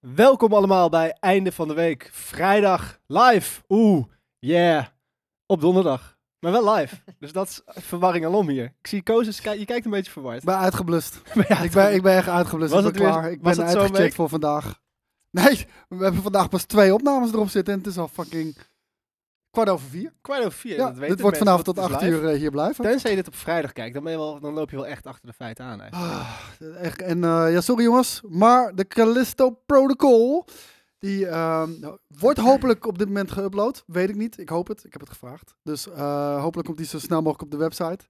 Welkom allemaal bij Einde van de Week. Vrijdag live. Oeh, yeah. Op donderdag. Maar wel live. Dus dat is verwarring alom hier. Ik zie Kozes, ki- je kijkt een beetje verward. Ik ben uitgeblust. Maar ja, Ik ben, ik ben echt uitgeblust. Was ik het ben weer- klaar. Ik was ben het zo'n uitgecheckt week? voor vandaag. Nee, we hebben vandaag pas twee opnames erop zitten en het is al fucking kwart over vier. kwart over vier. Ja, dat weten dit wordt mensen, vanavond want tot het is acht live. uur eh, hier blijven. Tenzij je dit op vrijdag kijkt, dan, ben je wel, dan loop je wel echt achter de feiten aan eigenlijk. Ah, echt, en eh, ja, sorry jongens, maar de Callisto Protocol, die ehm, wordt hopelijk op dit moment geüpload. Weet ik niet, ik hoop het, ik heb het gevraagd. Dus eh, hopelijk komt die zo snel mogelijk op de website.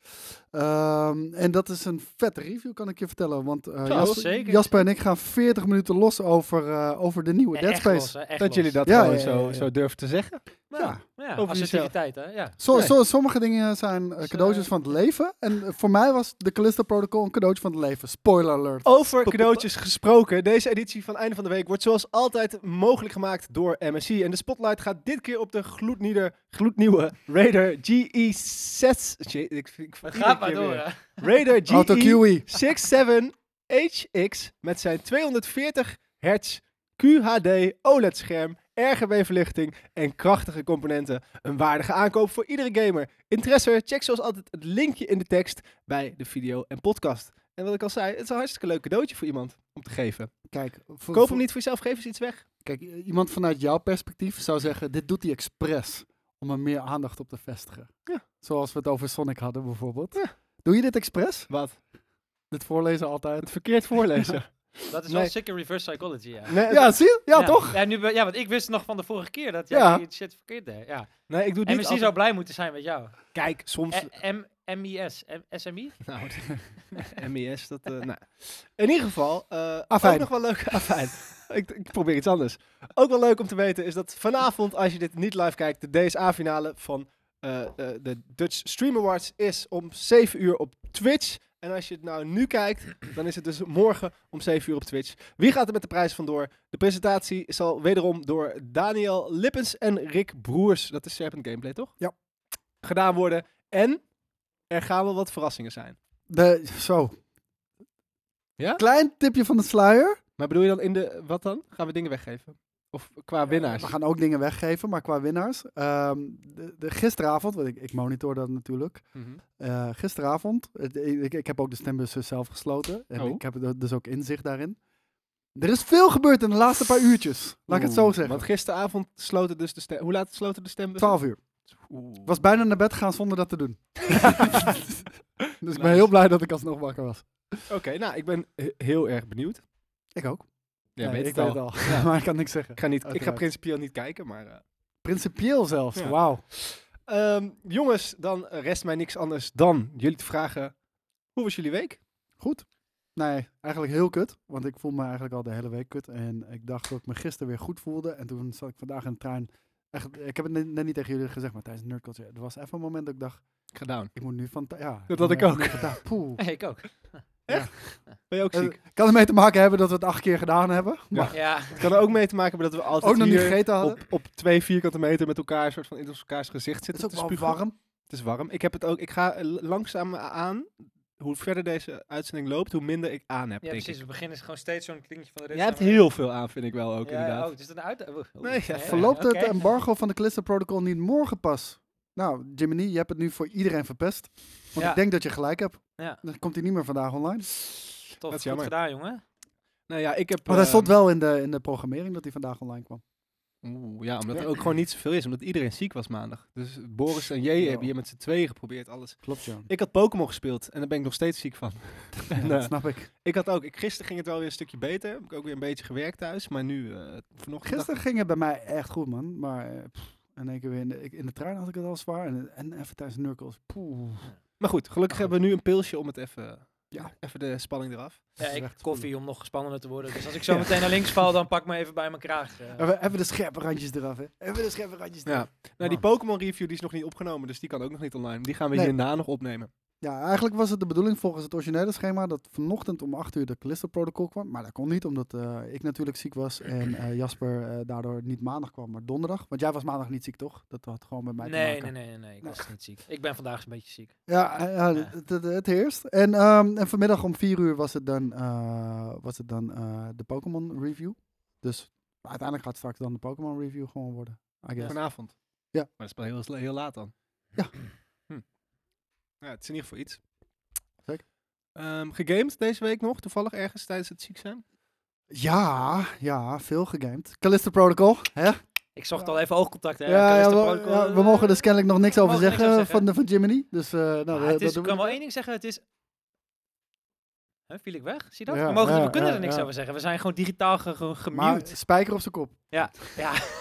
Ehm, en dat is een vette review, kan ik je vertellen. Want eh, Nou, Zo, Jasper, zeker. Jasper en ik gaan 40 minuten los over, eh, over de nieuwe Ja, Dead echt Space. los, hè, echt dat los. jullie dat Ja, gewoon ja, ja, zo, ja. zo durven te zeggen. Nou, Ja. ja, over assertiviteit, hè? Ja. Zo, Nee. zo, sommige dingen zijn eh, Dus, cadeautjes eh, van het leven. En eh, voor mij was de Callisto Protocol een cadeautje van het leven. Spoiler Oh, alert. Over cadeautjes gesproken. Deze editie van Einde van de Week wordt zoals altijd mogelijk gemaakt door MSI. En de spotlight gaat dit keer op de gloednieuwe, gloednieuwe Raider GE6. Shit, ik, ik, Maar iedere Ga maar keer door, weer. hè? Raider E. E Auto GE67 QE. HX met zijn 240 hertz QHD OLED-scherm, RGB-verlichting en krachtige componenten. Een waardige aankoop voor iedere gamer. Interesse? Check zoals altijd het linkje in de tekst bij de video en podcast. En wat ik al zei, het is een hartstikke leuk cadeautje voor iemand om te geven. Kijk, voor- Koop voor- hem niet voor jezelf, geef eens iets weg. Kijk, i- iemand vanuit jouw perspectief zou zeggen, dit doet hij expres om er meer aandacht op te vestigen. Ja. Zoals we het over Sonic hadden bijvoorbeeld. Doe je dit expres? Wat? Dit voorlezen altijd. Het verkeerd voorlezen. Dat is wel Nee. sicker reverse psychology, ja. Nee, Ja, zie je? Ja, toch? Ja, nu, ben- ja, want ik wist nog van de vorige keer dat jij Ja. die shit verkeerd deed. Ja. nee, ik doe het En niet. misschien zou altijd- blij moeten zijn met jou. Kijk, soms... E- M MIS, M- SMI? Nou, d- MES, dat... eh, nou. In ieder geval, eh Afijn. ook nog wel leuk... Afijn. ik, ik probeer iets anders. Ook wel leuk om te weten is dat vanavond, als je dit niet live kijkt, de DSA-finale van eh, eh, de Dutch Stream Awards is om 7 uur op Twitch. En als je het nou nu kijkt, dan is het dus morgen om 7 uur op Twitch. Wie gaat er met de prijs vandoor? De presentatie zal wederom door Daniel Lippens en Rick Broers, dat is Serpent Gameplay toch? Ja. Gedaan worden. En er gaan wel wat verrassingen zijn. De, zo. Ja? Klein tipje van de sluier. Maar bedoel je dan in de. Wat dan? Gaan we dingen weggeven? Of qua winnaars? We gaan ook dingen weggeven, maar qua winnaars. ehm, de, de, gisteravond, want ik, ik monitor dat natuurlijk. Mhm. Eh, gisteravond, het- ik, ik heb ook de stembus zelf gesloten. En Oh. ik heb er dus ook inzicht daarin. Er is veel gebeurd in de laatste paar uurtjes. Laat ik het zo Oeh, zeggen. Want gisteravond sloten dus de stem. Hoe laat sloten de stem? 12 uur. Oeh. Was bijna naar bed gaan zonder dat te doen. dus ik ben heel blij dat ik alsnog wakker was. Oké, nou, ik ben he- heel erg benieuwd. Ik ook. Jij Nee, weet ik het al. Ja. maar ik kan niks zeggen. Ik ga, niet, ik ga Uiteraard. principieel niet kijken, maar. eh, Principieel zelfs. Ja. Wauw. ehm, jongens, dan rest mij niks anders dan jullie te vragen. Hoe was jullie week? Goed. Nee, eigenlijk heel kut. Want ik voel me eigenlijk al de hele week kut. En ik dacht dat ik me gisteren weer goed voelde. En toen zat ik vandaag in de trein. Echt, ik heb het net, net niet tegen jullie gezegd, maar tijdens Nerd Culture. Er was even een moment dat ik dacht, Gedaan. Ik moet nu van... Ja, Dat had ik ook. Vandaag, poeh. ik ook. Ben je ook Eh, ziek? kan ermee te maken hebben dat we het acht keer gedaan hebben. Maar Ja. Het kan er ook mee te maken hebben dat we altijd ook nog niet hier gegeten hadden. op, op twee vierkante meter met elkaar, een soort van in ons elkaars gezicht het zitten. is te ook wel spugen. warm. Het is warm. Ik heb het ook. Ik ga eh, l- langzaam aan. Hoe verder deze uitzending loopt, hoe minder ik aan heb. ja, denk precies. ik. We beginnen gewoon steeds zo'n klinkje van de Jij hebt heel veel aan, vind ik wel ook ja, inderdaad. Oh, is dat een uit... oeh, oeh. Nee, ja, Verloopt oké. het ehm, embargo van de Callisto Protocol niet morgen pas? Nou, Jiminy, je hebt het nu voor iedereen verpest. Want Ja. ik denk dat je gelijk hebt. Ja. Dan komt hij niet meer vandaag online. Tof, Dat is goed jammer. gedaan, jongen. Nou ja, ik heb. Maar hij eh, stond wel in de, in de programmering dat hij vandaag online kwam. Oeh, ja, omdat er ook gewoon niet zoveel is, omdat iedereen ziek was maandag. Dus Boris en Jay Ja. hebben hier met z'n tweeën geprobeerd alles. Klopt, John. Ik had Pokémon gespeeld en daar ben ik nog steeds ziek van. En, dat eh, snap ik. ik had ook. Ik, gisteren ging het wel weer een stukje beter. Heb ik ook weer een beetje gewerkt thuis, maar nu eh vanochtend. dacht- Gisteren ging het bij mij echt goed, man. Maar eh, pff, in één keer weer in de, ik- in de trein had ik het al zwaar. En, en even tijdens Nurkels. Poeh. Maar goed, gelukkig Maar goed. hebben we nu een pilsje om het even. Oh. Ja. Even de spanning eraf. Ja, is ik echt koffie om nog gespannender te worden. Dus als ik zo meteen naar links val, dan pak me even bij mijn kraag. eh. Even, even de scherpe randjes eraf, hè. Even de scherpe randjes Ja. eraf. Nou, die Man. Pokémon review die is nog niet opgenomen, dus die kan ook nog niet online. Die gaan we Nee. hierna nog opnemen. Ja, eigenlijk was het de bedoeling volgens het originele schema dat vanochtend om 8 uur de Callisto Protocol kwam. Maar dat kon niet, omdat eh, ik natuurlijk ziek was en eh, Jasper eh, daardoor niet maandag kwam, maar donderdag. Want jij was maandag niet ziek, toch? Dat had gewoon met mij te Nee, maken. Nou. nee, nee, nee, nee, ik Nee. was niet ziek. Ik ben vandaag een beetje ziek. Ja, eh, ja, Ja. Het, het, het heerst. En, ehm, en vanmiddag om 4 uur was het dan, eh, was het dan eh, de Pokémon review. Dus maar uiteindelijk gaat straks dan de Pokémon review gewoon worden. I guess. Vanavond. Ja. Maar dat is wel heel, heel laat dan. Ja. Hm. ja. Het is in ieder geval iets. Zeker. Ehm, gegamed deze week nog, toevallig ergens tijdens het ziek zijn. Ja, ja, veel gegamed. Callisto Protocol, hè? Ja, Ik zocht al even oogcontact. Hè? ja, Callisto we, Protocol, ja, we eh, mogen dus kennelijk nog niks we over mogen niks zeggen, over zeggen. van, de- van Jiminy. Dus eh nou, maar we- Ah, het is, dat ik doen kan we. wel één ding zeggen. Het is... Hè, viel ik weg? Zie je dat? Ja, we, mogen, ja, we kunnen ja, er niks ja. over zeggen. We zijn gewoon digitaal ge, ge- Maar gemute. spijker op zijn kop. Ja,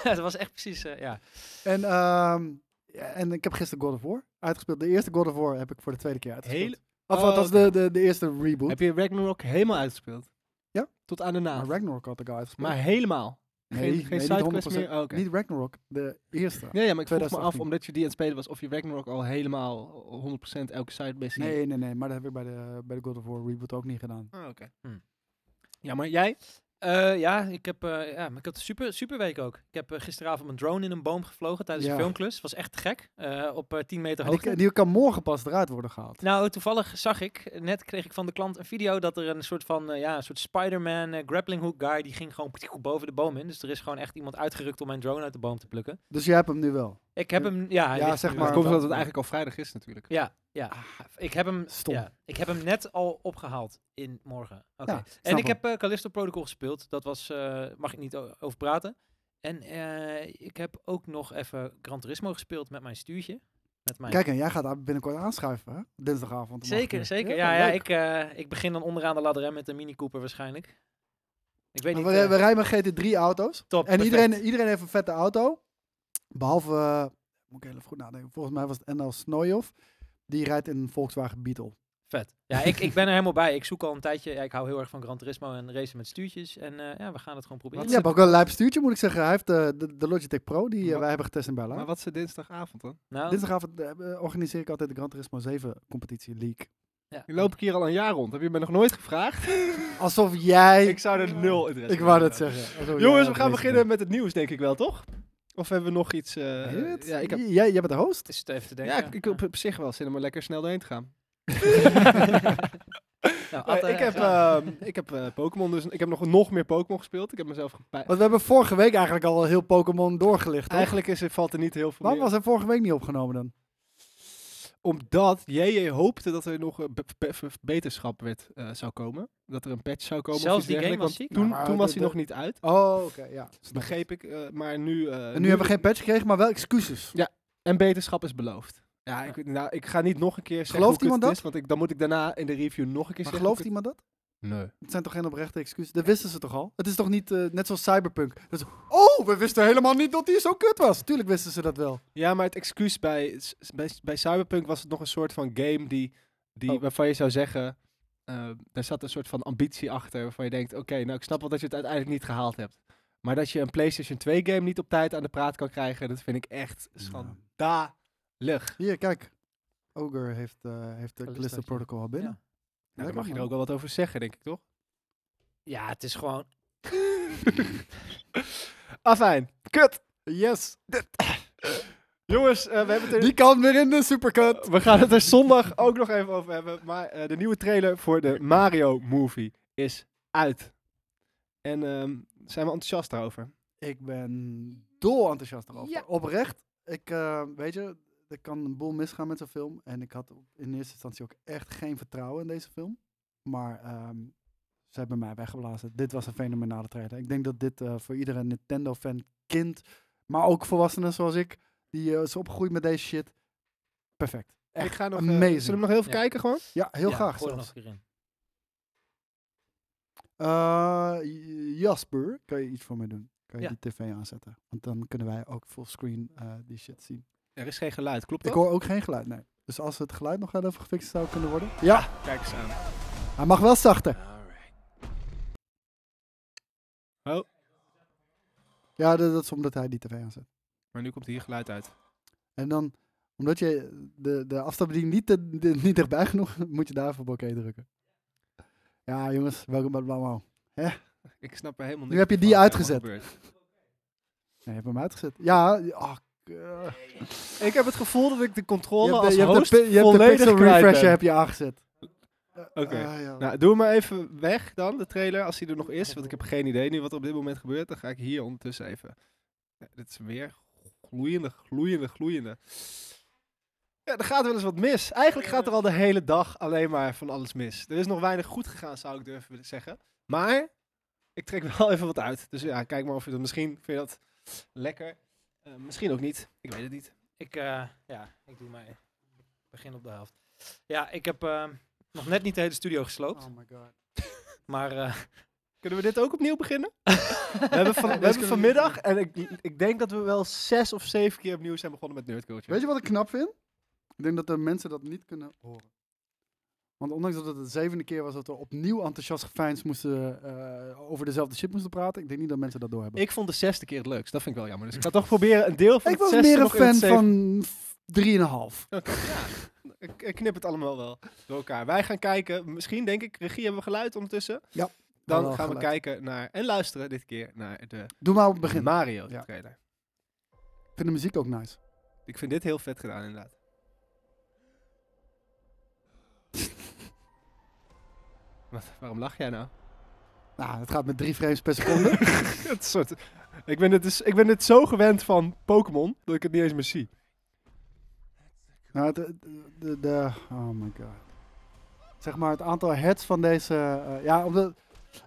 dat was echt precies... eh, ja. En, ehm, ja, en ik heb gisteren God of War uitgespeeld. De eerste God of War heb ik voor de tweede keer uitgespeeld. Hele- Of Oh, dat is de, de, de eerste reboot. Heb je Ragnarok helemaal uitgespeeld? Ja. Tot aan de Maar naam. Ragnarok had ik al uitgespeeld. Maar helemaal. nee, geen geen nee, sidequest niet 100%. meer. Oh, oké. Niet Ragnarok, de eerste. Ja, ja, maar ik vroeg me af, 2018. omdat je die aan het spelen was, of je Ragnarok al helemaal 100% elke side missie. Nee, nee, nee. Maar dat heb ik bij de, bij de God of War reboot ook niet gedaan. Ah, oké. Hm. Ja, maar jij? Eh, ja, ik heb, eh, ja, maar ik had een super, super week ook. Ik heb eh, gisteravond mijn drone in een boom gevlogen tijdens Ja. een filmklus. Was echt te gek. Eh, op eh, 10 meter En die, hoogte. die kan morgen pas eruit worden gehaald. Nou, toevallig zag ik, eh, net kreeg ik van de klant een video dat er een soort van, eh, ja, een soort Spider-Man eh, grappling hook guy, die ging gewoon boven de boom in. Dus er is gewoon echt iemand uitgerukt om mijn drone uit de boom te plukken. Dus jij hebt hem nu wel. Ik heb hem, ja, hij Hm. Ja, ligt zeg Maar het maar- nu wel. komt omdat het eigenlijk al vrijdag is natuurlijk. Ja, ja. Ik heb hem, Stom. ja, ik heb hem net al opgehaald in morgen. Oké. Ja, en snap ik hem. heb eh, Callisto Protocol gespeeld. Dat was, eh, mag ik niet o- over praten. En eh, ik heb ook nog even Gran Turismo gespeeld met mijn stuurtje. Met mijn Kijk, en jij gaat daar binnenkort aanschuiven, hè? Dinsdagavond. om acht Zeker, uur. zeker. Ja, Ja, ja, leuk. ik, eh, ik begin dan onderaan de ladder hè, met een Mini Cooper waarschijnlijk. Ik weet Maar niet. we, eh, we rijden met GT3-auto's. top, En perfect. iedereen, iedereen heeft een vette auto. Behalve, eh, moet ik heel even goed nadenken. Volgens mij was het NL Snojov. Die rijdt in een Volkswagen Beetle. Vet. Ja, ik, ik ben er helemaal bij. Ik zoek al een tijdje. Ja, ik hou heel erg van Gran Turismo en racen met stuurtjes. En eh, ja, we gaan het gewoon Ja, proberen. je hebt ook wel een lijp stuurtje, moet ik zeggen. Hij heeft de, de, de Logitech Pro, die eh, Wat- wij hebben getest in Maar Berlijn. wat is er dinsdagavond dan? Nou, Ehm, Dinsdagavond eh, eh, organiseer ik altijd de Gran Turismo 7 competitie league. ja. Nu loop ik hier al een jaar rond. Heb je me nog nooit gevraagd? Alsof jij... Ik zou er nul interesse Ik in wou dat hebben. zeggen. Alsof jij Jongens, we dat gaan bezig beginnen met het nieuws, denk ik wel, toch? Of hebben we nog iets... eh, bent. Weet je het? ja, ik heb, J- jij, jij bent de host. Het is het even te denken. ja, ik, ik heb op zich wel zin om er lekker snel doorheen te gaan. Nou, Eh, Atta, ik, heb, ja. ehm, ik heb eh, Pokémon dus... Ik heb nog, nog meer Pokémon gespeeld. Ik heb mezelf gepijpt. Want we hebben vorige week eigenlijk al heel Pokémon doorgelicht, toch? Eigenlijk is, er- valt er niet heel veel Waarom meer. was hij vorige week niet opgenomen dan? Omdat JJ hoopte dat er nog een be- be- beterschap werd, eh, zou komen. Dat er een patch zou komen. Zelfs of iets die game dergelijks, was want ziek. Toen, Ja, maar toen was de- hij nog de- niet uit. Oh, oké, ja. Snap ik. Begreep ik. eh, maar nu... eh, En nu hebben we geen patch gekregen, maar wel excuses. Ja, En beterschap is beloofd. Ja, ik, weet- nou, ik ga niet nog een keer zeggen Gelooft hoe kut iemand het is, want ik, dan moet ik daarna in de review nog een keer Maar zeggen. gelooft iemand dat? iemand? Nee. Het zijn toch geen oprechte excuses? Dat wisten ze toch al? Het is toch niet eh, net zoals Cyberpunk? Dat is- oh, we wisten helemaal niet dat die zo kut was. Tuurlijk wisten ze dat wel. Ja, maar het excuus bij, s- bij, bij Cyberpunk was het nog een soort van game die, die, Oh. waarvan je zou zeggen, eh daar zat een soort van ambitie achter waarvan je denkt, oké, nou ik snap wel dat je het uiteindelijk niet gehaald hebt. Maar dat je een PlayStation 2 game niet op tijd aan de praat kan krijgen, dat vind ik echt schandalig. Hier, kijk. Ogre heeft, eh heeft de Callisto'tje. Callisto Protocol al binnen. Nou, Lekker, daar mag je er man. ook wel wat over zeggen, denk ik, toch? ja, het is gewoon... Afijn, kut! Yes. Jongens, eh, we hebben het er... Die kan weer in de supercut. We gaan het er zondag ook nog even over hebben. Maar eh, de nieuwe trailer voor de Mario Movie is uit. En ehm, zijn we enthousiast daarover? Ik ben dol enthousiast erover. Eh. Ja. Oprecht. Ik, eh, weet je, er kan een boel misgaan met zo'n film. En ik had op- in eerste instantie ook echt geen vertrouwen in deze film. Maar ehm, ze hebben mij weggeblazen. Dit was een fenomenale trailer. Ik denk dat dit eh, voor iedere Nintendo-fan, kind, maar ook volwassenen zoals ik, die eh, is opgegroeid met deze shit, perfect. Echt ik ga nog, eh, amazing. zullen we hem nog heel even Ja. kijken gewoon? Ja, heel Ja, graag gooi er nog zelfs. een keer in. Eh, J- Jasper, kan je iets voor mij doen? Kan je Ja. die tv aanzetten? Want dan kunnen wij ook fullscreen eh, die shit zien. Er is geen geluid, klopt Ik dat? hoor ook geen geluid, nee. Dus als het geluid nog wel even gefixt zou kunnen worden. Ja, Kijk eens aan. hij mag wel zachter. Oh, Ja, dat, dat is omdat hij die tv aanzet. maar nu komt hier geluid uit. En dan, omdat je de, de afstandsbediening niet, te- de- niet dichtbij genoeg, moet je daar even op oké drukken. Ja, jongens, welkom bij Blauw. Ik snap er helemaal niks Nu heb je van die wat er uitgezet. helemaal gebeurt. Nee, je hebt hem uitgezet. Ja, ah, k- eh. Ik heb het gevoel dat ik de je controle hebt de- als je hebt de, host pi- je hebt de volledig pixel kwijt refresher ben. heb je aangezet. Oké. Ah, ja. Nou, doe hem maar even weg dan, de trailer, als die er nog is. Want ik heb geen idee nu wat er op dit moment gebeurt. Dan ga ik hier ondertussen even... Ja, dit is weer gloeiende, gloeiende, gloeiende. Ja, er gaat wel eens wat mis. Eigenlijk gaat er al de hele dag alleen maar van alles mis. Er is nog weinig goed gegaan, zou ik durven willen zeggen. Maar ik trek wel even wat uit. Dus ja, kijk maar of je dat misschien... Vind je dat lekker? Eh, misschien ook niet. Ik weet het niet. Ik, eh, ja, ik doe mij. Begin op de helft. Ja, ik heb eh, nog net niet de hele studio gesloopt. Oh my god. Maar eh, Kunnen we dit ook opnieuw beginnen? we hebben, van, we hebben vanmiddag, en ik, ik denk dat we wel zes of zeven keer opnieuw zijn begonnen met Nerd Culture. Weet je wat ik knap vind? Ik denk dat de mensen dat niet kunnen horen. Want ondanks dat het de zevende keer was dat we opnieuw enthousiast gefijns moesten eh, over dezelfde shit moesten praten, ik denk niet dat mensen dat doorhebben. Ik, Ik vond de zesde keer het leukst, dat vind ik wel jammer. Dus ik ga toch proberen een deel van het ik was zesde meer een nog in het fan zevende- van f- 3,5. Ik, ik knip het allemaal wel door elkaar. Wij gaan kijken, misschien denk ik, regie hebben we geluid ondertussen. Ja, Dan wel gaan we geluid. kijken naar, en luisteren dit keer, naar de Doe maar op het begin. Mario Ja. trailer. Ik vind de muziek ook nice. Ik vind dit heel vet gedaan inderdaad. Wat, waarom lach jij nou? Nou, het gaat met drie frames per seconde. Het soort, ik, ben het dus, ik ben het zo gewend van Pokémon dat ik het niet eens meer zie. nou, het, het- de, de- oh my god. Zeg maar het aantal hertz van deze. eh, ja, omdat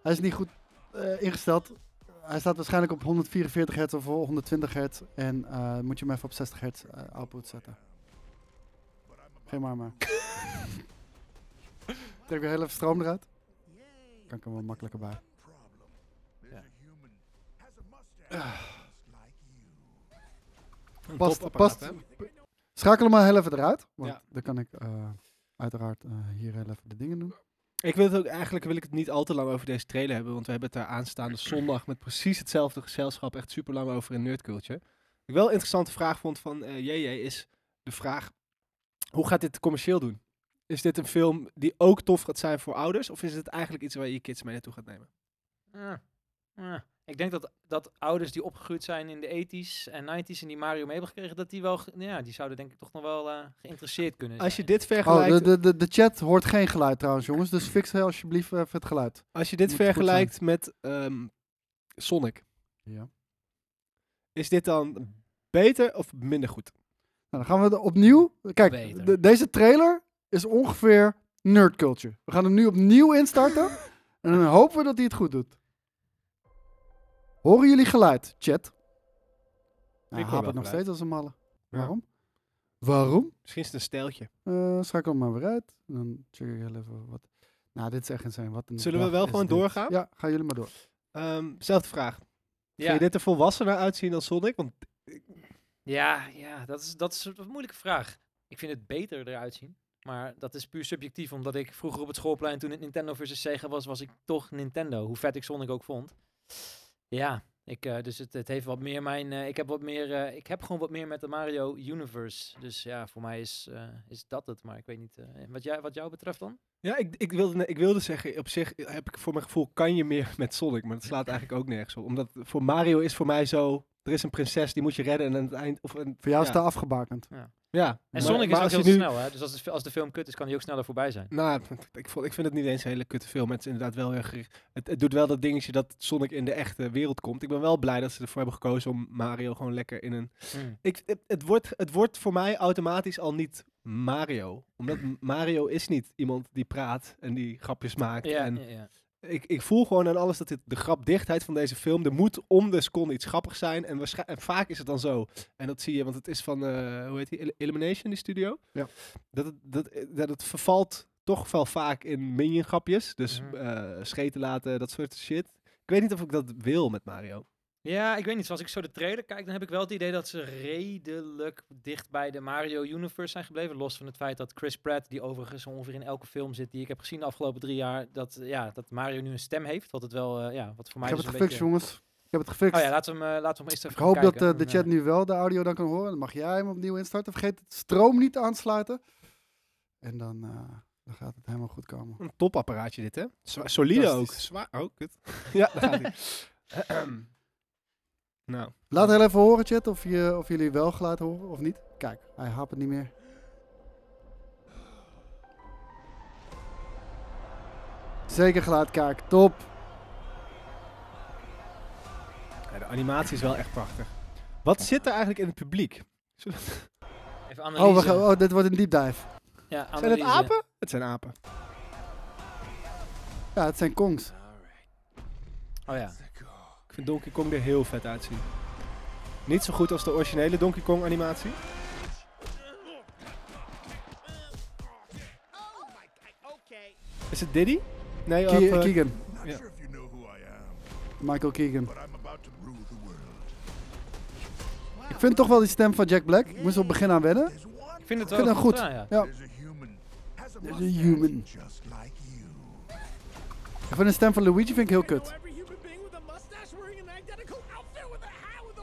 hij is niet goed eh, ingesteld. Hij staat waarschijnlijk op 144 hertz of 120 hertz. En eh, moet je hem even op 60 hertz eh, output zetten. Geen maar maar. Trek weer heel even stroom eruit. Kan ik hem wel makkelijker bij. Een Past- topapparaat, past- hè? Schakel hem maar heel even eruit. Want Ja. dan kan ik eh, uiteraard eh, hier heel even de dingen doen. Ik wil het ook, eigenlijk wil ik het niet al te lang over deze trailer hebben, want we hebben het daar aanstaande zondag met precies hetzelfde gezelschap echt super lang over in Nerd Culture. Wat Ik wel een interessante vraag vond van eh JJ is de vraag, hoe gaat dit commercieel doen? Is dit een film die ook tof gaat zijn voor ouders, of is het eigenlijk iets waar je je kids mee naartoe gaat nemen? eh, eh. ik denk dat, dat ouders die opgegroeid zijn in de 80s en 90s en die Mario mee hebben gekregen, dat die wel, ge- ja, die zouden denk ik toch nog wel eh, geïnteresseerd kunnen zijn. Als je dit Oh, vergelijkt, de, de, de, de chat hoort geen geluid trouwens, jongens. Dus fix heel alsjeblieft even het geluid. als je dit moet goed zijn. vergelijkt met ehm, Sonic, Ja. is dit dan beter of minder goed? Nou, dan gaan we de- opnieuw. Kijk, Beter. de- deze trailer is ongeveer nerd culture. We gaan hem nu opnieuw instarten. en dan hopen we dat hij het goed doet. Horen jullie geluid, chat? Nou, Ik hoor ik wel haap het nog geluid. steeds als een malle. Ja. Waarom? Waarom? Misschien is het een stijltje. Eh schakel hem maar weer uit. Dan check ik heel even wat. Nou, dit is echt insane. Wat een Zullen we dag wel is gewoon dit? doorgaan? Ja, gaan jullie maar door. Ehm, zelfde vraag. ja. Vind je dit er volwassener uitzien dan Sonic? Want Ja, ja dat, is, dat is een moeilijke vraag. Ik vind het beter eruit zien. Maar dat is puur subjectief, omdat ik vroeger op het schoolplein, toen het Nintendo versus Sega was, was ik toch Nintendo. Hoe vet ik Sonic ook vond. Ja, ik, eh, dus het, het heeft wat meer mijn. eh, ik, heb wat meer, eh, ik heb gewoon wat meer met de Mario Universe. Dus ja, voor mij is, eh, is dat het. Maar ik weet niet. eh, wat, jij, wat jou betreft dan? Ja, ik, ik, wilde, ne- ik wilde zeggen, op zich eh, heb ik voor mijn gevoel kan je meer met Sonic, maar dat slaat eigenlijk ook nergens op. Omdat voor Mario is voor mij zo, er is een prinses die moet je redden en aan het eind... Of een, Voor jou ja, is het afgebakend. Ja. En maar- Sonic maar is ook als je heel nu- snel, hè? Dus als de, fi- als de film kut is, kan hij ook sneller voorbij zijn. Nou, ik, vond, ik vind het niet eens een hele kutte film. maar Het is inderdaad wel heel gericht. Het, het doet wel dat dingetje dat Sonic in de echte wereld komt. Ik ben wel blij dat ze ervoor hebben gekozen om Mario gewoon lekker in een... Hm. Ik, het, het, wordt, het wordt voor mij automatisch al niet Mario. Omdat M- Mario is niet iemand die praat en die grapjes maakt. Ja, en ja, ja. ik, ik voel gewoon aan alles dat dit, de grapdichtheid van deze film, er moet om de seconde iets grappig zijn. En, waarschijn- en vaak is het dan zo. En dat zie je, want het is van, eh, hoe heet die, El- Elimination, die studio. Ja. Dat, het, dat, eh, dat het vervalt toch wel vaak in minion grapjes. Dus Mhm. eh, scheten laten, dat soort shit. Ik weet niet of ik dat wil met Mario. Ja, ik weet niet. Zoals ik zo de trailer kijk, dan heb ik wel het idee dat ze redelijk dicht bij de Mario Universe zijn gebleven. Los van het feit dat Chris Pratt, die overigens ongeveer in elke film zit die ik heb gezien de afgelopen drie jaar, dat, eh, ja, dat Mario nu een stem heeft. Wat het wel, eh, ja, wat voor Ik mij heb dus het een gefixt, beetje... jongens. Ik heb het gefixt. Oh ja, laten we hem, eh, laten we hem eerst even Ik hoop gaan dat kijken. eh, de En, chat eh, nu wel de audio dan kan horen. Dan mag jij hem opnieuw instarten. Vergeet het stroom niet te aansluiten. En dan, eh, dan gaat het helemaal goed komen. Een topapparaatje dit, hè? Zwa- solide ook. Fantastisch. Zwaar ook. kut. ja, daar gaat ie. Ahem. nou. Laat heel even horen, chat, of, je, of jullie wel geluid horen of niet. Kijk, hij hapert niet meer. Zeker gelaatkaak. Top. Ja, de animatie is wel echt prachtig. Wat zit er eigenlijk in het publiek? Even Oh, analyse. we gaan, oh, dit wordt een deep dive. ja, Zijn het analyse. apen? Het zijn apen. Ja, het zijn kongs. Oh ja. Ik vind Donkey Kong er heel vet uitzien. Niet zo goed als de originele Donkey Kong animatie. Is het Diddy? Nee, Ke- op, eh, Keegan. Not Yeah. sure if you know who I am, Michael Keegan. but I'm about to rule the world. Ik vind toch wel die stem van Jack Black. Ik moest op het begin aan wennen. There's one Ik vind het Ik wel vind hem goed. gedaan, ja. Ja. There's a human. Has a There's a mustache human. Just like you. Ik vind de stem van Luigi vind ik heel kut.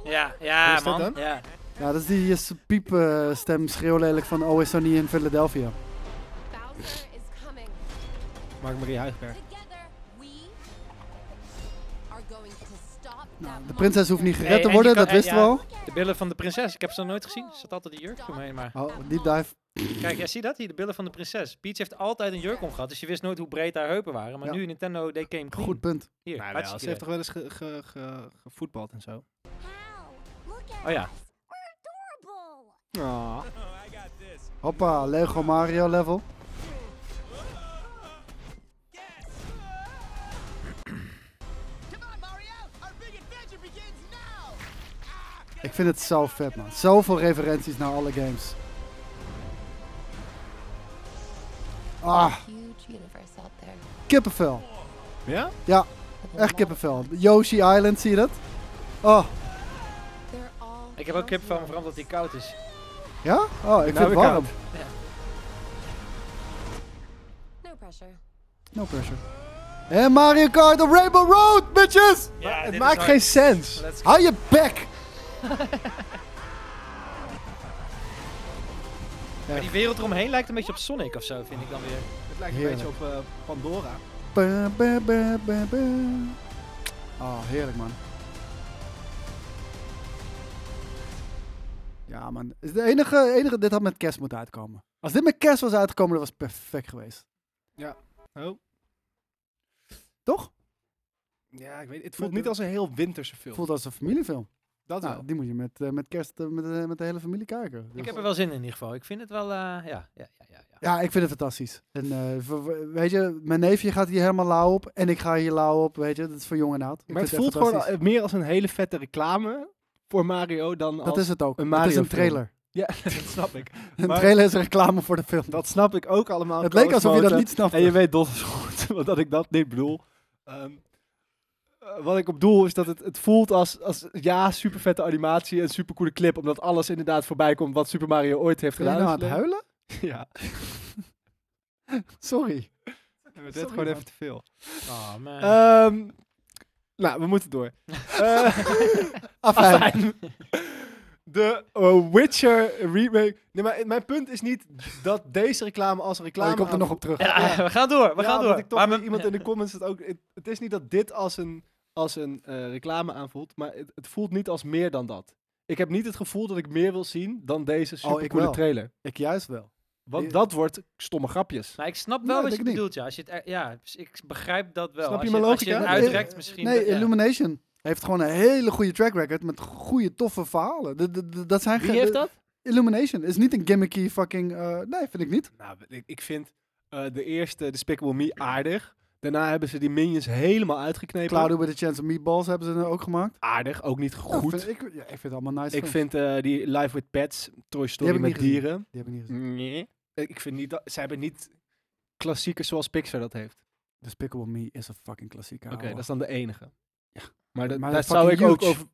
Ja, Wat ja is dat man. dan? Ja. Ja, dat is die eh, piep eh, stem schreeuwlelijk van "Oh, Always Sunny in Philadelphia. Bowser is coming. Mark-Marie Huigberg. Together we are going to stop Nou, that de prinses hoeft niet monster. gered te en worden, je kan- eh, dat wisten we ja. al. De billen van de prinses. Ik heb ze nog nooit gezien. Er zat altijd een jurk omheen. Maar Oh, deep dive. kijk, ja, zie dat hier? De billen van de prinses. Peach heeft altijd een jurk om gehad. Dus je wist nooit hoe breed haar heupen waren. Maar Ja. nu Nintendo, they came clean. Goed punt. Hier, Nou, wel, hartstikke ze heeft toch wel eens ge- ge- ge- gevoetbald en zo. How? Look at Oh ja. us. We're adorable. Ah. Hoppa, Lego Mario level. Ik vind het zo vet, man. Zoveel referenties naar alle games. Ah, Huge universe out there. kippenvel. Ja? Ja, with a echt lot- kippenvel. Yoshi Island, zie je dat? Oh, they're all Ik heb ook kip van, lovely. vooral omdat hij koud is. ja? Oh, ik vind het ik warm. No pressure. No pressure. En Mario Kart op Rainbow Road, bitches! het maakt geen sens. Let's Hou je bek! Maar die wereld eromheen lijkt een beetje op Sonic of zo, vind ik dan weer. Het lijkt een Heerlijk. beetje op eh, Pandora. Ba, ba, ba, ba, ba. Oh, heerlijk man. Ja man, is de enige, enige, dit had met kerst moeten uitkomen. Als dit met kerst was uitgekomen, dat was perfect geweest. Oh. Toch? Ja, ik weet Het voelt niet als een heel winterse film. Voelt als een familiefilm. dat wel. Nou, die moet je met, eh, met kerst eh, met, eh, met de hele familie kijken. Dus- Ik heb er wel zin in in ieder geval. Ik vind het wel, eh, ja, ja, ja, ja. ja. Ja, ik vind het fantastisch. En eh, v- w- weet je, mijn neefje gaat hier helemaal lauw op en ik ga hier lauw op, weet je. Dat is voor jong en oud. Ik maar het vind echt voelt gewoon fantastisch. al- meer als een hele vette reclame voor Mario dan als... Dat is het ook. een het is een Mario-film. trailer. Ja, dat snap ik. Een Maar- trailer is een reclame voor de film. Dat snap ik ook allemaal. het leek Koos alsof je dat Moten. niet snapte. En je weet donders goed want dat ik dat niet bedoel. Ehm, eh, wat ik op doel is dat het, het voelt als, als ja, super vette animatie en super coole clip. Omdat alles inderdaad voorbij komt wat Super Mario ooit heeft Ben je gedaan. nou aan in het zijn huilen? leven. Ja, Sorry. Oh, het Sorry, werd gewoon man. even te veel. Oh man. Ehm, nou, we moeten door. Eh, Afijn. De eh, Witcher remake. Nee, maar mijn punt is niet dat deze reclame als een reclame. ik kom Oh, er aan- nog op terug. ja, we gaan door, we Ja, gaan omdat door. Ik toch Maar niet- we- iemand in de comments het ook. Het, het is niet dat dit als een, als een eh, reclame aanvoelt, maar het, het voelt niet als meer dan dat. Ik heb niet het gevoel dat ik meer wil zien dan deze supercoole Oh, wel. trailer. Ik juist wel. Want Ja. dat wordt stomme grapjes. Maar ik snap Nee, wel dat wat je ik niet. bedoelt, ja. Als je het, er- ja. dus Ik begrijp dat wel. Snap je als mijn als logica? je het Nee, uitrekt misschien. nee, dat- ja. Illumination heeft gewoon een hele goede track record met goede, toffe verhalen. De- de- de- dat zijn Wie ge- heeft de- dat? Illumination is niet een gimmicky fucking... eh, nee, vind ik niet. Nou, ik, ik vind eh, de eerste Despicable Me aardig. Daarna hebben ze die minions helemaal uitgeknepen. Cloudy with a Chance of Meatballs hebben ze er ook gemaakt. Aardig, ook niet Ja, goed. vind ik, ja, ik vind het allemaal nice. ik films. vind eh, die Live with Pets, Toy Story heb ik met niet gezien. dieren. Die heb ik niet gezien. Nee. Ik vind niet dat... Ze hebben niet klassiekers zoals Pixar dat heeft. Despicable Me is een fucking klassieker. Oké, ouwe. dat is dan de enige. Nou, Maar, dat, Maar daar dat is zou ik fucking ook huge. over...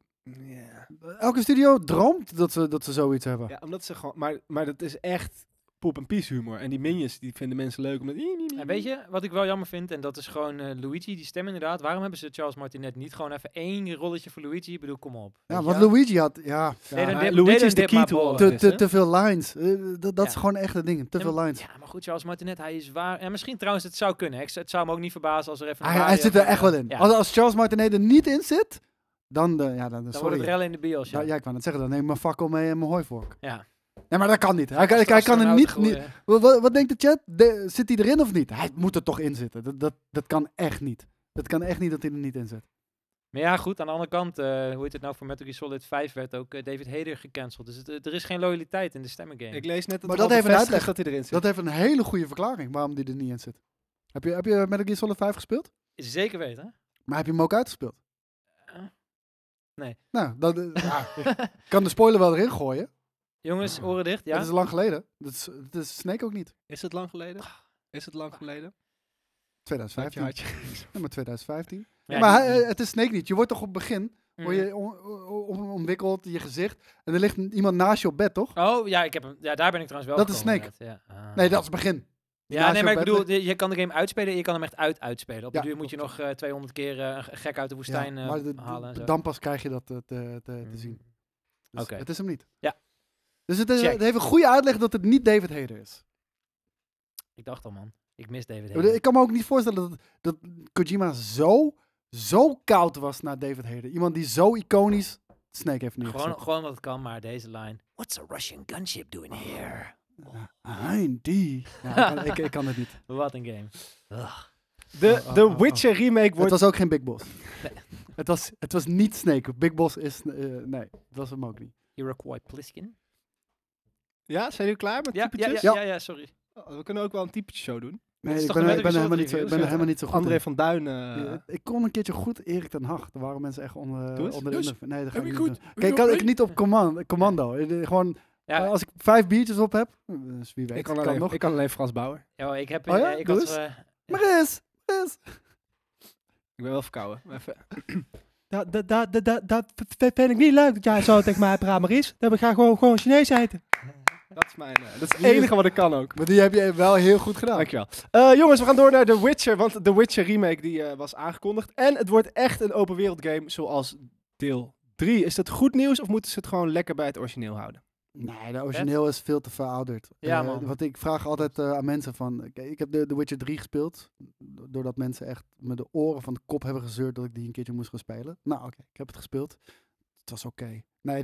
Ja. Elke studio droomt dat ze, dat ze zoiets hebben. ja, omdat ze gewoon... Maar, maar dat is echt poep en pies humor. En die minions, die vinden mensen leuk omdat... En weet je, wat ik wel jammer vind, en dat is gewoon eh, Luigi, die stem inderdaad. Waarom hebben ze Charles Martinet niet gewoon even één rolletje voor Luigi? Ik bedoel, kom op. Ja, Weet want je wel? Luigi had... Ja, Nee, ja. dan maar dip- Luigi nee, dan is de dip key maar to all ballen. of te, is, te, hè? te veel lines. Eh, dat dat is Ja. gewoon echt het ding. Te veel lines. Ja, maar goed, Charles Martinet, hij is waar. En misschien trouwens, het zou kunnen. hè. Ik, het zou me ook niet verbazen als er even... een Hij, hij Mario- zit er echt wel in. Ja, Als, als Charles Martinet er niet in zit, dan... De, ja, dan, dan wordt sorry. Nou, het rellen in de bios, ja. ja, ja, ik wou net zeggen, dan neem ik mijn fakkel mee en mijn hooivork. Ja. Nee, maar dat kan niet. Hij, kan- hij kan er niet... niet wat, wat- wat denkt de chat? De- zit hij erin of niet? Hij moet er toch in zitten. Dat, dat, dat kan echt niet. Dat kan echt niet dat hij er niet in zit. Maar ja, goed, aan de andere kant, eh, hoe heet het nou, voor Metal Gear Solid 5 werd ook eh, David Heder gecanceld. Dus het- het- er is geen loyaliteit in de stemmengame. Ik lees net dat Maar er dat al even een bevestigd uitleg. dat hij erin zit. Dat heeft een hele goede verklaring waarom hij er niet in zit. Heb je, heb je Metal Gear Solid 5 gespeeld? Zeker weten. Maar heb je hem ook uitgespeeld? Eh, nee. Nou, dat, eh, ja, ik kan de spoiler wel erin gooien. Jongens, oren dicht, Dat ja? is lang geleden. Dat is, dat is Snake ook niet. Is het lang geleden? Is het lang geleden? Dank je 2015. hartje. Ja, maar 2015. Ja, maar niet- hij- eh, het is Snake niet. Je wordt toch op het begin, Mm. word je on- on- on- ontwikkeld, je gezicht. En er ligt iemand naast je op bed, toch? Oh, ja, ik heb hem, ja, daar ben ik trouwens wel Dat is gekomen, Snake. inderdaad, Ja. Ah. Nee, dat is het begin. Ja, naast nee, je maar ik op bed bedoel, je, je kan de game uitspelen en je kan hem echt uit uitspelen. Op de Ja, duur moet je nog eh, 200 keer eh, een g- gek uit Ja, de woestijn eh, maar de- halen. en de- zo. dan pas krijg je dat eh, te, te, te Mm. zien. Dus Oké. Het is hem niet. Ja. Dus het, is, Check. het heeft een goede uitleg dat het niet David Heder is. Ik dacht al, man. Ik mis David Ik bedoel, Hayden. Ik kan me ook niet voorstellen dat, dat Kojima zo, zo koud was naar David Heder. Iemand die zo iconisch Snake heeft neergezet. Gewoon, gewoon wat het kan, maar deze line. What's a Russian gunship doing here? Hein, die. Ja, ik, kan, ik, ik kan het niet. Wat een game. De, oh, de oh. Witcher remake Het wordt... was ook geen Big Boss. Het, was, het was niet Snake. Big Boss is... eh, nee, dat was hem ook niet. Iroquois Pliskin. Ja, zijn jullie klaar met Ja, ja, ja, typetjes? ja, ja, sorry. Oh, we kunnen ook wel een typetje show doen. Nee, is ik toch ben, een er- ik ben er Metal Gear helemaal niet zo, ik Solid ben André er helemaal niet zo goed review, in. van eh, Duin. Ja, ik kon een keertje goed Erik ten Hag. Daar waren mensen echt onder, Doe eens. onder Doe de eens. indruk van, Nee, dat ga Heb ik je niet goed? doen. Kijk, ik kan ik niet op command, commando. Eh, eh, Gewoon, eh, als ik vvijf biertjes op heb, eh, dus wie weet, ik, kan alleen, nog. ik kan alleen Frans Bauer. Oh, ik heb... Oh ja? eh, ik Doe had, eens. eh, Maar is, is. Ik ben wel verkouden. maar Even. Dat, dat, dat, dat, dat, dat v- v- vind ik niet leuk dat jij zo tegen mij praat, maar is. Dan ga ik gewoon, gewoon Chinees eten. Dat is mijn... eh, dat is het Hier is- enige wat ik kan ook. Maar die heb je wel heel goed gedaan. Dankjewel. Eh, jongens, we gaan door naar The Witcher, want The Witcher remake die eh, was aangekondigd. En het wordt echt een open wereld game zoals deel 3. Is dat goed nieuws of moeten ze het gewoon lekker bij het origineel houden? Nee, de origineel is veel te verouderd. Ja, Eh, man. Want ik vraag altijd eh, aan mensen van... oké, ik heb de, The Witcher 3 gespeeld. do- Doordat mensen echt me de oren van de kop hebben gezeurd... dat ik die een keertje moest gaan spelen. Nou, oké, ik heb het gespeeld. Het was oké. Nee, nee.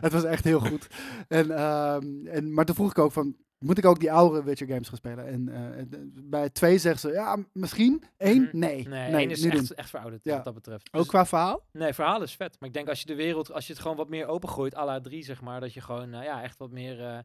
het was echt heel goed. En, ehm, en, maar toen vroeg ik ook van... Moet ik ook die oude Witcher games gaan spelen? En, eh, en, eh, bij twee zeggen ze... Ja, m- misschien. Eén? Mhm. Nee. nee, nee één is niet doen. echt, echt verouderd Ja. wat dat betreft. Ook Dus- qua verhaal? nee, verhaal is vet. Maar ik denk als je de wereld... Als je het gewoon wat meer opengooit, à la 3 zeg maar... Dat je gewoon nou ja, echt wat meer... eh,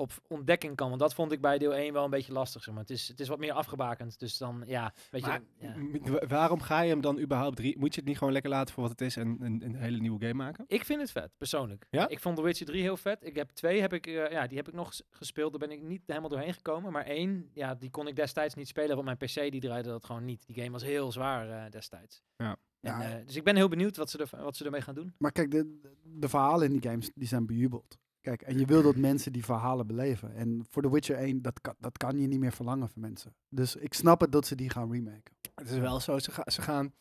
op ontdekking kan. Want dat vond ik bij deel 1 wel een beetje lastig. Zeg maar. het, is, het is wat meer afgebakend. Dus dan, ja, weet je... Maar, ja. m- wa- Waarom ga je hem dan überhaupt drie? Moet je het niet gewoon lekker laten voor wat het is en een, een hele nieuwe game maken? Ik vind het vet, persoonlijk. Ja? Ik vond The Witcher 3 heel vet. Ik heb twee, heb ik, eh, ja, die heb ik nog s- gespeeld. Daar ben ik niet helemaal doorheen gekomen. Maar één, ja, die kon ik destijds niet spelen, want mijn PC die draaide dat gewoon niet. Die game was heel zwaar eh, destijds. Ja. En, Ja. eh, dus ik ben heel benieuwd wat ze, er, wat ze ermee gaan doen. Maar kijk, de, de verhalen in die games die zijn bejubeld. Kijk, en je wil dat mensen die verhalen beleven. En voor The Witcher 1, dat kan, dat kan je niet meer verlangen van mensen. Dus ik snap het dat ze die gaan remaken. Het is wel zo, ze, ga- ze gaan...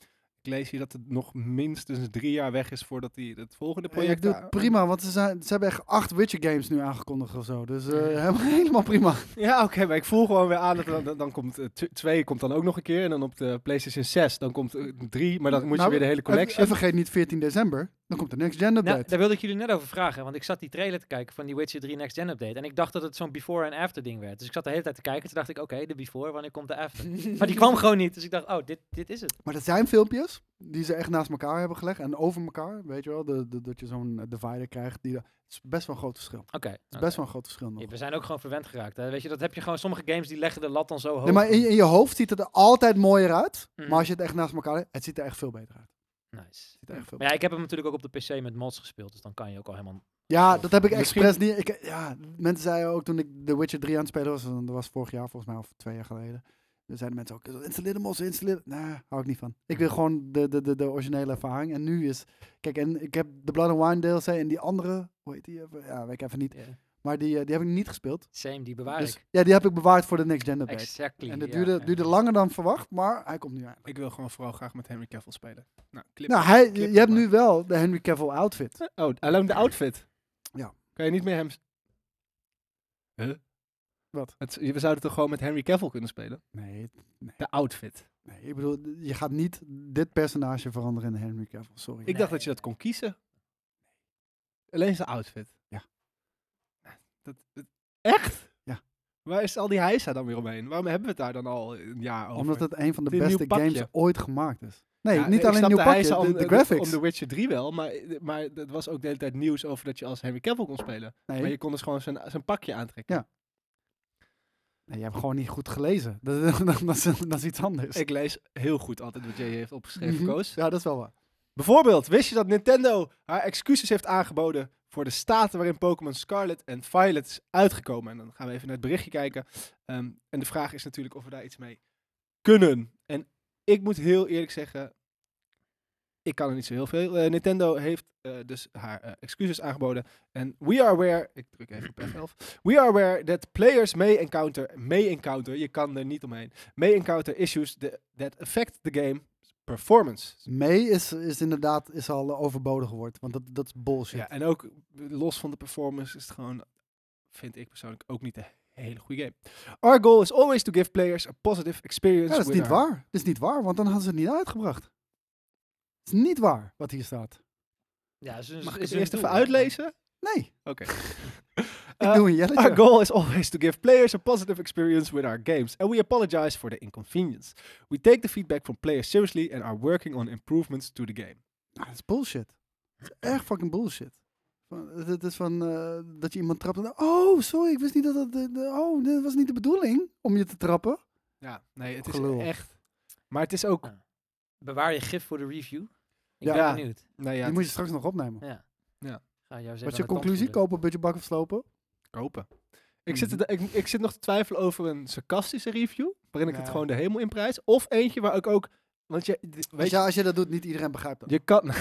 Ik lees hier dat het nog minstens drie jaar weg is voordat die, het volgende En Eh, Ik project... doe het prima, want ze, zijn, ze hebben echt acht Witcher games nu aangekondigd of zo. Dus eh, Mhm. helemaal, helemaal prima. Ja, oké, maar ik voel gewoon weer aan dat dan, dan- dan komt 2 komt dan ook nog een keer en dan op de PlayStation 6 dan komt 3, maar dan moet Nou, je weer de hele collectie. En, en vergeet niet 14 december, dan komt de Next Gen Nou, update. daar wilde ik jullie net over vragen, want ik zat die trailer te kijken van die Witcher 3 Next Gen Update. En ik dacht dat het zo'n before en after ding werd. Dus ik zat de hele tijd te kijken. Toen dacht ik, oké, de before, wanneer komt de after? maar die kwam gewoon niet. Dus ik dacht, oh, dit, dit is het. Maar dat zijn filmpjes die ze echt naast elkaar hebben gelegd en over elkaar. Weet je wel, de, de- dat je zo'n eh, divider krijgt. Die, dat is best wel een groot verschil. Het Oké. is oké. best wel een groot verschil nog. Ja, we zijn ook gewoon verwend geraakt. Hè? Weet je, dat heb je gewoon. Sommige games die leggen de lat dan zo hoog. Nee, maar in, in je hoofd ziet het er altijd mooier uit. Mhm. Maar als je het echt naast elkaar legt, het ziet er echt veel beter uit. Het Nice. ziet er echt veel Maar ja, ik heb hem natuurlijk ook op de PC met mods gespeeld, dus dan kan je ook al helemaal... ja, dat heb ik Misschien- expres niet. Ik, ja, mensen zeiden ook toen ik The Witcher 3 aan het spelen was, en dat was vorig jaar volgens mij, of twee jaar geleden. Er zeiden mensen ook, installeer de mods, installeer... Nee, hou ik niet van. Ik wil gewoon de, de, de, de originele ervaring. En nu is... Kijk, en ik heb de Blood and Wine DLC en die andere... Hoe heet die? even? Ja, weet ik even niet. Maar die, eh, die heb ik niet gespeeld. Same, die bewaar Dus, ik. ja, die heb ik bewaard voor de Next Gen update. Exactly. En dat ja, duurde, ja. duurde langer dan verwacht, maar hij komt nu aan. Ik wil gewoon vooral graag met Henry Cavill spelen. Nou, clip. Nou, hij, Clip je hebt maar. nu wel de Henry Cavill outfit. Oh, alleen de outfit. Ja. Kan je niet meer hem... s- Huh? Wat? Het, we zouden toch gewoon met Henry Cavill kunnen spelen? Nee, De outfit. nee, ik bedoel, je gaat niet dit personage veranderen in Henry Cavill, sorry. Ik dacht dat je dat kon kiezen. Alleen zijn outfit. Nou, Ja. Dat, dat- echt? Ja. Waar is al die heisa dan weer omheen? Waarom hebben we het daar dan al een jaar over? Omdat het een van de Dit beste nieuw pakje. games ooit gemaakt is. Nee, Ja, ik niet alleen snap nieuw de pakje, heisa de, om de graphics. Om The Witcher 3 wel, maar, maar het was ook de hele tijd nieuws over dat je als Henry Cavill kon spelen. nee, Maar je kon dus gewoon zijn, zijn pakje aantrekken. nee, je hebt gewoon niet goed gelezen. Dat, dat, dat, is, dat is iets anders. Ik lees heel goed altijd wat jij heeft opgeschreven, Mhm. Koos. Ja, dat is wel waar. Bijvoorbeeld, wist je dat Nintendo haar excuses heeft aangeboden voor de staten waarin Pokémon Scarlet en Violet is uitgekomen? En dan gaan we even naar het berichtje kijken. Ehm, en de vraag is natuurlijk of we daar iets mee kunnen. En ik moet heel eerlijk zeggen, ik kan er niet zo heel veel. Eh, Nintendo heeft eh, dus haar eh, excuses aangeboden. En we are aware, ik druk even op F11. We are aware that players may encounter, may encounter, je kan er niet omheen, may encounter issues that- that affect the game performance. Mee is, is inderdaad is al eh, overbodig geworden, want dat, dat is bullshit. Ja, en ook los van de performance is het gewoon, vind ik persoonlijk, ook niet een hele goede game. Our goal is always to give players a positive experience. Ja, dat is with niet our- waar. Dat is niet waar, want dan hadden ze het niet uitgebracht. Het is niet waar wat hier staat. Ja, is, Mag ik Dus is het eerst een even doel. uitlezen? Nee, Oké. ik Eh, doe een Our jelletje. goal is always to give players a positive experience with our games, and we apologize for the inconvenience. We take the feedback from players seriously and are working on improvements to the game. Nou, dat is bullshit. Dat is echt fucking bullshit. Van, het- het is van eh, dat je iemand trapt en dan, oh, sorry, ik wist niet dat dat, de- de- oh, dit was niet de bedoeling om je te trappen. Ja, nee, het is Gelul. echt. Maar het is ook. Bewaar je gif voor de review. Ik Ja. Ja. ben benieuwd. Nou ja, die het moet je is straks nog opnemen. Ja. Ja. Ga jou Wat is eens even je aan de tand conclusie? voelen. Kopen, budgetbak of slopen? kopen. Ik zit, Mhm. te- ik, ik zit nog te twijfelen over een sarcastische review, waarin ik het Ja. gewoon de hemel in prijs. Of eentje waar ik ook. Want je, d- weet Weet je, als je dat doet, niet iedereen begrijpt dat. Je kan. Nee,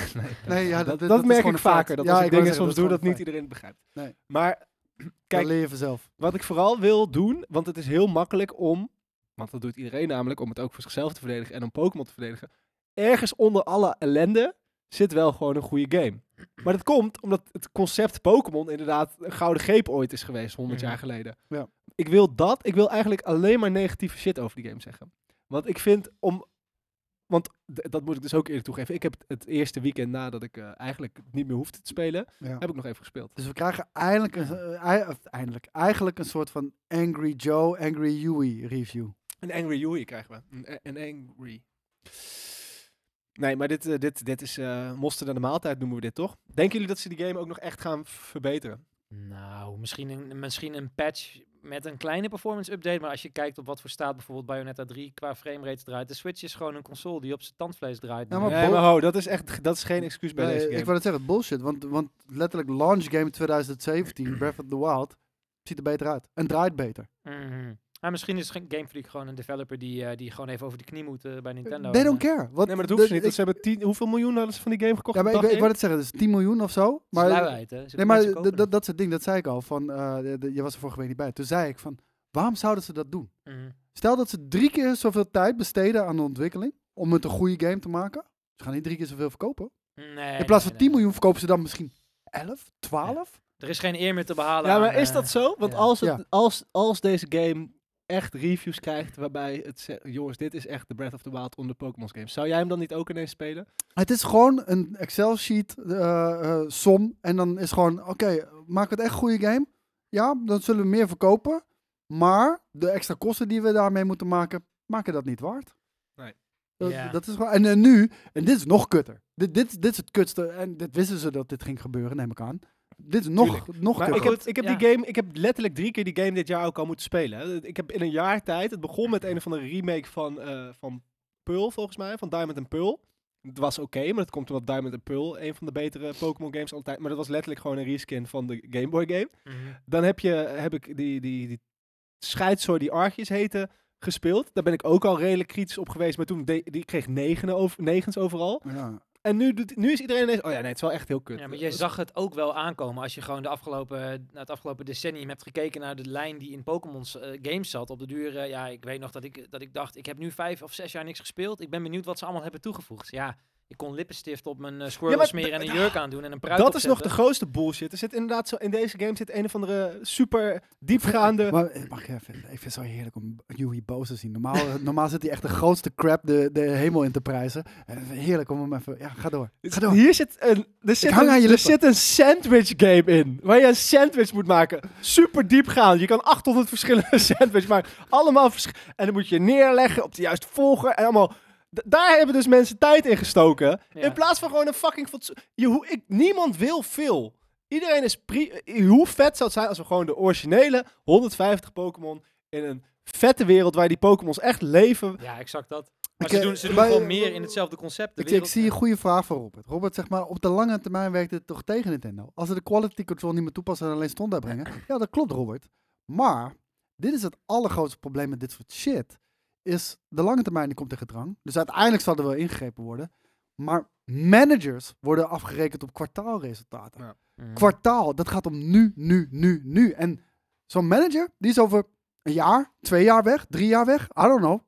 Nee, ja, dat, dat, dat, dat is merk gewoon ik een feit. vaker. Dat Ja, als ik ik wou dingen zeggen, soms dat doe, is dat gewoon niet iedereen het begrijpt. Nee. Maar Dat Kijk. leer je vanzelf. wat ik vooral wil doen, want het is heel makkelijk om, want dat doet iedereen namelijk, om het ook voor zichzelf te verdedigen en om Pokémon te verdedigen. Ergens onder alle ellende zit wel gewoon een goede game. Maar dat komt omdat het concept Pokémon inderdaad een gouden greep ooit is geweest, 100 jaar Mhm. geleden. Ja. Ik wil dat, ik wil eigenlijk alleen maar negatieve shit over die game zeggen. Want ik vind om. Want d- dat moet ik dus ook eerlijk toegeven. Ik heb het- het eerste weekend nadat ik eh, eigenlijk niet meer hoefde te spelen, Ja. heb ik nog even gespeeld. Dus we krijgen eindelijk een, eh, ei- of eindelijk, eigenlijk een soort van Angry Joe, Angry Yui review. Een Angry Yui krijgen we. Een, een Angry. Nee, maar dit, eh, dit, dit is eh mosterd aan de maaltijd noemen we dit toch? Denken jullie dat ze die game ook nog echt gaan v- verbeteren? Nou, misschien een, misschien een patch met een kleine performance update. Maar als je kijkt op wat voor staat bijvoorbeeld Bayonetta 3 qua framerates draait. De Switch is gewoon een console die op zijn tandvlees draait. Ja, nu. Maar nee, bo- maar ho, dat is echt dat is geen excuus bij Nee, deze game. ik wil het zeggen, bullshit. Want, want letterlijk, launch game 2017, Breath of the Wild, ziet er beter uit. En draait beter. Mhm. Maar misschien is geen- Game Freak gewoon een developer die, eh, die gewoon even over de knie moet eh, bij Nintendo. They don't En, eh, care. Wat, nee, maar dat hoeft ze niet. ik- want Ze hebben tien, hoeveel miljoen hadden ze van die game gekocht? ja, maar op ik, dag ik wil één? het zeggen, dus 10 miljoen of zo. het is Maar, luiheid, hè. Ze- nee, maar mensen d- kopen dat, dat soort ding, dat zei ik al. Van, eh, de- de- je was er vorige week niet bij. Toen zei ik van, waarom zouden ze dat doen? het. Mhm. Stel dat ze drie keer zoveel tijd besteden aan de ontwikkeling om het een goede game te maken. Ze gaan niet drie keer zoveel verkopen. Nee, In plaats nee, van 10 nee. miljoen verkopen ze dan misschien 11, 12. Er is geen eer meer te behalen. Ja, aan, maar is eh, dat zo? Want ja. als, het, Ja. als, als deze game echt reviews krijgt waarbij het zegt, jongens, dit is echt de Breath of the Wild onder Pokémon's games. Zou jij hem dan niet ook ineens spelen? Het is gewoon een Excel-sheet eh, eh, som. En dan is gewoon, oké, maak het echt een goede game. Ja, dan zullen we meer verkopen. Maar de extra kosten die we daarmee moeten maken, maken dat niet waard. Nee. Dat, Ja. dat is gewoon, en, eh, nu, en dit is nog kutter. Dit, dit, dit is het kutste. En dit wisten ze dat dit ging gebeuren, neem ik aan. Dit is nog, Tuurlijk. nog Maar kutter. ik heb, ik, heb ja. die game, ik heb letterlijk drie keer die game dit jaar ook al moeten spelen. hè. Ik heb in een jaar tijd, het begon met een of andere remake van, eh, van Pearl volgens mij, van Diamond and Pearl. Het was oké, maar dat komt omdat Diamond and Pearl een van de betere Pokémon games altijd. Maar dat was letterlijk gewoon een reskin van de Game Boy game. Mhm. Dan heb, je, heb ik die, die, die scheidsoor die Archjes heten gespeeld. Daar ben ik ook al redelijk kritisch op geweest, maar toen de- die kreeg negenen over, negens overal. Ja. En nu, doet- nu is iedereen ineens, oh ja, nee, het is wel echt heel kut. Eh, Ja, maar jij zag het ook wel aankomen als je gewoon de afgelopen, na het afgelopen decennium hebt gekeken naar de lijn die in Pokémon's eh, games zat. Op de duur, eh, ja, ik weet nog dat ik, dat ik dacht, ik heb nu vijf of zes jaar niks gespeeld. Ik ben benieuwd wat ze allemaal hebben toegevoegd. Ja, Ik kon lippenstift op mijn eh, Squirtle maar smeren en een d- jurk aandoen en een pruik Dat is nog de opzetten. grootste bullshit. Er zit inderdaad zo, in deze game zit een of andere super diepgaande... Maar eh, mag ik even, ik vind het zo heerlijk om Yui boos te zien. Normaal, eh, normaal zit hij echt de grootste crap de, de hemel in te prijzen. En heerlijk om hem even, ja, ga door. Ga door. Hier zit een, er zit, hang aan je een, er lippen. zit een sandwich game in. Waar je een sandwich moet maken. Super diep gaan. Je kan 800 verschillende sandwiches maken. Allemaal versch- En dan moet je neerleggen op de juiste volger. En allemaal. D- daar hebben dus mensen tijd in gestoken. Ja. In plaats van gewoon een fucking. fatso- Je, hoe, ik, niemand wil veel. Iedereen is. pri- eh, Hoe vet zou het zijn als we gewoon de originele 150 Pokémon. in een vette wereld waar die Pokémons echt leven. Ja, exact dat. Maar Ik, ze eh, doen, ze doen bij- gewoon meer in hetzelfde concept. De Ik, ik wereld- zie een goede vraag voor Robert. Robert, zeg maar, op de lange termijn werkt het toch tegen Nintendo? Als ze de quality control niet meer toepassen en alleen standaard brengen. Ja, dat klopt, Robert. Maar, dit is het allergrootste probleem met dit soort shit. Is de lange termijn die komt tegen drang. Dus uiteindelijk zal er wel ingegrepen worden. Maar managers worden afgerekend op kwartaalresultaten. Ja. Mm. Kwartaal, dat gaat om nu, nu, nu, nu. En zo'n manager, die is over een jaar, twee jaar weg, drie jaar weg. I don't know.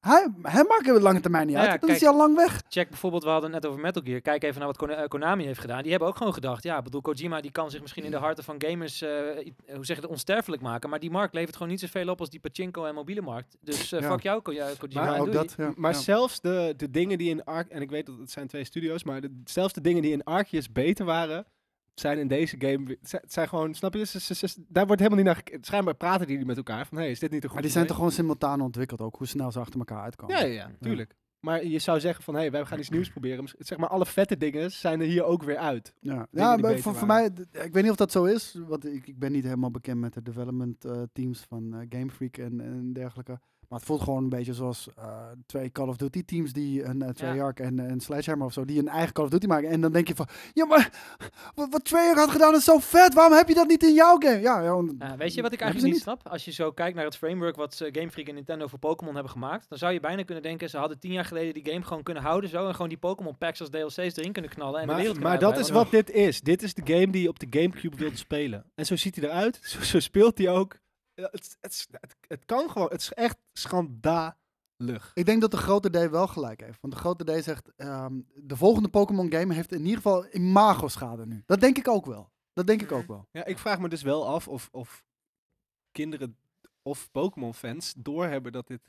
Hij, hij maakt de lange termijn niet Ja, uit. Nou ja, Dan is kijk. hij al lang weg. Check bijvoorbeeld, we hadden het net over Metal Gear. Kijk even naar wat Kon- eh, Konami heeft gedaan. Die hebben ook gewoon gedacht, ja, ik bedoel, Kojima die kan zich misschien in de harten van gamers, eh, i- eh, hoe zeg je het, onsterfelijk maken. Maar die markt levert gewoon niet zoveel op als die pachinko en mobiele markt. Dus eh, Ja. fuck jou, Ko- ja, Kojima. Maar en ook doei. dat, ja. M- maar ja. zelfs de, de dingen die in Ark en ik weet dat het zijn twee studio's, maar de, zelfs de dingen die in Arceus beter waren, zijn in deze game, weer- zijn, zijn gewoon, snap je, ze- ze- ze- daar wordt helemaal niet naar gekeken. Schijnbaar praten die met elkaar van, hé, hey, is dit niet een goed Maar die zijn toch idee? gewoon simultaan ontwikkeld ook, hoe snel ze achter elkaar uitkomen. Ja, ja, ja, tuurlijk. Maar je zou zeggen van, hé, hey, wij gaan iets nieuws proberen. Mis- Zeg maar, alle vette dingen zijn er hier ook weer uit. ja. die ja maar beter voor, voor mij, waren. d- ik weet niet of dat zo is, want ik, ik ben niet helemaal bekend met de development eh, teams van eh, Game Freak en, en dergelijke. Maar het voelt gewoon een beetje zoals eh, twee Call of Duty teams die een eh, Treyarch en en Sledgehammer of zo, die een eigen Call of Duty maken. En dan denk je van, ja maar, wat, wat Treyarch had gedaan is zo vet, waarom heb je dat niet in jouw game? Ja, ja, want- Ja, weet je wat hebben ik eigenlijk ze niet snap? Als je zo kijkt naar het framework wat eh, Game Freak en Nintendo voor Pokémon hebben gemaakt, dan zou je bijna kunnen denken, ze hadden tien jaar geleden die game gewoon kunnen houden zo en gewoon die Pokémon packs als DLC's erin kunnen knallen en de Maar, wereld maar kunnen dat is uitbreiden. wat dit is. Dit is de game die je op de Gamecube wilt spelen. En zo ziet hij eruit, zo, zo speelt hij ook. Ja, het, het, het, het kan gewoon, het is echt schandalig. Ik denk dat de grote D wel gelijk heeft. Want de grote D zegt, ehm, de volgende Pokémon game heeft in ieder geval imago-schade nu. Dat denk ik ook wel. Dat denk ik ook wel. Ja, ik vraag me dus wel af of, of kinderen of Pokémon-fans doorhebben dat dit...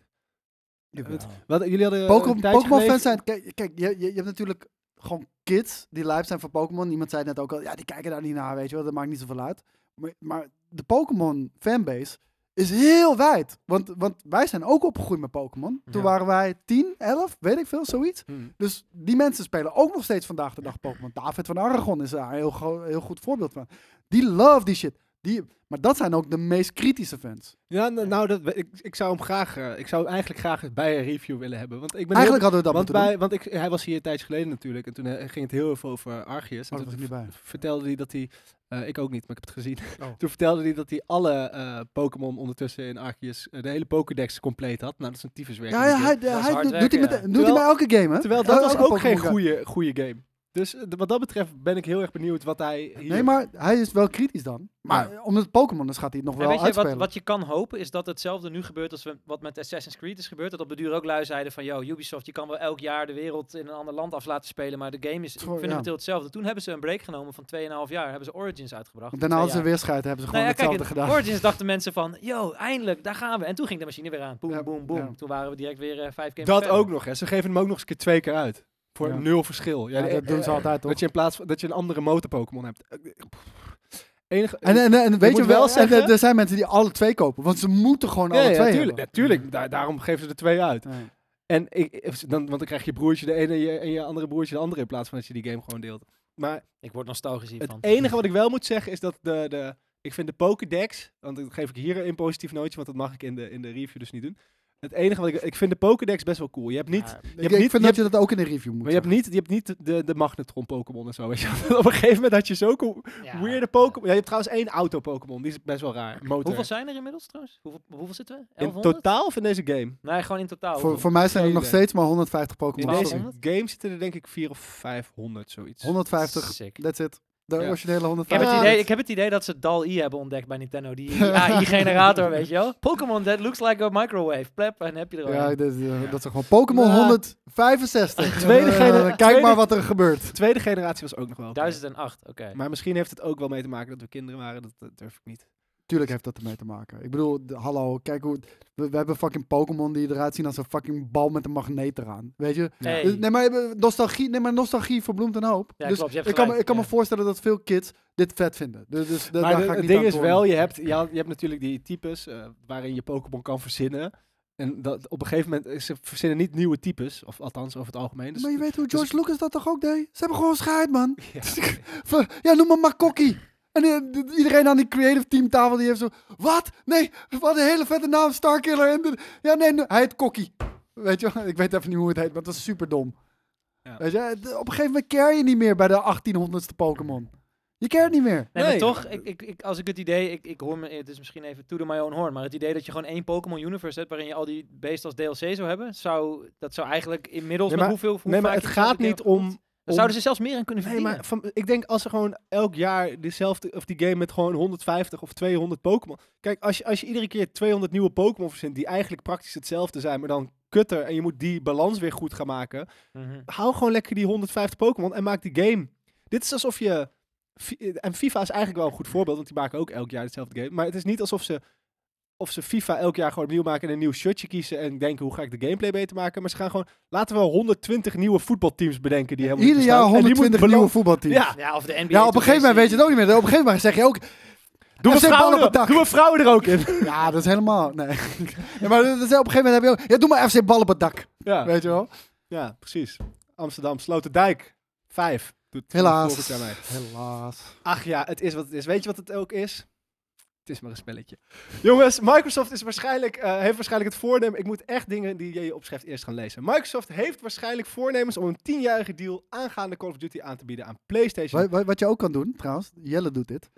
eh, Wat, jullie hadden Pokémon- Pokémon-fans fans zijn... Kijk, kijk je, je, je hebt natuurlijk gewoon kids die live zijn van Pokémon. Iemand zei het net ook al, ja, die kijken daar niet naar, weet je wel. Dat maakt niet zoveel uit. Maar, maar de Pokémon-fanbase is heel wijd. Want, want wij zijn ook opgegroeid met Pokémon. Toen Ja. waren wij 10, 11, weet ik veel, zoiets. Hmm. Dus die mensen spelen ook nog steeds vandaag de dag Pokémon. David van Aragon is daar een heel, gro- heel goed voorbeeld van. Die love die shit. Die, maar dat zijn ook de meest kritische fans. Ja, nou, nou, dat, we- ik, ik zou hem graag... eh, ik zou hem eigenlijk graag bij een review willen hebben. Want ik ben Eigenlijk hadden we heel, dat want moeten doen. wij- Want ik, hij was hier een tijdje geleden natuurlijk. En toen eh, ging het heel even over Arceus. En Maar Oh, dat was toen ik niet bij. v- vertelde hij dat hij... eh, ik ook niet, maar ik heb het gezien. Oh. Toen vertelde hij dat hij alle eh, Pokémon ondertussen in Arceus... eh, de hele Pokédex compleet had. Nou, dat is een tyfuswerk. Ja, ja, natuurlijk. hij, is hij hard doet, werken, doet hij met, ja. doet Terwijl- hij bij elke game, hè? Terwijl dat Elke was ook geen Pokémon game. goede, goede game. Dus eh, d- wat dat betreft ben ik heel erg benieuwd wat hij hier... Nee, maar hij is wel kritisch dan. Maar eh, omdat het Pokémon is, gaat hij het nog En wel weet je, wat, uitspelen. wat je kan hopen is dat hetzelfde nu gebeurt als we- wat met Assassin's Creed is gebeurd. Dat op de duur ook lui zeiden van, yo, Ubisoft, je kan wel elk jaar de wereld in een ander land af laten spelen, maar de game is Gewoon, fundamenteel ja. hetzelfde. Toen hebben ze een break genomen van 2,5 jaar, hebben ze Origins uitgebracht. Want daarna hadden Twee ze jaar. weer scheid, hebben ze gewoon Nou ja, kijk, hetzelfde in gedaan. Origins dachten mensen van, yo, eindelijk, daar gaan we. En toen ging de machine weer aan. Boom, Ja, boom, boom. ja. Toen waren we direct weer eh, vijf games Dat verder. ook nog, hè. Ze geven hem ook nog eens een keer twee keer uit. Voor Ja. nul verschil. Ja, Ja, eh, dat doen ze eh, altijd, toch? Dat je in plaats van dat je een andere motor Pokémon hebt. Eh, pff. Enige, En, en, en weet moet je wel wel, en, eh, zeggen- er zijn mensen die alle twee kopen. Want ze moeten gewoon ja, alle ja, twee tuurlijk, hebben. Mhm. natuurlijk. Daar- daarom geven ze er twee uit. Ja. En ik, eh, dan, want dan krijg je broertje de ene en je, en je andere broertje de andere. In plaats van dat je die game gewoon deelt. Maar Ik word nostalgisch Het hiervan. enige wat ik wel moet zeggen is dat de, de ik vind de Pokédex, want dat geef ik hier een positief nootje, want dat mag ik in de, in de review dus niet doen. Het enige wat ik, ik vind de Pokédex best wel cool. Je hebt niet, Ja, ik- hebt ik niet- vind je dat je dat ook in de review moet maar je hebt niet, je hebt niet de, de Magnetron Pokémon en zo. Weet je. wel. Op een gegeven moment had je zo'n cool, Ja. weirde Pokémon. Ja, je hebt trouwens één auto Pokémon, die is best wel raar. Motor. Hoeveel zijn er inmiddels trouwens? Hoeveel, hoeveel zitten we? in 1100? totaal of in deze game? Nee, gewoon in totaal. Voor, Hoeveel? voor mij zijn er Geen nog idee. steeds maar 150 In Pokémon. deze 1200? game zitten er denk ik 4 of 500 zoiets. 150, Sick. that's it. De Ja. originele Ik heb, 150. het Ah, idee, dat- ik heb het idee dat ze DAL-E hebben ontdekt bij Nintendo. Die AI-generator, weet je wel? Pokémon that looks like a microwave. Plep, en heb je er al. Ja, een. dit, eh, dat is gewoon Pokémon Nou. 165. Tweede Eh, gene- Kijk tweede- maar wat er gebeurt. tweede generatie was ook nog wel. oké. 1008, oké. Maar misschien heeft het ook wel mee te maken dat we kinderen waren. Dat, dat durf ik niet. Tuurlijk heeft dat ermee te maken. Ik bedoel, de- hallo, kijk hoe... We, we hebben fucking Pokémon die eruit zien als een fucking bal met een magneet eraan. Weet je? Hey. Dus- Nee, maar eh, nostalgie, nee, maar nostalgie verbloemt een hoop. Ja, dus klopt, je hebt ik kan, me- gelijk, ik kan me ja. voorstellen dat veel kids dit vet vinden. Dus, dus da- daar maar de- ga ik het niet ding aan is tornen. wel, je hebt, je, had- je hebt natuurlijk die types eh, waarin je Pokémon kan verzinnen. En dat, op een gegeven moment, eh, ze verzinnen niet nieuwe types. Of althans, over het algemeen. Dus maar je weet hoe dus- George Lucas dat toch ook deed? Ze hebben gewoon scheid, man. Ja. Van, Ja, noem maar maar Kokkie. En eh, d- iedereen aan die creative team tafel die heeft zo... Wat? Nee, wat een hele vette naam, Starkiller. En de- ja, nee, nee, hij heet Kokkie. Weet je wel? Ik weet even niet hoe het heet, maar dat is super dom. Ja. Weet je, eh, d- op een gegeven moment care je niet meer bij de 1800ste Pokémon. Je cared niet meer. Nee, Nee. maar toch, ik, ik, ik, als ik het idee, ik, ik hoor me, het is misschien even to the my own horn, maar het idee dat je gewoon één Pokémon Universe hebt waarin je al die beesten als DLC zou hebben, zou, dat zou eigenlijk inmiddels Nee, met maar- hoeveel... Hoe nee, maar vaak het je gaat keer niet hebt om... gekocht, Dan zouden ze zelfs meer in kunnen Nee, verdienen. maar van, ik denk als ze gewoon elk jaar dezelfde, of die game met gewoon 150 of 200 Pokémon. Kijk, als je, als je iedere keer 200 nieuwe Pokémon verzint, die eigenlijk praktisch hetzelfde zijn, maar dan kutter en je moet die balans weer goed gaan maken. Mhm. Hou gewoon lekker die 150 Pokémon en maak die game. Dit is alsof je. fi- En FIFA is eigenlijk wel een goed voorbeeld, want die maken ook elk jaar hetzelfde game. Maar het is niet alsof ze. Of ze FIFA elk jaar gewoon opnieuw maken en een nieuw shirtje kiezen en denken hoe ga ik de gameplay beter maken. Maar ze gaan gewoon, laten we 120 nieuwe voetbalteams bedenken die helemaal niet Ieder jaar bestaan. En die moeten 120 nieuwe balans- voetbalteams. Ja, Ja, of de NBA. Ja, op een gegeven moment weet je het ook niet meer. Op een gegeven moment zeg je ook... Doe FC mijn, vrouwen Ballen op het er, dak. doe mijn vrouwen er ook in. Ja, dat is helemaal... Nee. Ja, maar dat is, op een gegeven moment heb je ook... Ja, doe maar FC Bal op het dak. Ja, Weet je wel? ja precies. Amsterdam, Sloterdijk. Vijf. Doet volgend Helaas. jaar mee. Helaas. Ach ja, het is wat het is. Weet je wat het ook is? Het is maar een spelletje. Jongens, Microsoft is waarschijnlijk, eh, heeft waarschijnlijk het voornemen... Ik moet echt dingen die je opschrijft eerst gaan lezen. Microsoft heeft waarschijnlijk voornemens om een tienjarige deal aangaande Call of Duty aan te bieden aan PlayStation. Wat, wat je ook kan doen, trouwens. Jelle doet dit.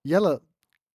Jelle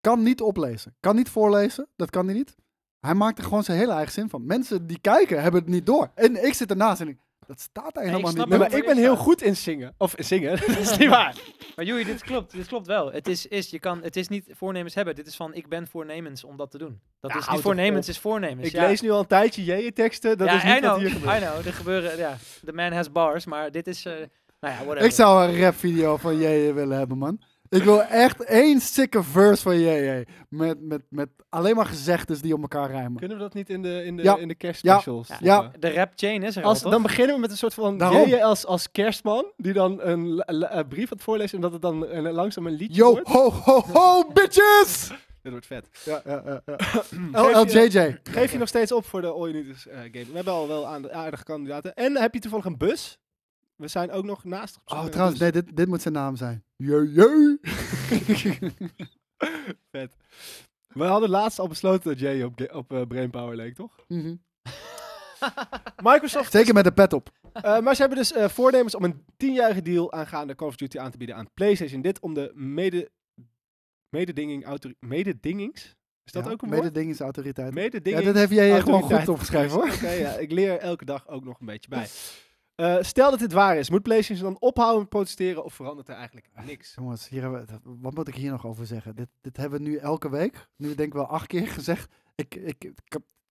kan niet oplezen. Kan niet voorlezen. Dat kan hij niet. Hij maakt er gewoon zijn hele eigen zin van. Mensen die kijken hebben het niet door. En ik zit ernaast en ik... Dat staat daar ik helemaal snap niet. Nee, door. maar ik ben heel goed in zingen. Of in zingen, dat is niet waar. Maar Joey, dit klopt. Dit klopt wel. Het is, is, je kan, het is niet voornemens hebben. Dit is van ik ben voornemens om dat te doen. Dat Ja, is houd niet toch voornemens, op. is voornemens. Ik ja. lees nu al een tijdje jeeën-teksten. Dat ja, is niet I know, wat hier gebeurt. I know. Er gebeuren, ja. The man has bars, maar dit is, eh, nou ja, whatever. Ik zou een rap video van JJ willen hebben, man. Ik wil echt één sikke verse van JJ. Met, met, met alleen maar gezegdes die op elkaar rijmen. Kunnen we dat niet in de, in de, Ja. in de kerstspecials? Ja. Ja. stoppen? De rap chain is er Als, al, dan toch? beginnen we met een soort van Daarom. jij als, als kerstman, die dan een la- la- eh, brief aan het voorlezen en dat het dan een, langzaam een liedje Yo, wordt. ho, ho, ho, bitches! Dit wordt vet. Ja, ja, ja, ja. Oh, Geef je- LLJJ. Geef je nog steeds op voor de All You Need Is, eh, game. We hebben al wel aan- aardige kandidaten. En heb je toevallig een bus? We zijn ook nog naast op zoek Oh, naar een trouwens, bus. nee, dit, dit moet zijn naam zijn. JJ. Vet. We hadden laatst al besloten dat Jay op, ga- op eh, Brainpower leek, toch? Mhm. Microsoft Zeker met de pet op. Eh, maar ze hebben dus eh, voornemens om een tienjarige deal aangaande Call of Duty aan te bieden aan PlayStation. Dit om de mede, mededinging, autori- mededingings? Is dat Ja, ook een woord? mededing is autoriteit. ja, Mededinging. dat heb jij gewoon goed autoriteit. opgeschreven, hoor. Oké, ja, ik leer elke dag ook nog een beetje bij. Eh, stel dat dit waar is, moet PlayStation dan ophouden met protesteren of verandert er eigenlijk niks? Jongens, hier hebben we, wat moet ik hier nog over zeggen? Dit, dit hebben we nu elke week, nu denk ik wel acht keer gezegd. Ik, ik, ik-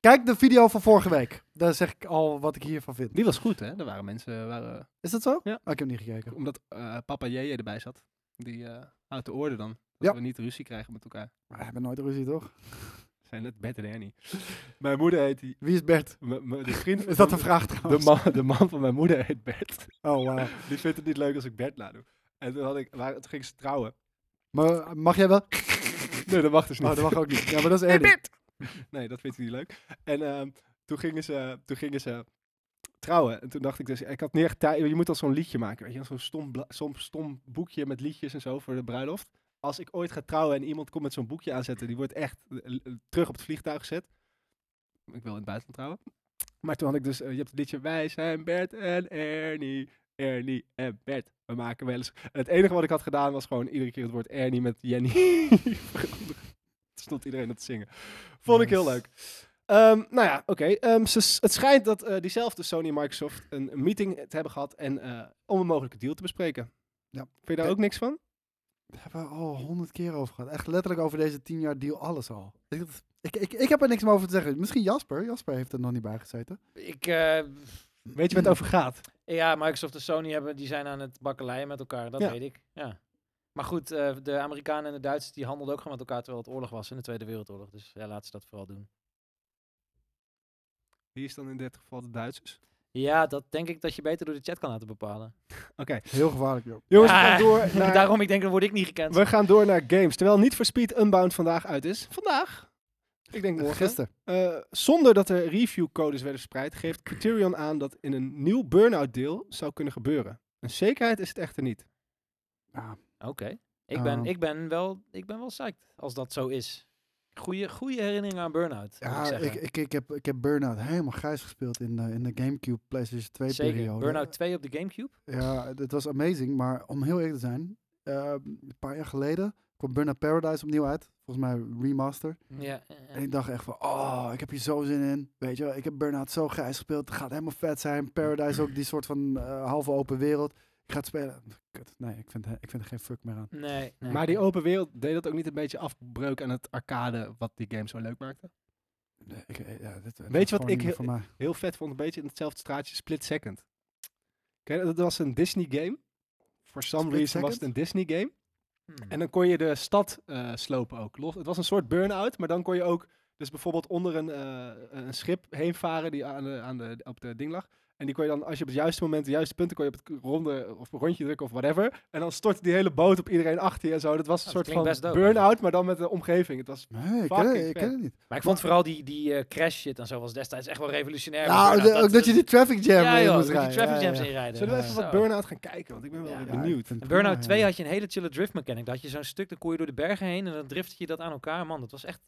kijk de video van vorige week. Daar zeg ik al wat ik hiervan vind. Die was goed, hè? Er waren mensen, waren, Is dat zo? Ja. Oh, ik heb niet gekeken. omdat eh, papa JJ erbij zat, die eh, houdt de orde dan. Dat Ja. we niet ruzie krijgen met elkaar. Maar we hebben nooit ruzie, toch? Zijn het Bert en Ernie. Mijn moeder heet die. Wie is Bert? m- m- de vriend Is dat van- een vraag De trouwens? man, de man van mijn moeder heet Bert. Oh, wauw. Die vindt het niet leuk als ik Bert laat doen. En toen, had ik, waar, toen ging ze trouwen. Maar mag jij wel? Nee, dat mag dus niet. Oh, dat mag ook niet. Ja, maar dat is Ernie. Nee, dat vindt hij niet leuk. En ehm, toen, gingen ze, toen gingen ze trouwen. En toen dacht ik dus, ik had niet echt tijd. Je moet al zo'n liedje maken. Weet je, wel, zo'n stom, bla- zo'n stom boekje met liedjes en zo voor de bruiloft. Als ik ooit ga trouwen en iemand komt met zo'n boekje aanzetten, die wordt echt eh, l- terug op het vliegtuig gezet. Ik wil in het buitenland trouwen. Maar toen had ik dus, eh, je hebt het liedje Wij zijn Bert en Ernie. Ernie en Bert. We maken wel eens. En het enige wat ik had gedaan was gewoon iedere keer het woord Ernie met Jenny. veranderen. Toen stond iedereen dat te zingen. Vond ik heel Nice. leuk. Ehm, nou ja, oké. Ehm, ze s- het schijnt dat eh, diezelfde Sony en Microsoft een meeting te hebben gehad en, eh, om een mogelijke deal te bespreken. Ja. Vind je daar Oké. ook niks van? Daar hebben we al honderd keer over gehad. Echt letterlijk over deze tien jaar deal alles al. Ik, dat- ik, ik, ik heb er niks meer over te zeggen. Misschien Jasper. Jasper heeft er nog niet bij gezeten. Ik, eh, Weet je waar het over gaat? ja, Microsoft en Sony hebben, die zijn aan het bakkeleien met elkaar, dat Ja. weet ik. Ja. Maar goed, eh, de Amerikanen en de Duitsers die handelden ook gewoon met elkaar terwijl het oorlog was in de Tweede Wereldoorlog. Dus ja, laten ze dat vooral doen. Wie is dan in dit geval de Duitsers? Ja, dat denk ik dat je beter door de chat kan laten bepalen. Oké. Ah. Heel gevaarlijk, joh. Jongens, Ja, we, gaan door naar, Daarom, ik denk, dan word ik niet gekend. we gaan door naar games. Terwijl niet voor Speed Unbound vandaag uit is. Vandaag. Ik denk morgen. Gisteren. Eh, zonder dat er reviewcodes werden verspreid, geeft Criterion aan dat in een nieuw Burnout deel zou kunnen gebeuren. Een zekerheid is het echter niet. Oké. Ik, ben, Ehm. ik, ben wel, ik ben wel psyched als dat zo is. Goeie, goeie herinnering aan Burnout. Ja, ik, ik, ik, heb, ik heb Burnout helemaal grijs gespeeld in de, in de Gamecube PlayStation 2 Zeker. periode. Burnout 2 op de Gamecube. Ja, het was amazing. Maar om heel eerlijk te zijn, eh, een paar jaar geleden kwam Burnout Paradise opnieuw uit. Volgens mij remaster. Ja. Eh, En ik dacht echt van, oh, ik heb hier zo zin in. Weet je wel, ik heb Burnout zo grijs gespeeld. Het gaat helemaal vet zijn. Paradise ook, die soort van eh, halve open wereld. Ik ga het spelen. Kut, nee, ik vind, ik vind er geen fuck meer aan. Nee, nee. Maar die open wereld deed dat ook niet een beetje afbreuk aan het arcade wat die game zo leuk maakte? Nee, ik- eh, ja, dit- dit, Weet is je wat ik gewoon niet meer heel- voor mij. Heel vet vond, een beetje in hetzelfde straatje, Split Second. Ken je dat? Dat was een Disney game. For some Split reason was Second? het een Disney game. Hmm. En dan kon je de stad eh, slopen ook. Los, het was een soort burn-out, maar dan kon je ook dus bijvoorbeeld onder een, eh, een schip heen varen die aan de, aan de, op de ding lag. En die kon je dan, als je op het juiste moment de juiste punten kon je op het k- ronde of rondje drukken of whatever. En dan stortte die hele boot op iedereen achter je en zo. Dat was een Ah, dat klinkt soort best van dope burn-out, maar dan met de omgeving. Het was Nee, ik ken, Fucking het- ik ken vet. het niet. Maar ik vond vooral die, die eh, crash shit en zo was destijds echt wel revolutionair. Ja, Burnout, Nou, de- ook dat je die traffic jam ja, in joh, moest dat rijden. je traffic Ja, jams ja. inrijden. Zullen we even Ja. wat Zo. burn-out gaan kijken? Want ik ben wel Ja, weer ja, Ja, ik benieuwd. vind En het Burnout prima, 2 ja. had je een hele chille drift mechanic. Daar had je zo'n stuk, dan kon je door de bergen heen en dan driftte je dat aan elkaar. Man, dat was echt,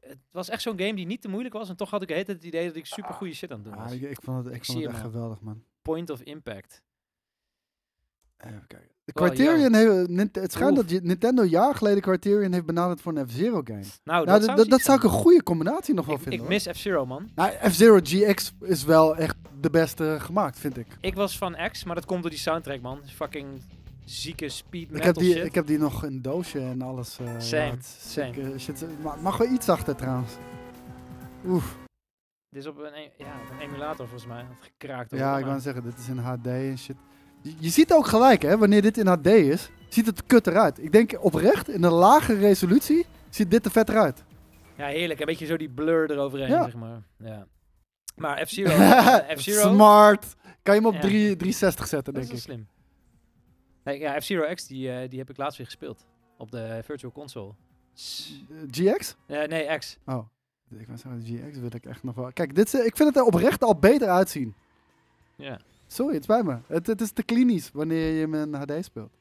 het was echt zo'n game die niet te moeilijk was. En toch had ik de hele tijd het idee dat ik super goede shit aan het doen Ah, was. ik, ik vond het, ik Ik vond zie het echt hem al. geweldig, man. Point of impact. Even kijken. De Wel, ja. Criterion heeft... Nint- Het schijnt Oef. dat je- Nintendo jaar geleden Criterion heeft benaderd voor een F-Zero game. Nou, nou, dat, dat, dat, zou, dat zoiets zou ik zijn. een goede combinatie nog wel ik, vinden. ik hoor. mis F-Zero, man. Nou, F-Zero GX is wel echt de beste gemaakt, vind ik. Ik was van X, maar dat komt door die soundtrack, man. Fucking zieke speed Ik metal heb, die, shit. ik heb die nog in doosje en alles. eh, Same, ja, het is same. sick, eh, shit, maar mag wel iets achter trouwens. Oef. Dit is op een, e- ja, op een emulator volgens mij. Dat gekraakt. hoor, Ja, ik maar- wou zeggen, dit is in HD en shit. Je, je ziet ook gelijk, hè, wanneer dit in HD is, ziet het kut eruit. Ik denk oprecht, in een lage resolutie ziet dit er vet eruit. Ja, heerlijk. Een beetje zo die blur eroverheen, Ja. zeg maar. Ja. Maar F-Zero... eh, F-Zero... Smart. Kan je hem op Ja. 3, 360 zetten, Dat is denk wel ik. slim. Nee, ja, F-Zero X, die, eh, die heb ik laatst weer gespeeld. Op de Virtual Console. Eh, GX? Eh, nee, X. Oh. Ik wou zeggen, GX wil ik echt nog wel. Kijk, dit, is- ik vind het er oprecht al beter uitzien. Ja. Sorry, het spijt me. Het, het is te klinisch wanneer je hem in HD speelt.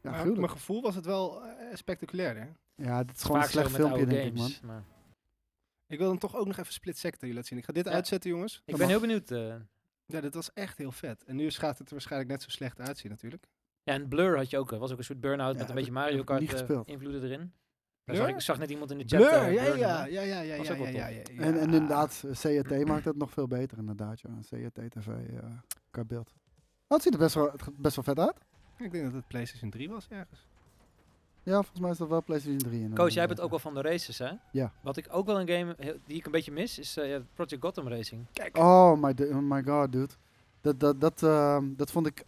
Ja, Maar gruwelijk. mijn gevoel was het wel eh, spectaculair, hè? Ja, dit is gewoon een Vaak zo slecht met oude filmpje, denk ik, man. games, maar- Ik wil dan toch ook nog even Split Sector jullie laten zien. Ik ga dit Ja. uitzetten, jongens. Ik ben heel benieuwd. eh. Ja, dit was echt heel vet. En nu gaat het er waarschijnlijk net zo slecht uitzien, natuurlijk. Ja, en Blur had je ook. Er was ook een soort Ja, burn-out met een heb beetje ik- heb Mario ik niet Kart eh, gespeeld. invloeden erin. Daar Blur? Zag, ik zag net iemand in de chat. eh, Blur, ja, ja, Blur ja, noemen. ja, ja, ja, Was ja, ook wel ja, tof. ja, ja. En, en inderdaad, eh, CRT maakt het nog veel beter, inderdaad. Ja. CRT-TV eh qua beeld. Dat ziet er best wel, het- best wel vet uit. Ik denk dat het PlayStation 3 was ergens. Ja, volgens mij is dat wel PlayStation eh, 3. inderdaad. Koos, jij bent ook wel van de races, hè? Ja. Wat ik ook wel een game heel- die ik een beetje mis, is eh, Project Gotham Racing. Kijk, Oh my, d- oh my god, dude. Dat, dat, dat, ehm, dat vond ik...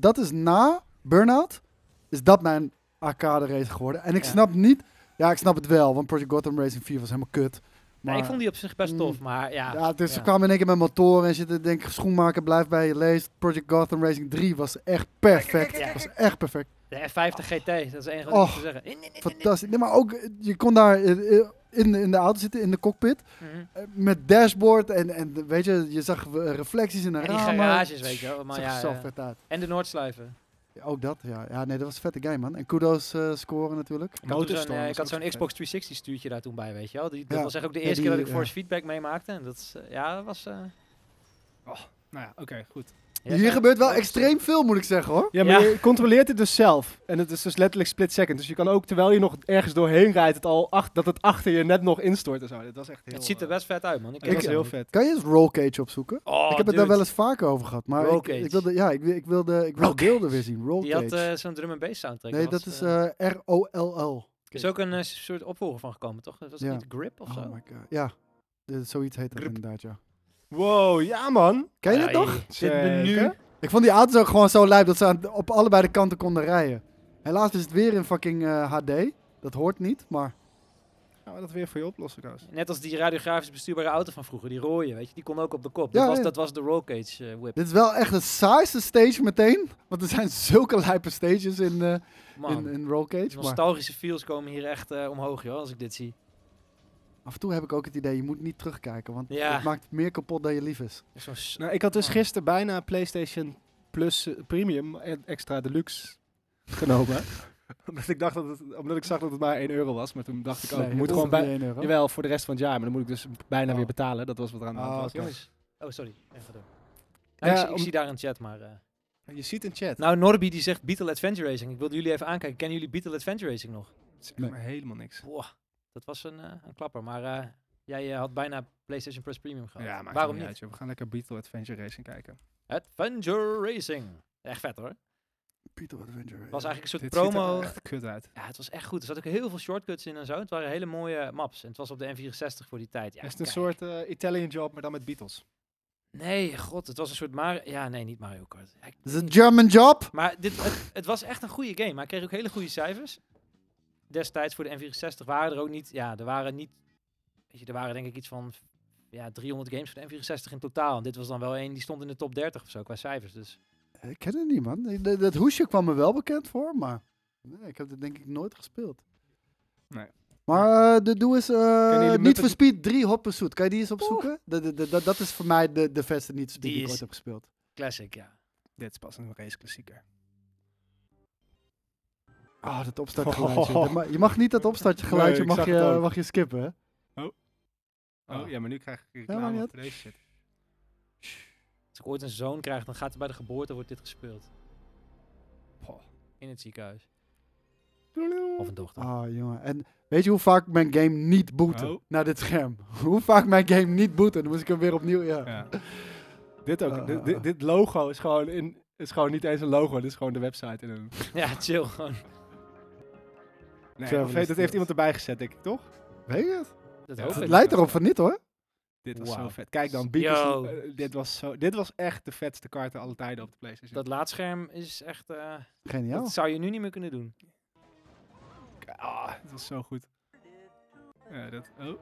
Dat is na Burnout, is dat mijn arcade race geworden. En ik Ja. snap niet... Ja, ik snap het wel, want Project Gotham Racing 4 was helemaal kut. Maar, Maar ik vond die op zich best Mm. tof, maar ja. ja, dus ze ja. kwamen in één keer met motoren en zitten denk ik, schoenmaker blijft bij je leest. Project Gotham Racing 3 was echt perfect. Ja. was echt perfect. De F50 Oh. GT, dat is het enige wat Och. ik te zeggen. In- in- in- Fantastisch. Nee, maar ook, eh, je kon daar eh, eh, in, in de auto zitten, in de cockpit. Mhm. eh, Met dashboard en, en weet je, je zag eh, reflecties in de En die ramen. garages, weet je wel. Maar Zag er ja, zo ja. vet uit. En de Noordsluiven. Ja, Ook dat, ja. Ja, nee, dat was een vette game, man. En kudos eh, scoren natuurlijk. Ik had toen zo'n, Motorstorm eh, was ik had ook zo'n vet. Xbox 360 stuurtje daar toen bij, weet je wel. Die, dat Ja. was echt ook de Ja, eerste die- keer dat ik ja. Force Feedback meemaakte. En dat is, eh, ja, dat was... eh, Nou ja, oké, goed. Ja, Hier ja. gebeurt wel Dat is- extreem veel, moet ik zeggen hoor. Ja, maar Ja. je controleert het dus zelf. En het is dus letterlijk split second. Dus je kan ook, terwijl je nog ergens doorheen rijdt, het al ach- dat het achter je net nog instort en zo. Dat was echt heel... Het ziet er eh, best vet uit, man. Ik, Dat was heel vet. Kan je eens roll cage opzoeken? Oh, ik heb het daar wel eens vaker over gehad, maar Roll ik, Cage. ik wilde, ja, ik, wil- ik wilde, ik wilde beelden weer zien. Roll Die had cage. eh, zo'n drum and bass soundtrack. nee, dat was, is eh, eh, R-O-L-L. is ook een eh, soort opvolger van gekomen, toch? Dat was Ja. niet Grip of Oh zo? my god. Ja, eh, zoiets heet dat Grup. inderdaad, ja. Wow, ja man. Ken je Ja, dat toch? Dit menu. Zeker. Ik vond die auto's ook gewoon zo lijp dat ze aan, op allebei de kanten konden rijden. Helaas is het weer in fucking eh, HD. Dat hoort niet, maar Gaan we dat weer voor je oplossen, Koos? Net als die radiografisch bestuurbare auto van vroeger, die rode, weet je. Die kon ook op de kop. Ja, dat, was, ja. dat was de roll cage eh, whip. dit is wel echt de saaiste stage meteen. Want er zijn zulke lijpe stages in, eh, Man, in, in Roll die Cage. Maar nostalgische feels komen hier echt eh, omhoog, joh, als ik dit zie. af en toe heb ik ook het idee, je moet niet terugkijken. Want Ja. het maakt meer kapot dan je lief is. Zo'n s- Nou, ik had dus Oh. gisteren bijna PlayStation Plus eh, Premium en extra deluxe genomen. omdat, ik dacht dat het, omdat ik zag dat het maar 1 euro was. Maar toen dacht ik, oh, Nee, ik het moet is gewoon niet bij... 1 euro. Jawel, voor de rest van het jaar. Maar dan moet ik dus bijna Oh. weer betalen. Dat was wat er aan de hand Oh, was. oké. Jongens. Oh, sorry. Ja, ga door. Ja, Nou, ik, zie- ik om- zie daar een chat, maar... eh, Je ziet in chat. Nou, Norby die zegt Beetle Adventure Racing. Ik wilde jullie even aankijken. Kennen jullie Beetle Adventure Racing nog? zegt Nee. maar helemaal niks. Boah, dat was een, eh, een klapper. Maar eh, jij eh, had bijna PlayStation Plus Premium gehad. Ja, maar Waarom niet? We gaan lekker Beetle Adventure Racing kijken. Adventure Racing. Echt vet hoor. Beetle Adventure. Het was eigenlijk een soort Dit promo. ziet er echt kut uit. Ja, het was echt goed. Er zaten ook heel veel shortcuts in en zo. Het waren hele mooie maps. En het was op de N64 voor die tijd. Ja, is het een kijk. soort eh, Italian Job, maar dan met Beatles. Nee, god. Het was een soort Mario... Ja, nee, niet Mario Kart. Ja, ik- Is het German Job? Maar dit, het, het was echt een goede game. Maar hij kreeg ook hele goede cijfers. Destijds voor de N64 waren er ook niet... Ja, er waren niet... Weet je, er waren denk ik iets van... Ja, 300 games voor de N64 in totaal. En dit was dan wel één die stond in de top 30 of zo qua cijfers. Dus Ik ken het niet, man. Eh, dat- Dat hoesje kwam me wel bekend voor, maar nee, ik heb dit denk ik nooit gespeeld. Nee. Maar eh, de doe is jullie eh niet Muppet- voor Speed 3 Hop Pursuit. Kan je die eens opzoeken? De- de- de- Dat dat is voor mij de, de beste niet die, Die die ik is- ooit heb gespeeld. classic, ja. Dit is pas een race klassieker. Ah, dat opstartgeluidje. Dat ma- Je mag niet dat opstartgeluidje, Oh. Nee, ik mag, zag het je, ook. mag je skippen. Hè? Oh, Ah. ja, maar nu krijg ik Ja, maar reclame niet voor uit. deze shit. Als ik ooit een zoon krijg, dan gaat er bij de geboorte wordt dit gespeeld. Poh. In het ziekenhuis. Of een dochter. Ah, jongen. En weet je hoe vaak mijn game niet bootte Oh. naar dit scherm? hoe vaak mijn game niet bootte? Dan moest ik hem weer opnieuw... Ja. Ja. dit ook. Ah. Dit- dit, dit logo is gewoon, in, is gewoon niet eens een logo. Dit is gewoon de website in een... Ja, chill. Gewoon. Nee, Travel of weet- dat is deels. heeft iemand erbij gezet, denk ik, toch? Weet je het? Dat Ja, hoop dat lijkt- ik. Leidt erop van niet hoor. Dit was zo Wauw. vet. Kijk dan, Yo. Beatles, eh, dit, was zo, dit was echt de vetste kaarten alle tijden op de PlayStation. Dat laadscherm is echt... eh, Geniaal. Dat zou je nu niet meer kunnen doen. Ah, dit was zo goed. Ja, dat, oh,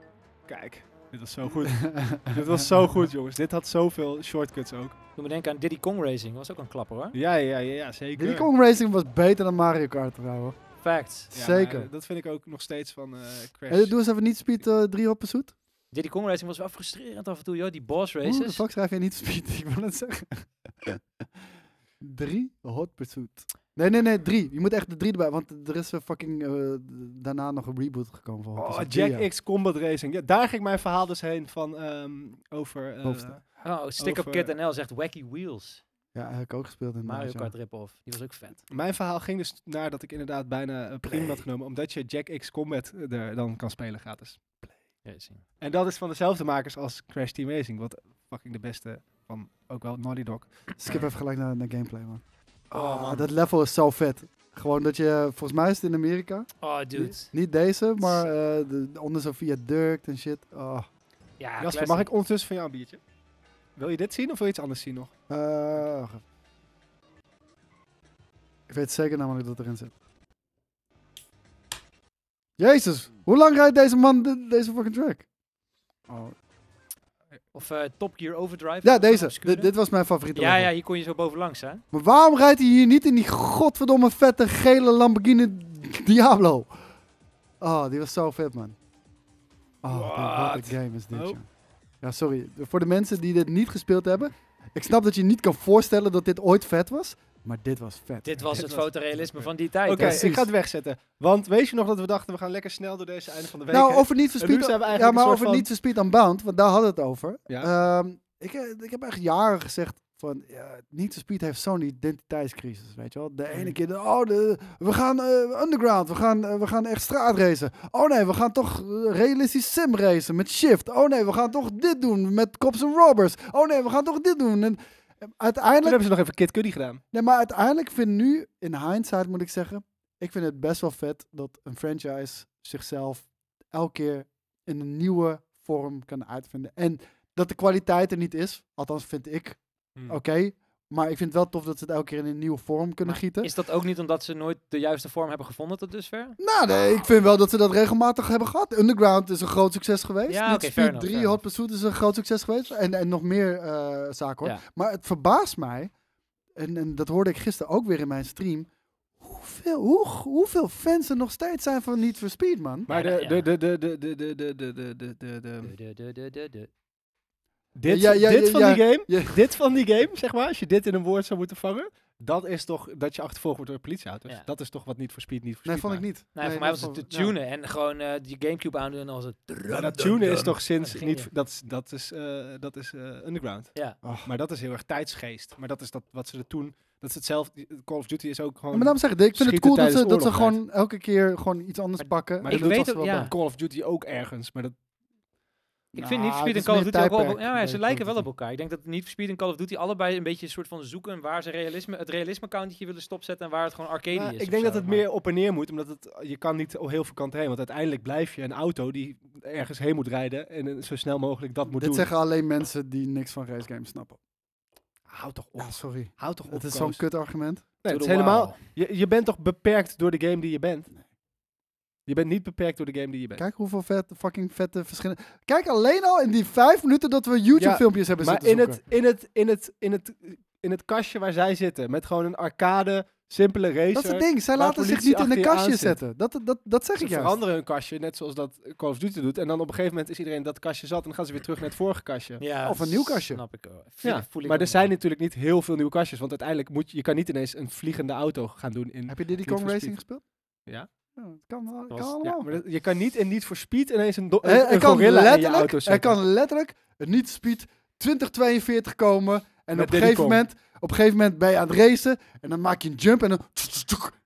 kijk. Dit was zo goed. dit was zo goed, jongens. Dit had zoveel shortcuts ook. Doe me denken aan Diddy Kong Racing. was ook een klapper hoor. Ja, ja, ja, ja zeker. Diddy Kong Racing was beter dan Mario Kart trouwens. Facts. Ja, maar, Zeker. eh, dat vind ik ook nog steeds van eh, Crash. Hey, doe eens even niet Speed eh, 3 op zoet. Diddy Kong Racing was wel frustrerend af en toe, joh. Die boss Hoe de races. fuck schrijf je niet Speed? Ik wil het zeggen. 3 Hot Pursuit. Nee, nee, nee, 3. Je moet echt de 3 erbij, want er is een fucking eh, daarna nog een reboot gekomen van Hot Oh, Pursuit. Jack Die, ja. X Combat Racing. Ja, daar ging mijn verhaal dus heen van ehm, over... eh, Hoofdstuk. oh, Stick Up Over- Kid NL zegt Wacky Wheels. Ja, heb ik ook gespeeld in eh, Mario Kart rip-off. Die was ook vet. mijn verhaal ging dus naar dat ik inderdaad bijna eh, premium had genomen. Omdat je Jack X Combat eh, er dan kan spelen gratis. Racing. En dat is van dezelfde makers als Crash Team Racing. Wat fucking de beste van ook wel Naughty Dog. Skip even gelijk naar, naar gameplay, man. Oh, Ah, man. Dat level is zo vet. Gewoon dat je, volgens mij is het in Amerika. Oh, dude. Niet deze, maar eh, de, onder zo'n viaduct en shit. Oh. Ja, Jasper, mag ik ondertussen van jou een biertje? Wil je dit zien of wil je iets anders zien nog? Eh, wacht even. ik weet zeker namelijk dat het erin zit. Jezus, hoe lang rijdt deze man de- deze fucking track? Oh. Of eh, Top Gear Overdrive. Ja, Dat was deze. een obscure. Dit- dit was mijn favoriete. Ja, level. ja, hier kon je zo bovenlangs, hè? Maar waarom rijdt hij hier niet in die godverdomme vette gele Lamborghini Diablo? Oh, die was zo vet, man. Oh, wat een Wat? game is dit, Oh. joh. Ja, sorry. Voor de mensen die dit niet gespeeld hebben. Ik snap dat je niet kan voorstellen dat dit ooit vet was. Maar dit was vet. Dit was dit het was- fotorealisme dit was van die tijd. Oké, hè? ik ga het wegzetten. Want weet je nog dat we dachten, we gaan lekker snel door deze einde van de week. Nou, heen? over niet En nu verspied. zijn we eigenlijk Ja, een maar soort over van- niet verspied Unbound, want daar hadden we het over. Ja. Ehm, ik, eh, ik heb eh, echt jaren gezegd, Van, ja, Need for Speed heeft zo'n identiteitscrisis, weet je wel. De ene Mm. keer, de, oh, de, we gaan eh, underground, we gaan, eh, we gaan echt straatracen. Oh nee, we gaan toch eh, realistisch sim racen met Shift. Oh nee, we gaan toch dit doen met Cops and Robbers. Oh nee, we gaan toch dit doen. En, eh, Toen uiteindelijk... hebben ze nog even Kid Cudi gedaan. Nee, maar uiteindelijk vind ik nu, in hindsight moet ik zeggen, ik vind het best wel vet dat een franchise zichzelf elke keer in een nieuwe vorm kan uitvinden. En dat de kwaliteit er niet is, althans vind ik, Hmm. oké. maar ik vind het wel tof dat ze het elke keer in een nieuwe vorm kunnen Maar gieten. Is dat ook niet omdat ze nooit de juiste vorm hebben gevonden tot dusver? Nou nee, ik vind wel dat ze dat regelmatig hebben gehad. Underground is een groot succes geweest. Ja, Need oké, for fair Speed enough, 3 fair Hot Pursuit is een groot succes geweest. En, en nog meer eh, zaken hoor. Ja. Maar het verbaast mij, en, en dat hoorde ik gisteren ook weer in mijn stream, hoeveel, hoe, hoeveel fans er nog steeds zijn van Need for Speed, man. Maar Ja, de, de, dat- de, de, de, de, de, de, de, de, de, de, De, de, de, de, de, de. dit, Ja, ja, dit ja, van ja, die game, ja. dit van die game, zeg maar, als je dit in een woord zou moeten vangen, dat is toch dat je achtervolgd wordt door politieauto's. Ja. Dat is toch wat niet voor speed, niet voor Nee, speed. vond ik niet. Nou, voor mij was het te tunen en gewoon eh, die Gamecube aandoen als het... Maar dat tunen is toch Oh, sinds dat ging niet, niet. voor- dat is, dat is, eh, dat is eh, underground. Ja. Ach. Maar dat is heel erg tijdsgeest. Maar dat is dat wat ze er toen, dat is hetzelfde. eh, Call of Duty is ook Ja, gewoon. maar daarom zeg ik, ik vind het Schieten cool dat ze, tijdens dat ze oorlog uit. gewoon elke keer gewoon iets anders Maar- pakken. maar En ik dat weet was ook- wel ja. bij. Call of Duty ook ergens, maar dat Ik Nou, vind Need for het Speed en is Call of meer Duty ook wel... tijdperk, Ja, maar eh, ze lijken Call wel of op elkaar. Ik denk dat Need for Speed en Call of Duty allebei een beetje een soort van zoeken waar ze realisme, het realisme countje willen stopzetten en waar het gewoon arcade Nou, is. ik of denk dat zo, het maar- meer op en neer moet, omdat het, je kan niet op heel veel kanten heen. Want uiteindelijk blijf je een auto die ergens heen moet rijden en eh, zo snel mogelijk dat moet Dit doen. zeggen alleen mensen die niks van race games snappen. Hou toch Oh. op, Ja, sorry. hou toch op. Het is Koos. zo'n kut argument. Nee, het To is the helemaal, wow. je, je bent toch beperkt door de game die je bent? Je bent niet beperkt door de game die je bent. Kijk hoeveel vet, fucking vette verschillen. Kijk alleen al in die vijf minuten dat we YouTube-filmpjes hebben maar in zitten het, in, het, in, het, in, het, in het kastje waar zij zitten, met gewoon een arcade, simpele racer. Dat is het ding. Zij waar laten zich politie niet in een achter je kastje aan zit. zetten. Dat, dat, dat zeg Ze ik juist. veranderen hun kastje, net zoals dat Call of Duty doet. En dan op een gegeven moment is iedereen in dat kastje zat en dan gaan ze weer terug naar het vorige kastje. Ja, Of een nieuw kastje. Snap ik wel. Vind- Ja, voel ik maar ook er wel. zijn natuurlijk niet heel veel nieuwe kastjes. Want uiteindelijk moet je, je kan niet ineens een vliegende auto gaan doen in. Heb je Diddy Need for Kong Racing Speed. gespeeld? Ja. dat kan, wel- kan was- ja, Ja, allemaal. maar dat- je kan niet in Need for Speed ineens een, do- Eh, een, er, een kan gorilla in je letterlijk, auto er zetten. kan letterlijk een niet speed 2042 komen. En Met op een, Diddy gegeven Kong. moment, op een gegeven moment ben je aan het racen. En dan maak je een jump. En dan,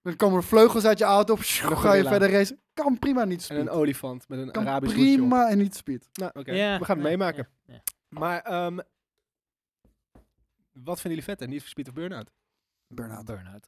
dan komen er vleugels uit je auto. een ga je gorilla. verder racen. Kan prima niet en een speed. olifant met een Kan Arabisch hoedje op. prima en niet speed. Nou, oké. Ja, We gaan het nee, meemaken. ja, ja. Maar ehm, wat vinden jullie vet? Need for Speed of Burnout? Burnout. Burnout.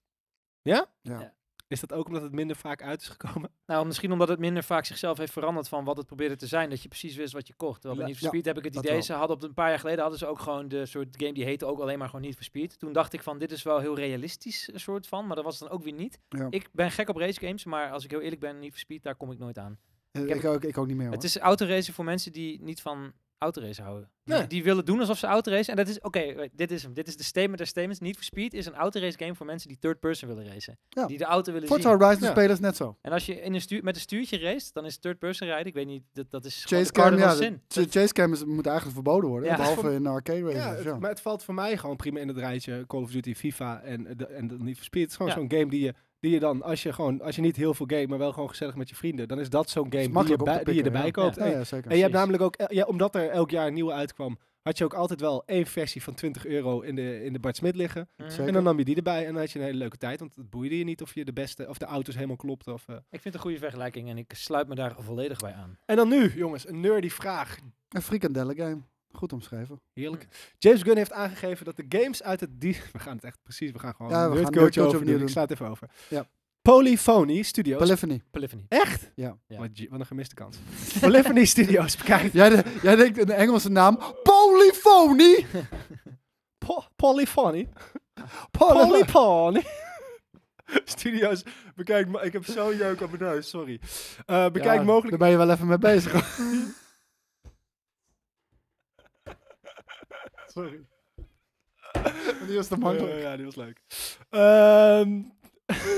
Is dat ook omdat het minder vaak uit is gekomen? Nou, misschien omdat het minder vaak zichzelf heeft veranderd van wat het probeerde te zijn, dat je precies wist wat je kocht. Terwijl bij Ja, Need ja, for Speed heb ik het dat idee, wel. ze hadden op een paar jaar geleden hadden ze ook gewoon de soort game die heette ook alleen maar gewoon Need for Speed. Toen dacht ik van, dit is wel heel realistisch een soort van, maar dat was het dan ook weer niet. Ja. Ik ben gek op race games, maar als ik heel eerlijk ben, Need for Speed, daar kom ik nooit aan. Eh, Ik, heb- ook, ik ook niet meer hoor. Het is autoracen voor mensen die niet van autoracen houden. Die- Nee. Die, willen doen alsof ze autoracen. En dat is, oké, wait, dit is hem. Dit is de statement der statements. Need for Speed is een autorace game voor mensen die third person willen racen. Ja. Die de auto willen Forza zien. Horizon Ja. spelers net zo. En als je in een stuur, met een stuurtje race, dan is third person rijden. Ik weet niet, dat, dat is gewoon Chase de cam, cardinal ja, sin. ch- chase cam is, moet eigenlijk verboden worden, Ja. behalve in arcade races. Ja, Ja, het- maar het valt voor mij gewoon prima in het rijtje Call of Duty, FIFA en, eh, de, en de Need for Speed. Het is gewoon Ja. zo'n game die je, die je dan, als je, gewoon, als je niet heel veel game, maar wel gewoon gezellig met je vrienden, dan is dat zo'n game die je, makkelijk op te bij- die je pikken, erbij ja. koopt. Ja, En, ja, zeker. en je hebt Precies. namelijk ook, el- ja, omdat er elk jaar een nieuwe uitkwam, had je ook altijd wel één versie van 20 euro in de, in de Bart Smit liggen. Mhm. Zeker. En dan nam je die erbij en dan had je een hele leuke tijd, want het boeide je niet of je de beste, of de auto's helemaal klopten. Of, eh. Ik vind het een goede vergelijking en ik sluit me daar volledig bij aan. En dan nu, jongens, een nerdy vraag. Een frikandellen game. Goed omschreven. Heerlijk. James Gunn heeft aangegeven dat de games uit het... Die we gaan het echt precies, we gaan gewoon Ja, we ja, gaan nerdcoach nerdcoach over opnieuw doen. doen. Ik sla het even over. Ja. Polyphony Studios. Polyphony. Polyphony. echt? Ja. Ja. Wat, je- wat een gemiste kans. Polyphony Studios, bekijk. Jij, de- jij denkt een Engelse naam. Polyphony! Po- polyphony. Poly- Polyphony. Studios, bekijk... mo- Ik heb zo'n jeuk op mijn neus, sorry. Eh, bekijk Ja, mogelijk... Daar ben je wel even mee bezig. Sorry. Die was te makkelijk. Eh, ja, die was leuk. Ehm,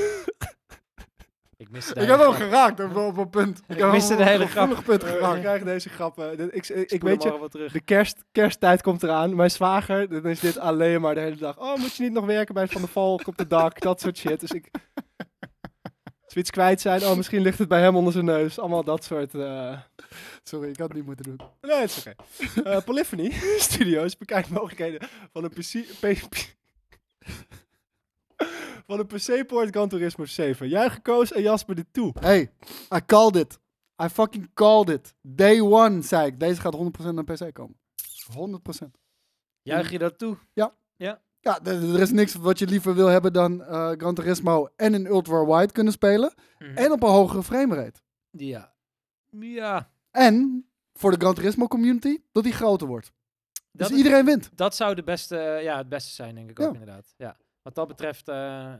Ik miste ik had daar een hem grap. geraakt op, op een punt. Ik, had miste hem de op hele een gevoelig punt eh, ik geraakt. krijg deze grappen. Dit- Ik, ik, Spoel ik hem weet je, maar wel terug. De kerst, kersttijd komt eraan. Mijn zwager, dan is dit alleen maar de hele dag. Oh, moet je niet nog werken bij Van de Valk op de dak? Dat soort shit. Dus ik... Het we iets kwijt zijn, oh, misschien ligt het bij hem onder zijn neus. Allemaal dat soort... eh, Sorry, ik had het niet moeten doen. Nee, het is oké. Eh, Polyphony Studios bekijkt mogelijkheden van een PC... P- P- van een PC-poort Gran Turismo 7. Jij gekozen en Jasper dit toe. Hey, I called it. I fucking called it. Day one, zei ik. Deze gaat 100% naar PC komen. 100%. Juich je dat toe? Ja, d- d- er is niks wat je liever wil hebben dan eh Gran Turismo en in Ultra Wide kunnen spelen. En op een hogere framerate. Mhm. Ja. Ja. En voor de Gran Turismo community, dat die groter wordt. Dat, dus iedereen wint. dat zou de beste, ja, het beste zijn, denk ik Ja. ook inderdaad. Ja. Wat dat betreft eh,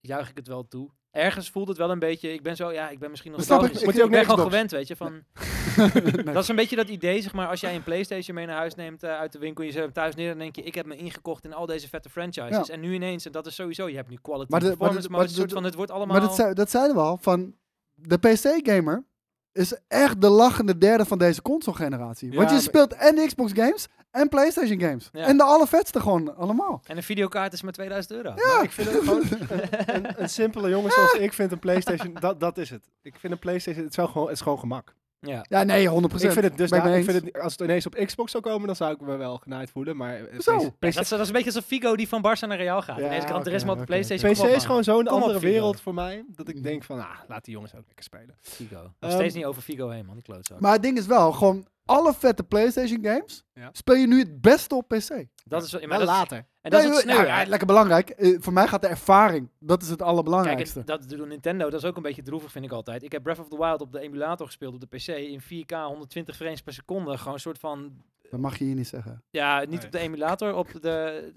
juich ik het wel toe. Ergens voelt het wel een beetje, ik ben zo, ja, ik ben misschien nog snap wel. Ik, ik, ik- ik- ben gewoon Xbox. gewend, weet je, van... Nee. Dat is een beetje dat idee, zeg maar, als jij een PlayStation mee naar huis neemt eh, uit de winkel, je zet hem thuis neer, dan denk je, ik heb me ingekocht in al deze vette franchises. En nu ineens, en dat is sowieso, je hebt nu quality Maar maar de- maar performance, de- maar maar het is een soort de- van, het wordt allemaal... Maar dat, zei, dat zeiden we al, van de PC-gamer is echt de lachende derde van deze console-generatie. Ja, Want je maar- speelt en Xbox-games en PlayStation-games. Ja. En de allervetste gewoon, allemaal. En een videokaart is maar 2000 euro. Maar ik vind het gewoon een, een, een simpele jongen zoals ik vind een PlayStation. Dat, dat is het. Ik vind een PlayStation. Het, zou gewoon, het is gewoon gemak. Ja. Ja, nee, 100%. Ik vind het dus. Ben ik mee ik vind eens. het, niet- als het ineens op Xbox zou komen, dan zou ik me wel genaaid voelen. Maar eh, Hoezo? PC Ja, dat, is, dat is een beetje als Figo die van Barca naar Real gaat. Ja, Ineens kan oké, er is maar op de oké. PlayStation. PC kom op, is gewoon zo'n Kom op, andere Figo. wereld voor mij. Dat ik Mhm. denk van, ah, laat die jongens ook lekker spelen. man. Figo. Nog Ehm, steeds niet over Figo heen, man, die klootzak. Maar het ding is wel, gewoon alle vette PlayStation-games Ja. speel je nu het beste op PC. dat is, wel- ja, maar Maar dat is- later. en dat is Nee, het sneu, ja, hè? ja, lekker belangrijk. Eh, voor mij gaat de ervaring, dat is het Kijk, allerbelangrijkste. het- dat doet Nintendo, dat is ook een beetje droevig, vind ik altijd. Ik heb Breath of the Wild op de emulator gespeeld op de PC in 4K, 120 frames per seconde. Gewoon een soort van, Dat mag je hier niet zeggen. ja, niet Nee. op de emulator, op de... de,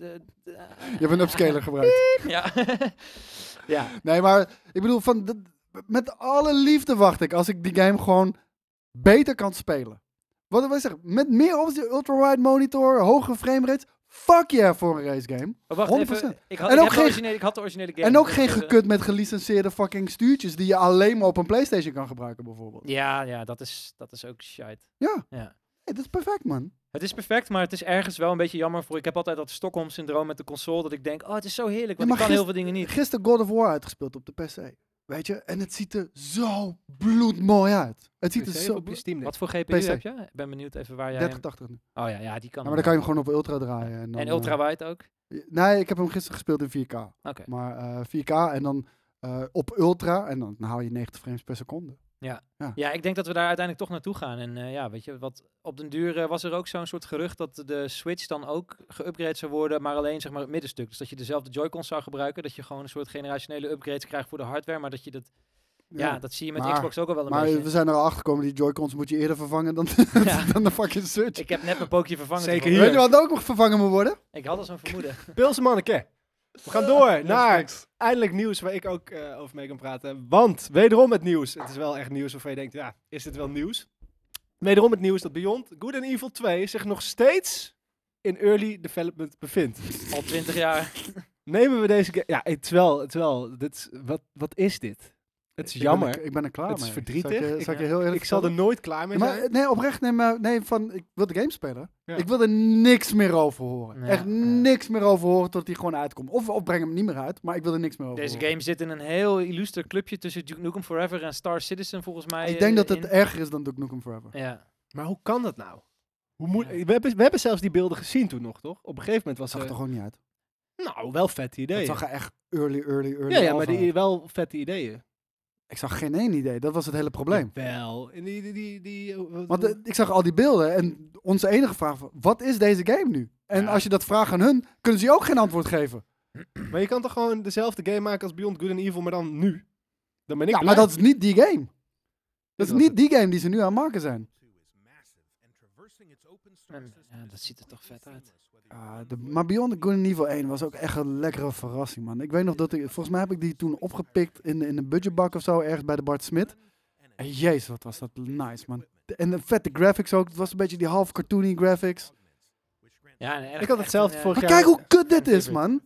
de- Je hebt een upscaler gebruikt. ja. ja. Nee, maar ik bedoel, van dat- met alle liefde wacht ik als ik die game gewoon beter kan spelen. Wat wil ik zeggen? Met meer opties, ultra-wide monitor, hogere framerates. Fuck yeah voor een race game. Maar wacht 100%. even, ik had, En ik ook heb de geen- originele, ik had de originele game. en ook dus, geen eh, gekut met gelicenseerde fucking stuurtjes die je alleen maar op een PlayStation kan gebruiken, bijvoorbeeld. Ja, ja, dat is, dat is ook shit. Ja. Ja. Hey, dat is perfect, man. Het is perfect, maar het is ergens wel een beetje jammer voor. Ik heb altijd dat Stockholm-syndroom met de console, dat ik denk, oh, het is zo heerlijk, want maar ik kan gis- heel veel dingen niet. Gisteren God of War uitgespeeld op de PC. Weet je? En het ziet er zo bloedmooi uit. Het ziet er PC zo... op je Steam Deck. Wat voor GPU PC. heb je? Ik ben benieuwd even waar jij... hem- 3080 nu. Oh ja, ja, die kan Ja, maar dan hem wel. kan je hem gewoon op ultra draaien. En, dan, En eh, ultra-wide ook? Nee, ik heb hem gisteren gespeeld in 4K. Oké. Maar eh, 4K en dan eh, op ultra en dan hou je 90 frames per seconde. Ja, ik denk dat we daar uiteindelijk toch naartoe gaan. En eh, ja, weet je, wat op den duur eh, was er ook zo'n soort gerucht dat de Switch dan ook geüpgrade zou worden, maar alleen zeg maar het middenstuk. Dus dat je dezelfde Joy-Cons zou gebruiken, dat je gewoon een soort generationele upgrades krijgt voor de hardware, maar dat je dat, ja, dat zie je met maar- Xbox ook al wel een maar beetje. we zijn er al achter gekomen, die Joy-Cons moet je eerder vervangen dan, Ja. dan de fucking Switch. Ik heb net mijn pookje vervangen. Zeker toevallig. hier. Weet je wat ook nog vervangen moet worden? Ik had al zo'n vermoeden. Pilsen manneke. We gaan door naar eindelijk nieuws waar ik ook eh, over mee kan praten. Want wederom het nieuws. Het is wel echt nieuws waarvan je denkt, ja, is dit wel nieuws? Wederom het nieuws dat Beyond Good and Evil 2 zich nog steeds in early development bevindt. Al twintig jaar. Nemen we deze... ge- Ja, het is wel... Het is wel dit is- wat, wat is dit? Het is Ik ben jammer. er- Ik ben er klaar Het is mee. verdrietig. Zal ik, je- Ik- zal ik je heel eerlijk ik zal er vertellen? nooit klaar mee Ja, zijn. maar, nee, oprecht, nee, maar, nee, van, ik wil de game spelen. Ja. Ik wil er niks meer over horen. Ja, Echt ja. niks meer over horen tot die gewoon uitkomt. Of, of breng hem niet meer uit, maar ik wil er niks meer over Deze horen. game zit in een heel illuster clubje tussen Duke Nukem Forever en Star Citizen volgens mij. Ik denk eh, dat het in- erger is dan Duke Nukem Forever. Ja. Maar hoe kan dat nou? Hoe moet, Ja. we, hebben, we hebben zelfs die beelden gezien toen nog, toch? Op een gegeven moment was Dat zag er... er gewoon niet uit. Nou, wel vette Het ideeën. zag er echt early, early, early Ja, ja, alpha maar uit. die, wel vette ideeën. Ik zag geen één idee. Dat was het hele probleem. Wel. En die, die, die, die, wat- Want eh, ik zag al die beelden en onze enige vraag was, wat is deze game nu? En Ja. als je dat vraagt aan hun, kunnen ze je ook geen antwoord geven. maar je kan toch gewoon dezelfde game maken als Beyond Good and Evil, maar dan nu? Dan ben ik ja, blij. maar dat is niet die game. Dat is was niet die game die ze nu aan het maken zijn. En- ja, dat ziet er toch vet uit. Ah, de, maar Beyond Good and Evil 1 was ook echt een lekkere verrassing, man. Ik weet nog dat ik... Volgens mij heb ik die toen opgepikt in, in een budgetbak of zo, ergens bij de Bart Smit. En jezus, wat was dat nice, man. En de vette graphics ook. Het was een beetje die half cartoony graphics. ja en echt- Ik had hetzelfde echt, eh, vorig Maar jaar. kijk hoe kut dit is, man.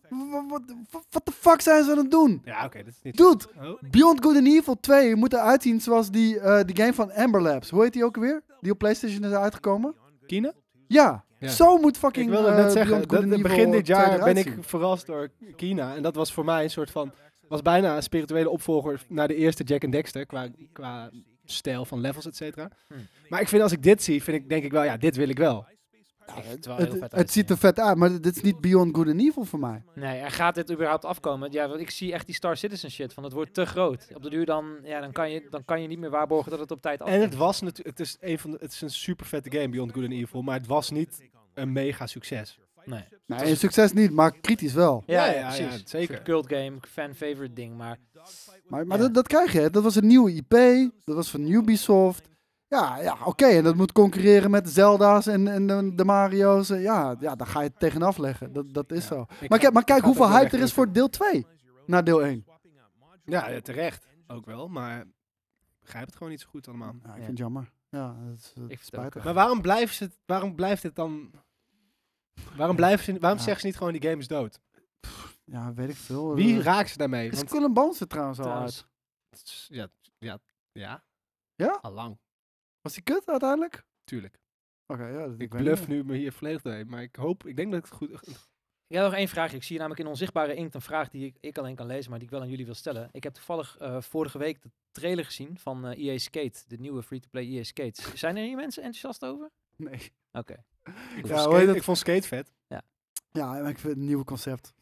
Wat de fuck zijn ze aan het doen? Ja, oké, dat is niet... Dude, Oh. Beyond Good and Evil 2 moet eruit zien zoals die, eh, die game van Amber Labs. Hoe heet die ook weer? Die op PlayStation is uitgekomen? Kina? Ja, Ja. zo moet fucking Ik wilde eh, net zeggen, Beyond Good dat, and Evil begin dit 2 jaar eruit ben ik zien. verrast door Kina. En dat was voor mij een soort van... was bijna een spirituele opvolger naar de eerste Jack and Dexter qua, qua stijl van levels, et cetera. Hmm. Maar ik vind als ik dit zie, vind ik denk ik wel, ja, dit wil ik wel. Ik vind het eh, Oh, wel heel Het, vet het uitzien, ziet er ja. vet uit, maar dit is niet Beyond Good and Evil voor mij. Nee, en gaat dit überhaupt afkomen? Ja, want ik zie echt die Star Citizen shit van het wordt te groot. Op de duur dan, ja, dan, kan, je, dan kan je niet meer waarborgen dat het op tijd af. En het was natuurlijk, het is een van de, het is een super vette game, Beyond Good and Evil, maar het was niet een mega succes. Nee. Nee, succes niet, maar kritisch wel. Ja, Ja, ja, ja, ja, precies. zeker. Een cult game, fan favorite ding, maar Maar, maar Ja. dat, dat krijg je. hè. Dat was een nieuwe IP. Dat was van Ubisoft. Ja, ja oké. En dat moet concurreren met Zelda's en, en de, de Mario's. en Ja, ja, daar ga je het tegenaf leggen. Dat, dat is zo. Ik Maar, ga- kijk- maar kijk ik ga het hoeveel ook wel hype er is voor wegdrukken. deel 2 na deel 1. Ja, ja, terecht. Ook wel, maar ik begrijp het gewoon niet zo goed allemaal. Ja, ik Ja. vind het jammer. Ja, dat is, dat is vind het ook, spijtig. Maar waarom blijven ze, het- waarom blijft het dan... Waarom, blijven ze, waarom Ja. zeggen ze niet gewoon die game is dood? Ja, weet ik veel. Wie Eh, raakt ze daarmee? Is Want, Skull and Bones er trouwens al trouwens, uit? ja, ja, ja. Ja? Allang, Was die kut uiteindelijk? tuurlijk. Oké, ja. dat- Ik weet bluff niet. nu me hier volledig doorheen, maar ik hoop, ik denk dat ik het goed... Ik heb nog één vraag. Ik zie namelijk in onzichtbare inkt een vraag die ik, ik alleen kan lezen, maar die ik wel aan jullie wil stellen. Ik heb toevallig eh, vorige week de trailer gezien van eh, EA Skate, de nieuwe free-to-play EA Skate. Zijn er hier mensen enthousiast over? Nee. Oké. Ik, Ja, vond hoe heet skate, het? ik vond skate vet. Ja, maar ik vind het een nieuw concept.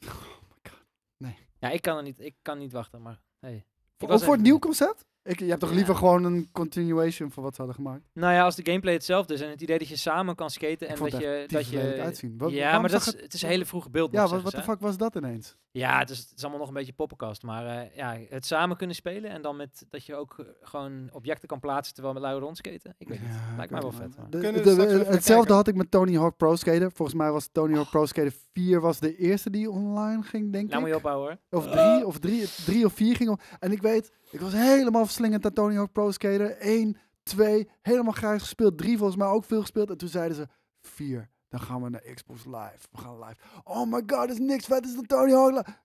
Ja, ik kan er niet, ik kan niet wachten, maar hey. Ik Ook was voor even- het nieuw concept? Ik, je hebt toch Ja. liever gewoon een continuation van wat ze hadden gemaakt? Nou ja, als de gameplay hetzelfde is en het idee dat je samen kan skaten en vond dat het je... Die Dat je vervelend uitzien. Wa- ja, waarom maar dat zag is, het- het is een hele vroege beeld Ja, nog, wat zeggen de ze, hè? fuck was dat ineens? Ja, het is, het is allemaal nog een beetje poppenkast, maar eh, ja, het samen kunnen spelen en dan met dat je ook eh, gewoon objecten kan plaatsen terwijl we lui rondskaten. Ik weet niet, lijkt mij wel vet. maar- De- Kunnen we de- straks even hetzelfde kijken? had ik met Tony Hawk Pro Skater. Volgens mij was Tony Hawk Pro Skater 4 was de eerste die online ging, denk Nou moet ik. je opbouwen hoor. Of 3 of, drie, drie of 4 ging. om- En ik weet, ik was helemaal verslingend aan Tony Hawk Pro Skater. 1, 2, helemaal graag gespeeld. 3 volgens mij ook veel gespeeld. En toen zeiden ze 4. Dan gaan we naar Xbox Live. We gaan live. Oh my god, dat is niks vet. is dan Tony Hawk. Live.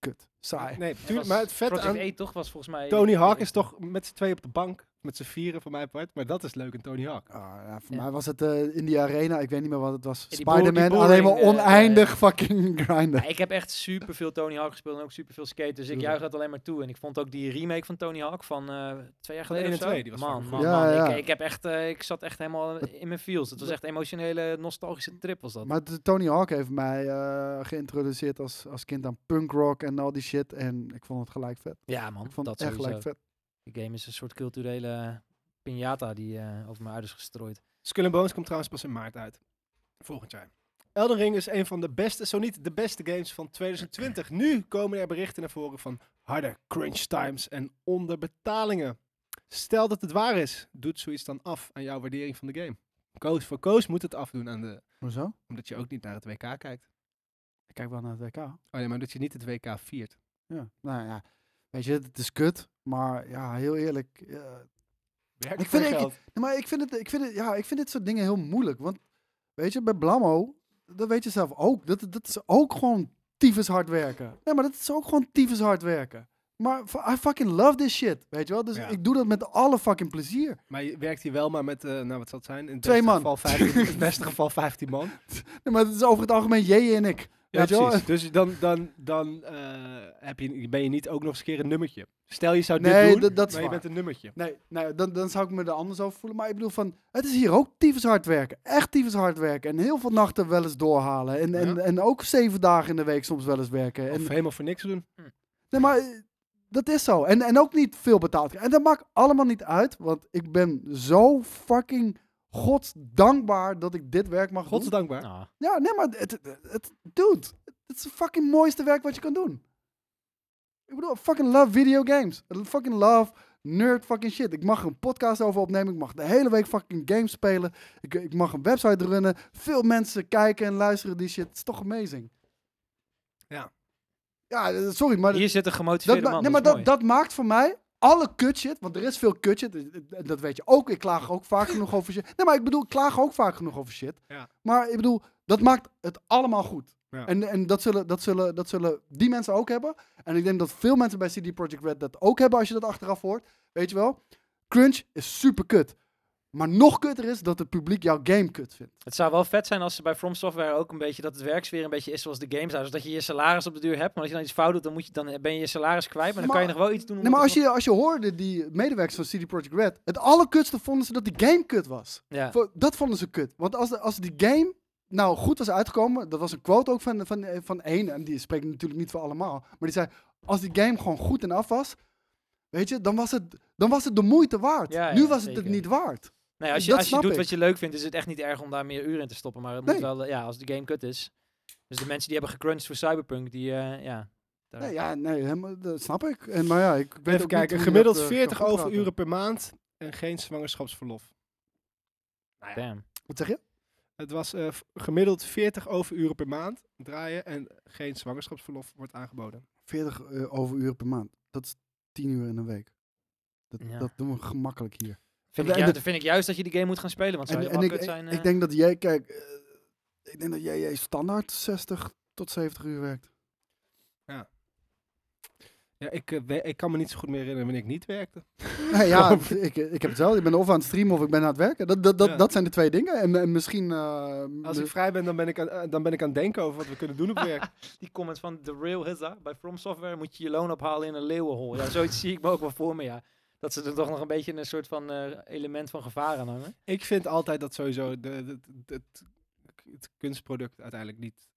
Kut, saai. Nee, Ja, tuurlijk, was- maar het vet Project aan E toch was volgens mij... Tony Hawk is toch met z'n tweeën op de bank, met z'n vieren van mij part, maar dat is leuk in Tony Hawk. Ah, ja, voor Ja. mij was het eh, in die arena, ik weet niet meer wat het was. die Spider-Man, boel- die alleen maar bowling, eh, oneindig fucking grinden. Ja, ik heb echt super veel Tony Hawk gespeeld en ook super veel skate, dus ik Tuurlijk. juich dat alleen maar toe. En ik vond ook die remake van Tony Hawk van eh, twee jaar geleden één of en zo. twee, die was man, fucking man, goed. man, Ja, ja. Ik, ik, heb echt, eh, ik zat echt helemaal in mijn feels. Het was echt een emotionele, nostalgische trip was dat. Maar de- Tony Hawk heeft mij eh, geïntroduceerd als, als kind aan punkrock en al die shit. En ik vond het gelijk vet. ja Ik man, vond dat het echt sowieso. gelijk vet. Die game is een soort culturele piñata die eh, over mijn ouders gestrooid. Skull and Bones komt trouwens pas in maart uit. Volgend jaar. Elden Ring is een van de beste, zo niet de beste games van 2020. Nu komen er berichten naar voren van harde crunch times en onderbetalingen. Stel dat het waar is, doet zoiets dan af aan jouw waardering van de game. Koos voor Koos moet het afdoen aan de, Hoezo? omdat je ook niet naar het WK kijkt. Ik kijk wel naar het WK. Oh nee, maar omdat je niet het WK viert. Ja. Nou ja, weet je, het is kut. Maar ja, heel eerlijk. eh, Werken Ik vind voor ik- geld. Nee, Maar ik vind, het, ik, vind het, ja, ik vind dit soort dingen heel moeilijk. Want weet je, bij Blammo, dat weet je zelf ook. Dat, dat is ook gewoon tyfus hard werken. Nee, maar dat is ook gewoon tyfus hard werken. Maar f- I fucking love this shit, weet je wel? Dus Ja. ik doe dat met alle fucking plezier. Maar je werkt hier wel maar met, eh, nou wat zal het zijn? In het Twee beste man. Geval 15, in het beste geval 15 man. Nee, maar het is over het algemeen jij en ik. Ja, weet je wel? precies. Dus dan, dan, dan eh, heb je, ben je niet ook nog eens een keer een nummertje. Stel je zou Nee, dit doen, dat- dat is maar je waar. bent een nummertje. Nee, nee dan, dan zou ik me er anders over voelen. Maar ik bedoel van, het is hier ook tyfus hard werken. Echt tyfus hard werken. En heel veel nachten wel eens doorhalen. En, en, Ja. en ook zeven dagen in de week soms wel eens werken. En, Of helemaal voor niks doen. Nee, maar eh, dat is zo. En, en ook niet veel betaald. krijgen. En dat maakt allemaal niet uit, want ik ben zo fucking godsdankbaar dat ik dit werk mag doen. Godsdankbaar. Nou, Ja, nee, maar het, het, het- dude, het is het fucking mooiste werk wat je kan doen. Ik bedoel, I fucking love video games. I fucking love nerd fucking shit. Ik mag een podcast over opnemen. Ik mag de hele week fucking games spelen. Ik, ik mag een website runnen. Veel mensen kijken en luisteren die shit. Het is toch amazing. Ja. Ja, eh, sorry, maar... hier zit een Dat gemotiveerde ma- man. nee, maar dat, dat maakt voor mij alle kutshit, want er is veel kutshit, eh, eh, dat weet je ook. Ik klaag ook vaak genoeg over shit. Nee, maar ik bedoel, ik klaag ook vaak genoeg over shit. Ja. Maar ik bedoel, dat maakt het allemaal goed. Ja. En, en dat, zullen, dat, zullen, dat zullen die mensen ook hebben. En ik denk dat veel mensen bij CD Projekt Red dat ook hebben als je dat achteraf hoort. Weet je wel? Crunch is super kut. Maar nog kutter is dat het publiek jouw game kut vindt. Het zou wel vet zijn als ze bij From Software ook een beetje dat het werksfeer een beetje is zoals de games. Dus dat je je salaris op de duur hebt, maar als je dan iets fout doet, dan, moet je, dan ben je je salaris kwijt. Maar dan Maar- kan je nog wel iets doen. om Nee, maar het als je, als je hoorde die medewerkers van CD Projekt Red, het allerkutste vonden ze dat die game kut was. nog- Ja. Vo- Dat vonden ze kut. Want als, de- als die game nou goed was uitgekomen, dat was een quote ook van, van, van één, en die spreekt natuurlijk niet voor allemaal, maar die zei, als die game gewoon goed en af was, weet je, dan was het, dan was het de moeite waard. Ja, ja, nu was het het zeker. niet waard. Nee, als je, dat als je snap doet ik. wat je leuk vindt, is het echt niet erg om daar meer uren in te stoppen. Maar het moet Nee. wel, eh, ja, als de game kut is. Dus de mensen die hebben gecrunched voor Cyberpunk, die, eh, ja. daar- Nee, ja, nee, helemaal, dat snap ik. En, maar ja, ik weet ook Even niet kijken, hoe je gemiddeld dat, eh, kan 40 goedpraten. overuren per maand en geen zwangerschapsverlof. Damn. Wat zeg je? Het was eh, v- gemiddeld 40 overuren per maand draaien en geen zwangerschapsverlof wordt aangeboden. 40 eh, overuren per maand. Dat is 10 uur in een week. Dat, Ja. dat doen we gemakkelijk hier. Vind En- ik, en ju- dat- vind ik juist dat je die game moet gaan spelen, want zou En, je en wel ik, kut ik- zijn? ik eh? denk dat jij, kijk, eh, ik denk dat jij, jij standaard 60 tot 70 uur werkt. Ja, ik, eh, we- ik kan me niet zo goed meer herinneren wanneer ik niet werkte. Nee, ja, ik, ik heb hetzelfde. Ik ben of aan het streamen of ik ben aan het werken. Dat, dat, dat, Ja. dat zijn de twee dingen. En, en misschien. eh, Als me- ik vrij ben, dan ben ik, aan, eh, dan ben ik aan het denken over wat we kunnen doen op werk. Die comment van The Real Hizza, bij From Software moet je je loon ophalen in een leeuwenhol. Ja, zoiets zie ik me ook wel voor me, ja. Dat ze er toch nog een beetje een soort van eh, element van gevaar aan hangen. Ik vind altijd dat sowieso de, de- de- het, het kunstproduct uiteindelijk niet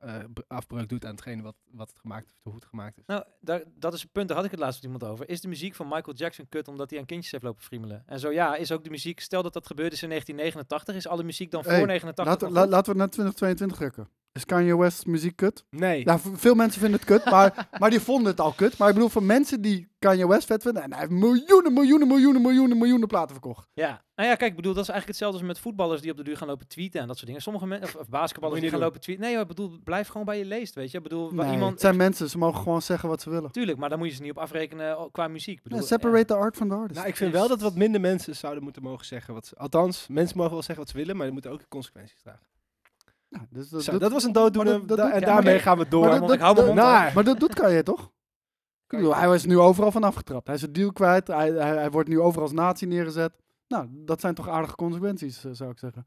eh, eh, b- afbreuk doet aan hetgeen wat, wat het gemaakt heeft, hoe het gemaakt is. Nou, daar, dat is een punt, daar had ik het laatst met iemand over. Is de muziek van Michael Jackson kut omdat hij aan kindjes heeft lopen friemelen? En zo ja, is ook de muziek, stel dat dat gebeurd is in 1989, is alle muziek dan Hey, voor 89 laten, dan la- goed? laten we naar 2022 rukken. Is Kanye West muziek kut? Nee, Nou, v- veel mensen vinden het kut, maar, maar die vonden het al kut. Maar ik bedoel, voor mensen die Kanye West vet vinden, en hij heeft miljoenen, miljoenen, miljoenen, miljoenen, miljoenen platen verkocht. Ja, nou ja, kijk, ik bedoel, dat is eigenlijk hetzelfde als met voetballers die op de duur gaan lopen tweeten en dat soort dingen. Sommige mensen, of, of basketballers Moet je die gaan niet lopen tweeten. Nee, maar ik bedoel, blijf gewoon bij je leest, weet je. Ik bedoel, wa- Nee, het iemand, zijn mensen, ze mogen gewoon zeggen wat ze willen. tuurlijk, maar daar moet je ze niet op afrekenen oh, qua muziek. Ik Bedoel, Ja, ja, separate the art from the artist. nou, ik vind wel dat wat minder mensen zouden moeten mogen zeggen wat ze... Althans, mensen mogen wel zeggen wat ze willen, maar die moeten ook de consequenties dragen. Ja, dus dat, Zo, doet- dat was een dooddoener maar dat- dat da- doet- en ja, daarmee oké. gaan we door. Maar want ik hou mijn mond naar. Maar dat doet Kanye toch? Ik bedoel, hij is nu overal van afgetrapt. Hij is het deal kwijt. Hij, hij, hij wordt nu overal als nazi neergezet. Nou, dat zijn toch aardige consequenties, eh, zou ik zeggen.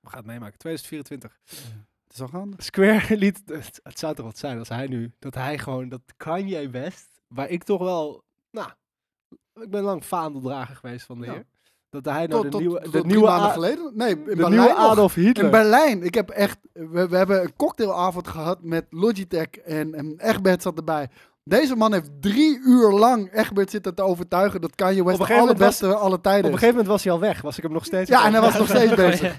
We gaan het meemaken. 2024. Het is al gaande. Square liet... Het, het zou toch wat zijn als hij nu... Dat hij gewoon... Dat Kanye West... Waar ik toch wel... Nou... Ik ben lang vaandeldrager geweest van de Ja. heer. Dat hij nou Tot, de tot, nieuwe... tot de drie nieuwe, maanden A- geleden? Nee, in de Berlijn nieuwe nog. Adolf Hitler. In Berlijn. Ik heb echt... We, we hebben een cocktailavond gehad met Logitech en, en Egbert zat erbij. Deze man heeft drie uur lang Egbert zitten te overtuigen dat Kanye Op een West de gegeven moment was- allerbeste alle Op een tijden is. gegeven moment was hij al weg. Was ik hem nog steeds... dus. Ja, en hij was nog steeds bezig.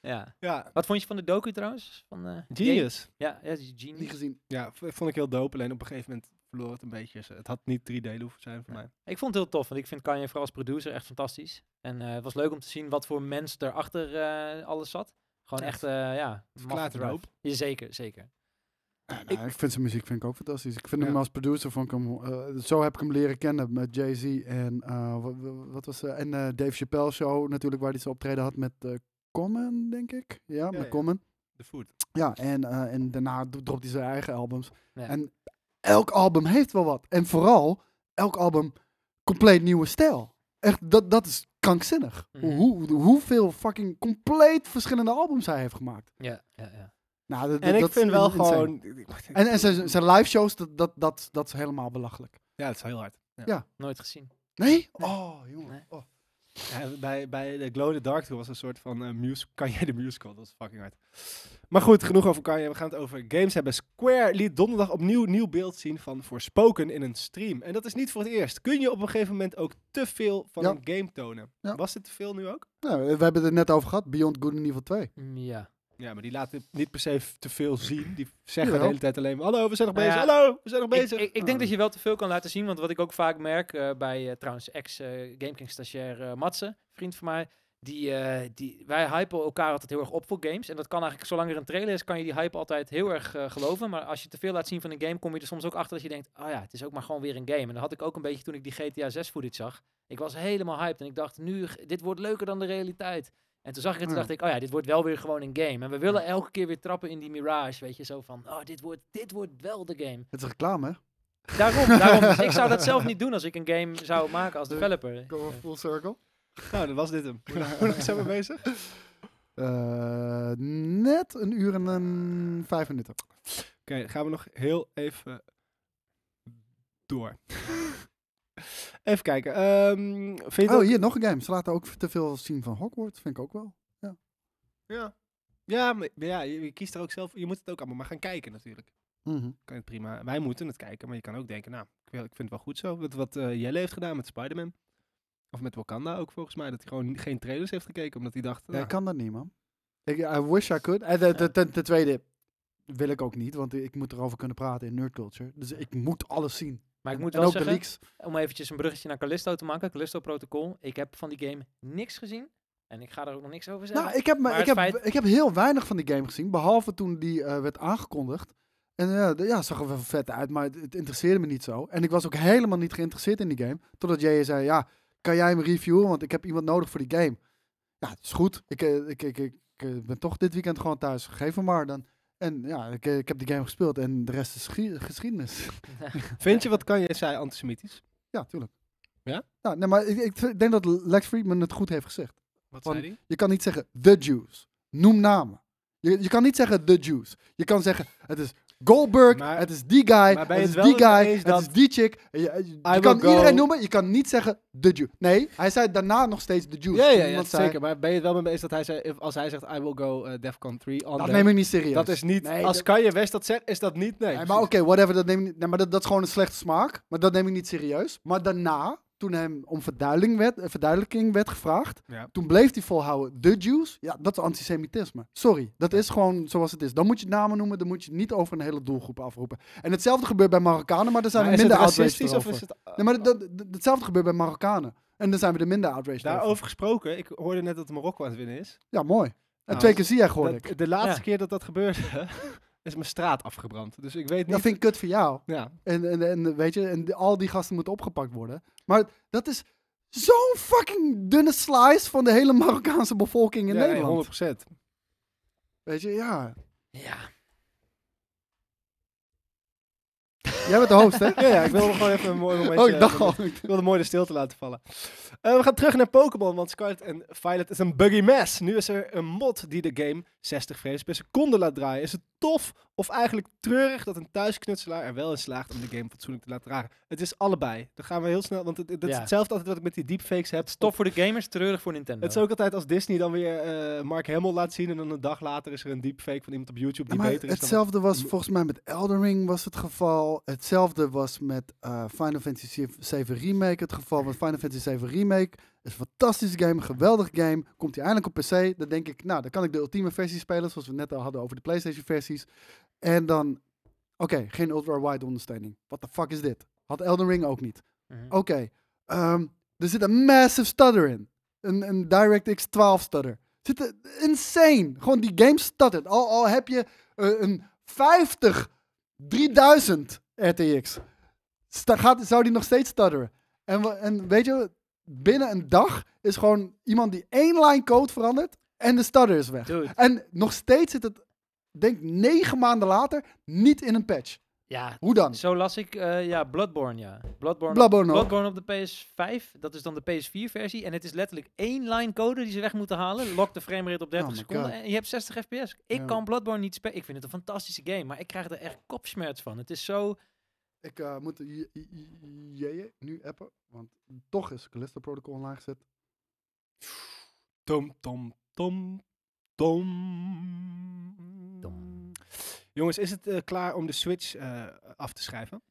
ja. Ja. Wat vond je van de docu trouwens? Van, eh, Genius. Ja, ja, die Genius. Niet gezien. Ja, v- vond ik heel dope. Alleen op een gegeven moment verloor het een beetje. Het had niet drie delen hoeven zijn voor Nee. mij. Ik vond het heel tof, want ik vind Kanye vooral als producer echt fantastisch. En eh, het was leuk om te zien wat voor mens erachter eh alles zat. Gewoon Ja, echt, eh ja, verklaart een hoop. Ja, zeker, zeker. Nou, ik, vind zijn muziek vind ik ook fantastisch. Ik vind Ja. hem als producer van hem, eh, zo heb ik hem leren kennen met Jay-Z en eh, wa- wa- wat was eh, en eh, Dave Chappelle show natuurlijk waar hij zijn optreden had met eh, Common denk ik. Ja, met ja. Common. De food. Ja, en, eh, en daarna d- dropt hij zijn eigen albums. Ja. En elk album heeft wel wat en vooral elk album compleet nieuwe stijl. Echt dat, dat is krankzinnig. Mhm. Hoe hoe, hoeveel fucking compleet verschillende albums hij heeft gemaakt. Ja, ja, ja. Nou, dat- En dat ik is vind wel insane. gewoon... En, en zijn, zijn live shows, dat, dat, dat, dat is helemaal belachelijk. Ja, het is heel hard. Ja. Nooit gezien. Nee? Oh, jongen. Nee. Oh. Ja, bij, bij de Glow in the Dark Tour was een soort van eh, mus- Kanye de musical. Dat is fucking hard. Maar goed, genoeg over Kanye. We gaan het over games hebben. Square liet donderdag opnieuw nieuw beeld zien van Forspoken in een stream. En dat is niet voor het eerst. Kun je op een gegeven moment ook te veel van Ja. een game tonen? Ja. Was dit te veel nu ook? Nou, we hebben het er net over gehad, Beyond Good and Evil 2. Mm, Ja. Ja, maar die laten niet per se te veel zien. Die zeggen de Jawel. hele tijd alleen maar, hallo, we zijn nog Nou bezig. ja, hallo, we zijn nog Ik, bezig. ik, ik denk dat je wel te veel kan laten zien, want wat ik ook vaak merk eh, bij eh, trouwens ex-GameKing stagiair eh Matze, vriend van mij, die, eh, die, wij hypen elkaar altijd heel erg op voor games. En dat kan eigenlijk, zolang er een trailer is, kan je die hype altijd heel erg eh, geloven. Maar als je te veel laat zien van een game, kom je er soms ook achter dat je denkt, ah ja, het is ook maar gewoon weer een game. En dat had ik ook een beetje toen ik die GTA 6 footage zag. Ik was helemaal hyped en ik dacht, nu, g- dit wordt leuker dan de realiteit. En toen zag ik het en Ja. dacht ik, oh ja, dit wordt wel weer gewoon een game. En we willen elke keer weer trappen in die mirage, weet je, zo van, oh, dit wordt, dit wordt wel de game. Het is reclame, hè? Daarom, daarom. Dus ik zou dat zelf niet doen als ik een game zou maken als developer. Go full circle. Nou, dat was dit hem. Hoe lang- hoe lang zijn we bezig? Eh, net een uur en een vijf minuten. Oké, dan gaan we nog heel even door. even kijken. ehm, vind je het Oh, ook- hier nog een game. Ze laten ook te veel zien van Hogwarts. Vind ik ook wel. Ja, ja, maar, maar ja je, je kiest er ook zelf. Je moet het ook allemaal maar gaan kijken natuurlijk. Mhm. Kan het prima. Wij moeten het kijken, maar je kan ook denken, nou, ik, wil, ik vind het wel goed zo. Wat, wat eh, Jelle heeft gedaan met Spider-Man. Of met Wakanda ook volgens mij. Dat hij gewoon geen trailers heeft gekeken, omdat hij dacht... Nee, nou, ik kan dat niet, man. Ik, I wish I could. En de, de- ten- ten tweede wil ik ook niet, want ik moet erover kunnen praten in nerd culture. Dus ik moet alles zien. Maar ik En- moet en wel ook de zeggen, leaks. om eventjes een bruggetje naar Callisto te maken, Callisto Protocol. Ik heb van die game niks gezien. En ik ga er ook nog niks over zeggen. Nou, ik heb, me- Maar ik, heb, het feit- ik heb heel weinig van die game gezien, behalve toen die eh, werd aangekondigd. En eh, de- ja, zag er wel vet uit, maar het, het interesseerde me niet zo. En ik was ook helemaal niet geïnteresseerd in die game. Totdat jij zei, ja, kan jij hem reviewen, want ik heb iemand nodig voor die game. Ja, het is goed. Ik, eh, ik, ik, ik, eh, ben toch dit weekend gewoon thuis. Geef hem maar dan. En ja, ik, eh, ik heb die game gespeeld en de rest is geschie- geschiedenis. Vind je wat kan je, zei antisemitisch? ja, tuurlijk. Ja? Ja, nee, maar ik, ik denk dat Lex Friedman het goed heeft gezegd. Wat Van- zei hij? Je kan niet zeggen the Jews. Noem namen. Je, je kan niet zeggen the Jews. Je kan zeggen het is Goldberg, Maar- het is die guy, ben het je is het die wel guy, eens het dat- is die chick. Je, je- je will kan go- iedereen noemen, je kan niet zeggen the Jew. Nee, hij zei daarna nog steeds the Jews. Ja, Toen ja, ja iemand zei, zeker. Maar ben je het wel mee eens dat hij zei, if- als hij zegt, I will go eh, Defcon 3 on Dat the- neem ik niet serieus. Dat is niet, Nee, als dat- kan je West dat zegt, is dat niet, nee. Nee, maar oké, whatever, dat neem ik niet. Nee, maar dat, dat is gewoon een slechte smaak. Maar dat neem ik niet serieus. Maar daarna, toen hem om verduidelijking werd, eh, verduidelijking werd gevraagd, Ja. toen bleef hij volhouden. De Jews, ja, dat is antisemitisme. Sorry, dat is gewoon zoals het is. Dan moet je namen noemen, dan moet je niet over een hele doelgroep afroepen. En hetzelfde gebeurt bij Marokkanen, maar daar zijn Maar we is het minder outraged racistisch over. of is het... Nee, maar dat, dat, hetzelfde gebeurt bij Marokkanen. En daar zijn we er minder outraged over. Daarover gesproken, ik hoorde net dat Marokko aan het winnen is. Ja, mooi. En Nou, twee keer zie jij, hoorde Dat, ik. de laatste Ja. keer dat dat gebeurde, is mijn straat afgebrand. Dus ik weet niet... Dat vind ik kut voor jou. Ja, En, en, en weet je, en die- al die gasten moeten opgepakt worden. Maar dat is zo'n fucking dunne slice van de hele Marokkaanse bevolking in ja, nee, Nederland. 100%. Weet je, ja. ja. Jij bent de host, hè? Ja, ja, ik wilde gewoon even een mooi momentje... oh, ik dacht eh, al. Ik wilde mooi de stilte laten vallen. Eh, we gaan terug naar Pokémon, want Scarlet en Violet is een buggy mess. Nu is er een mod die de game 60 frames per seconde laat draaien. Is het tof of eigenlijk treurig dat een thuisknutselaar er wel in slaagt om de game fatsoenlijk te laten draaien? Het is allebei. Dan gaan we heel snel, want het, het- het is Ja. hetzelfde altijd wat ik met die deepfakes heb. Tof voor de gamers, treurig voor Nintendo. Het is ook altijd als Disney dan weer eh, Mark Hamill laat zien en dan een dag later is er een deepfake van iemand op YouTube die Maar beter is dan... hetzelfde was volgens mij met Elden Ring was het geval. Hetzelfde was met eh, Final Fantasy VII Remake het geval. Want Final Fantasy VII Remake is een fantastische game, een geweldige game. Komt hij eindelijk op PC, dan denk ik, nou, dan kan ik de ultieme versie spelen, zoals we net al hadden over de PlayStation versies. En dan, oké, geen ultra-wide ondersteuning. What the fuck is dit? Had Elden Ring ook niet. Mhm. Oké, ehm, er zit een massive stutter in. Een, een DirectX 12 stutter. Zit er- insane. Gewoon die game stuttert. Al, al heb je eh, een 50 3000 RTX. Sta, gaat, zou die nog steeds stutteren? En, wa- en weet je, binnen een dag is gewoon iemand die één line code verandert en de stutter is weg. Dude. En nog steeds zit het, denk negen maanden later, niet in een patch. Ja, Hoe dan? Zo las ik, eh, ja, Bloodborne, ja. Bloodborne, Bloodborne ook. Bloodborne op de PS5, dat is dan de PS4-versie. En het is letterlijk één line code die ze weg moeten halen. Lock de framerate op 30 Oh my seconden God. en je hebt 60 fps. Ik Ja. kan Bloodborne niet spelen. Ik vind het een fantastische game, maar ik krijg er echt kopsmerts van. Het is zo... Ik eh, moet J- J- J- JJ nu appen, want toch is Callisto Protocol online gezet. Tom, tom, tom, tom. Tom. Jongens, is het eh, klaar om de Switch eh, af te schrijven?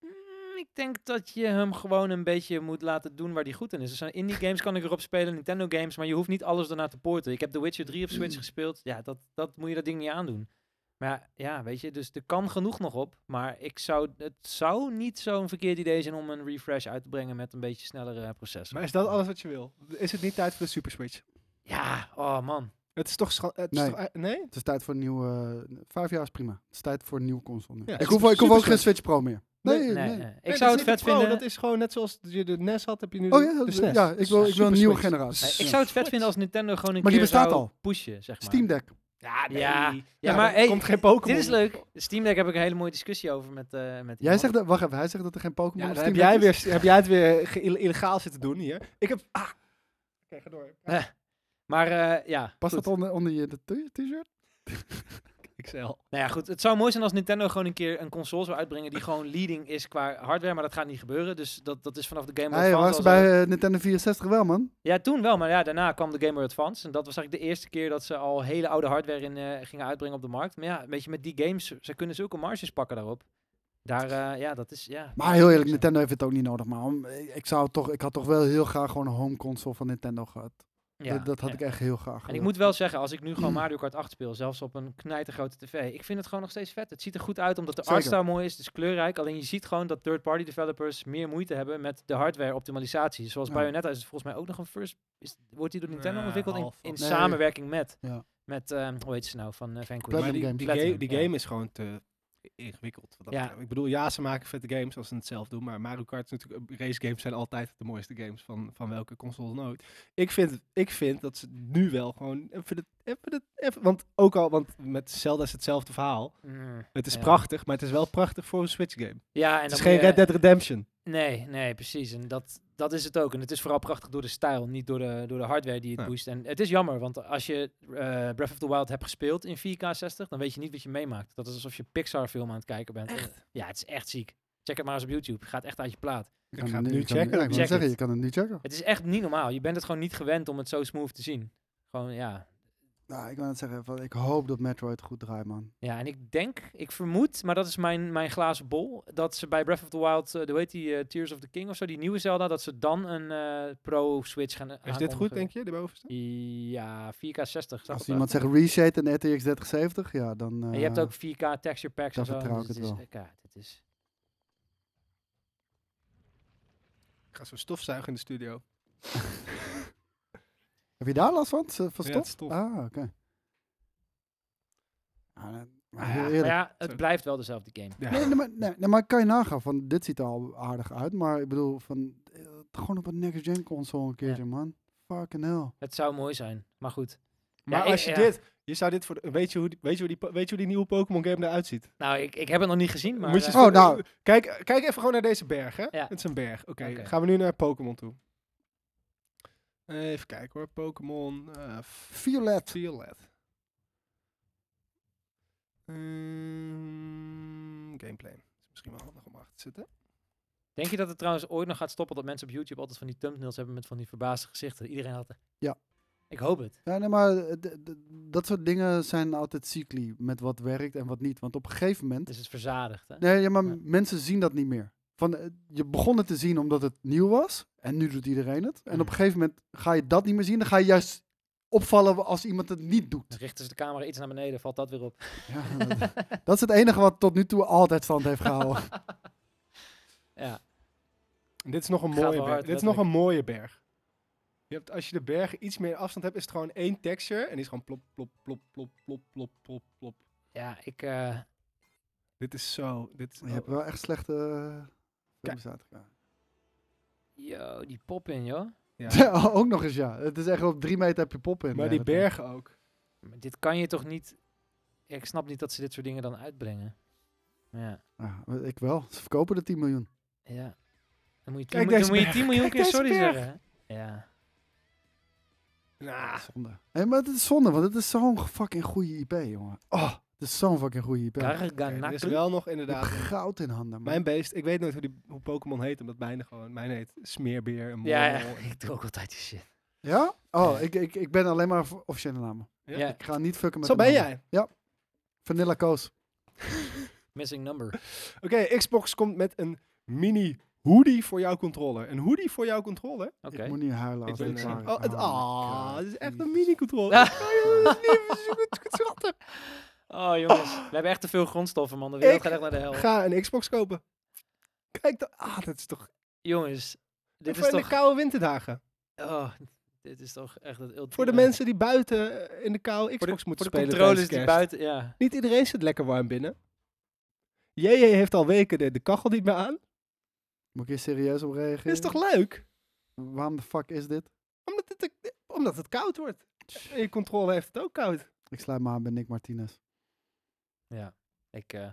Mm, Ik denk dat je hem gewoon een beetje moet laten doen waar hij goed in is. Er zijn indie games kan ik erop spelen, Nintendo games, maar je hoeft niet alles daarna te poorten. Ik heb The Witcher 3 op Switch gespeeld. Ja, dat, dat moet je dat ding niet aandoen. Maar ja, weet je, dus er kan genoeg nog op. Maar ik zou, het zou niet zo'n verkeerd idee zijn om een refresh uit te brengen met een beetje snellere eh, processor. Maar is dat alles wat je wil? Is het niet tijd voor de Super Switch? Ja, oh man. Het is toch... scha- Het is Nee. toch eh, nee? Het is tijd voor een nieuwe. eh, vijf jaar is prima. Het is tijd voor een nieuwe console. Nu. Ja, ik het hoef, is ik hoef ook super geen Switch Pro meer. Nee, nee. Nee, eh, Ik zou het vet vinden. Dat is gewoon net zoals je de NES had, heb je nu Oh de, E ja, Dus de dat- SNES. ja, ik wil- ik wil een nieuwe Super Switch. generatie. Eh, Ik zou het vet vinden als Nintendo gewoon een Maar die keer bestaat zou al. pushen, zeg maar. Ah, Steam Deck. Ja, nee. Ja, Nou, ja, dan maar hey, komt geen Pokémon. Dit is leuk. Steam Deck heb ik een hele mooie discussie over met, eh met Jij iemand. zegt dat, wacht even, hij zegt dat er geen Pokémon Ja, op dan Steam heb jij, Deck is. weer, heb jij het weer ge- illegaal zitten doen hier. Ik heb... Ah, ga door. Maar eh, ja, Past goed. dat onder, onder je de t- t-shirt? XL. Nou ja, goed. Het zou mooi zijn als Nintendo gewoon een keer een console zou uitbrengen die gewoon leading is qua hardware, maar dat gaat niet gebeuren. Dus dat, dat is vanaf de Game Boy Hij Advance. was al bij zo. eh, Nintendo 64 wel, man. Ja, toen wel, maar ja, daarna kwam de Game Boy Advance. En dat was eigenlijk de eerste keer dat ze al hele oude hardware in, eh, gingen uitbrengen op de markt. Maar ja, weet je, met die games, ze kunnen zulke marges pakken daarop. Daar, eh, ja, dat is, ja. Maar heel eerlijk, Nintendo heeft het ook niet nodig, man. Ik, zou toch, ik had toch wel heel graag gewoon een home console van Nintendo gehad. Ja, dat, dat had ja. ik echt heel graag En ik gewild. moet wel zeggen, als ik nu gewoon Mario Kart 8 speel, zelfs op een knijtergrote tv, ik vind het gewoon nog steeds vet. Het ziet er goed uit, omdat de Zeker. artstyle mooi is, het is kleurrijk. Alleen je ziet gewoon dat third-party developers meer moeite hebben met de hardware-optimalisatie. Zoals Ja. Bayonetta is het volgens mij ook nog een first... Is, wordt die door Nintendo Nee, ontwikkeld in, half. in Nee. samenwerking met... Ja. Met, ehm, hoe heet ze nou, van eh Vanquish. Maar Platinum die, Games. die, Platinum, game, die ja. game is gewoon te ingewikkeld. wat dat Ja. betreft. Ik bedoel, ja, ze maken vette games als ze het zelf doen. Maar Mario Kart, is natuurlijk, eh, race games zijn altijd de mooiste games van, van welke console dan ook. Ik vind, ik vind dat ze nu wel gewoon even het, even het, even, want ook al, want met Zelda is hetzelfde verhaal. Mm, Het is ja. prachtig, maar het is wel prachtig voor een Switch game. Ja, en het dan is moet geen je- Red Dead Redemption. Nee, nee, precies. En dat, dat is het ook. En het is vooral prachtig door de stijl, niet door de, door de hardware die het Ja. boost. En het is jammer, want als je eh, Breath of the Wild hebt gespeeld in 4K60, dan weet je niet wat je meemaakt. Dat is alsof je Pixar-film aan het kijken bent. Echt? Ja, het is echt ziek. Check het maar eens op YouTube. Gaat echt uit je plaat. Ik kan ga het het nu je kan- checken. ja, ik wou Check zeggen, het. je kan het nu checken. Het is echt niet normaal. Je bent het gewoon niet gewend om het zo smooth te zien. Gewoon, ja. Nou, ik wil het zeggen, van, ik hoop dat Metroid goed draait, man. Ja, en ik denk, ik vermoed, maar dat is mijn, mijn glazen bol, dat ze bij Breath of the Wild, eh, hoe heet die, eh, Tears of the King of zo, die nieuwe Zelda, dat ze dan een eh, Pro-Switch gaan Is dit goed, denk je, de bovenste? Ja, 4K 60. Als iemand zegt reshade en RTX 3070, ja, dan... En je hebt eh, ook 4K texture packs en daar zo. vertrouw dus ik het is- wel. eh, ja, het is, Ik ga zo stofzuigen in de studio. Heb je daar last van? Z- Van Ja, stof? het stof. Ah, oké. Ah, eh, maar heel ja, maar eerlijk. ja, het Sorry. blijft wel dezelfde game. Ja. Nee, nee, maar, nee, nee, maar kan je nagaan van dit ziet er al aardig uit, maar ik bedoel van eh, gewoon op een next gen console een keertje man. Fucking hell. Het zou mooi zijn, maar goed. Maar ik- als je ja. dit, je zou dit voor, de- weet je hoe, die- weet je hoe, die, po- weet je hoe die nieuwe Pokémon game eruit ziet? Nou, ik, ik heb het nog niet gezien, maar... Moet je eh, eens Oh, voor- nou. kijk, kijk even gewoon naar deze berg, hè? Ja. Het is een berg. Oké, Oké. gaan we nu naar Pokémon toe. Even kijken hoor. Pokémon eh, Violet. Violet. Ehm, gameplay. Is misschien wel handig om achter te zitten. Denk je dat het trouwens ooit nog gaat stoppen dat mensen op YouTube altijd van die thumbnails hebben met van die verbaasde gezichten? Iedereen had er... Ja. Ik hoop het. Ja, nee, maar eh, d- d- dat soort dingen zijn altijd cycli met wat werkt en wat niet. Want op een gegeven moment. Dus het is verzadigd, hè? Nee, ja, maar Ja. mensen zien dat niet meer. Van, eh, je begon het te zien omdat het nieuw was en nu doet iedereen het. En op een gegeven moment ga je dat niet meer zien, dan ga je juist opvallen als iemand het niet doet. Dan richten ze de camera iets naar beneden, valt dat weer op. Ja, dat, dat is het enige wat tot nu toe altijd stand heeft gehouden. Ja. En dit is nog een Gaat wel mooie berg. hard, Dit is nog een mooie berg. Je hebt, als je de bergen iets meer afstand hebt, is het gewoon één texture. En die is gewoon plop, plop, plop, plop, plop, plop, plop, plop. Ja, ik... eh, Dit is zo. Dit is, Je hebt oh, wel echt slechte eh, Kijk. films uitgekomen. yo, die pop in, joh. ja. Ja, ook nog eens ja. Het is echt op drie meter heb je pop in. Maar ja, die dat- bergen ook. Maar dit kan je toch niet... Ja, Ik snap niet dat ze dit soort dingen dan uitbrengen. Ja. Ja, ik wel. Ze verkopen de 10 miljoen. ja. Dan moet je 10, Kijk miljoen- deze dan moet je berg. 10 miljoen Kijk keer deze sorry berg. zeggen. hè? Ja. Nah. Zonde. Nee, maar het is zonde, want het is zo'n fucking goede IP, jongen. Oh, het is zo'n fucking goede IP. Ik Oké, er is Garganaku. wel nog heb inderdaad goud in handen, man. Mijn beest, ik weet nooit hoe, die, hoe Pokémon heet, omdat mijne gewoon, mijn heet Smeerbeer en Ja, ja, Mormel en- ik doe ook altijd die shit. Ja? Oh, Ja. ik, ik, ik ben alleen maar voor officiële namen. Ja. Ja, Ik ga niet fucken met Zo de ben namen. jij. Vanilla Coast. missing number. Oké, Xbox komt met een mini hoodie voor jouw controller. Een hoodie voor jouw controller? Oké. Ik moet niet huilen als ik dit ben, waar eh, is. oh, het, my ah, God. het is echt Jezus. een mini controller. Ja. Oh, jongen, dat is lief, zo goed, goed schattig. Oh jongens, we hebben echt te veel grondstoffen man. De wereld Ik gaat echt naar de hel. Ga een Xbox kopen. Kijk, da- ah, dat is toch... Jongens, dit voor is in toch... de koude winterdagen. Oh, dit is toch echt het ultieme. Voor de mensen die buiten eh, in de kou Voor de- Xbox moeten voor de spelen controles tijdens die kerst. buiten... Ja. Niet iedereen zit lekker warm binnen. JJ heeft al weken de, de kachel niet meer aan. Moet ik hier serieus op reageren? Dit is toch leuk? Waarom de fuck is dit? Omdat het, eh, omdat het koud wordt. En je controle heeft het ook koud. Ik sluit me aan bij Nick Martinez. Ik, eh,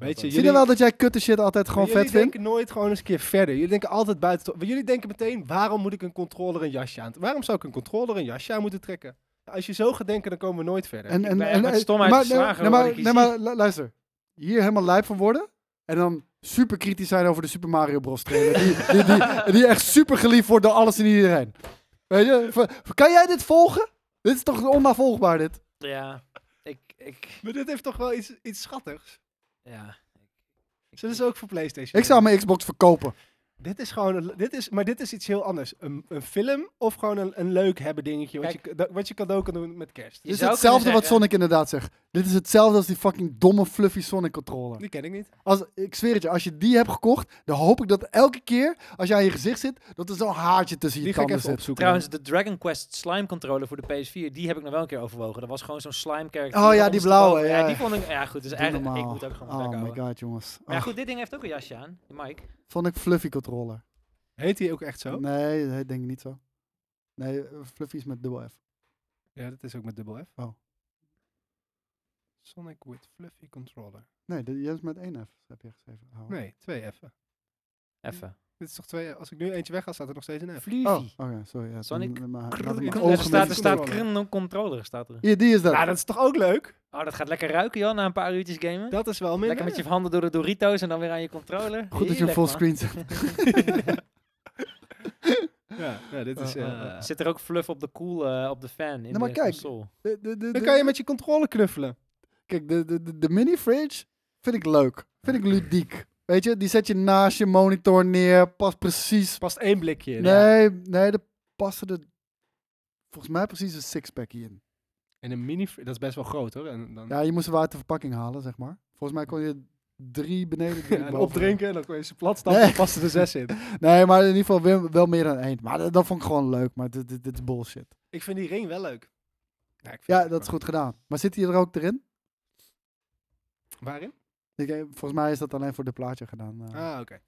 Weet dat je, Zie dan. je nou wel dat jij kutte shit altijd gewoon Maar vet Jullie vindt? denken nooit gewoon eens een keer verder. Jullie denken altijd buiten. want Jullie denken meteen, waarom moet ik een controller een jasje aan? Waarom zou ik een controller een jasje aan moeten trekken? Als je zo gaat denken, dan komen we nooit verder. En, en, ben echt en, met en- stomheid maar, nee, nee, geslagen door maar, wat ik hier nee, maar lu- luister. Hier helemaal lijp van worden. En dan super kritisch zijn over de Super Mario Bros. trailer. die, die, die, die echt super geliefd wordt door alles en iedereen. Weet je? v- Kan jij dit volgen? Dit is toch onnavolgbaar dit? Ja, ik... ik maar dit heeft toch wel iets, iets schattigs. ja. Ik- Zullen ze ook voor PlayStation? Ik zou mijn Xbox verkopen. Dit is gewoon, een- dit is, maar dit is iets heel anders. Een, een film of gewoon een, een leuk hebben dingetje. Wat Kijk. je, da- wat je cadeau kan doen met kerst. Je Dit is zou hetzelfde kunnen wat zeggen- Sonic inderdaad zegt. Dit is hetzelfde als die fucking domme fluffy Sonic controller. Die ken ik niet. Als, ik zweer het je, als je die hebt gekocht, dan hoop ik dat elke keer als jij aan je gezicht zit, dat er zo'n haartje tussen je Die ga ik tanden even zit. opzoeken. Trouwens, de Dragon Quest slime controller voor de PS4, die heb ik nog wel een keer overwogen. Dat was gewoon zo'n slime character. Oh ja, die blauwe, Ja, ja. die vond ik... Ja, goed, dus Doe eigenlijk... Ik normaal. moet ook gewoon mijn bek Oh my houden. god, jongens. Maar ja, Ach, goed, dit ding heeft ook een jasje aan. Die Mike. Sonic Fluffy controller. Heet die ook echt zo? Nee, nee, denk ik niet zo. Nee, eh, Fluffy is met dubbel F. Ja, dat is ook met dubbel F. Oh. Sonic with Fluffy Controller. Nee, de- jij is met één F, heb je geschreven. Oh. Nee, twee F'en. Even. Dit is toch twee. Als ik nu eentje wegga, staat er nog steeds een F. Fluffy. Oh, oké, sorry. Ja, Sonic toen- maar- Krrr, laat die mijn kon- ogen er staat, met- er staat controller. Kringel controller. Staat er. Ja, die is dat. Nou, dat is toch ook leuk? Oh, dat gaat lekker ruiken, joh, na een paar uurtjes gamen. Dat is wel minder. Lekker met je handen door de Doritos en dan weer aan je controller. Goed dat je hem Heerlijk, man. fullscreen zet. Ja, ja, dit is. Oh, Eh, eh, eh, Zit er ook fluff op de cool, eh, op de fan in Nou, maar de kijk. console. De- de- de- Dan de- kan je met je controller knuffelen. Kijk, de, de, de, de mini-fridge vind ik leuk. Vind ik ludiek. Weet je, die zet je naast je monitor neer. Past precies. Past één blikje in. Nee, nee, er passen er volgens mij precies een sixpack in. En een mini. Dat is best wel groot hoor. En dan Ja, je moest ze wel uit de verpakking halen, zeg maar. Volgens mij kon je drie beneden, drie Ja, en boven. opdrinken en dan kon je ze plat stappen. Nee. Dan pasten er zes in. Nee, maar in ieder geval wel, wel meer dan één. Maar dat, dat vond ik gewoon leuk, maar dit, dit, dit is bullshit. Ik vind die ring wel leuk. Ja, ik vind Ja, het dat is wel- goed gedaan. Maar zit hij er ook erin? Waarin? Ik, eh, volgens mij is dat alleen voor de plaatje gedaan. eh. Ah, oké.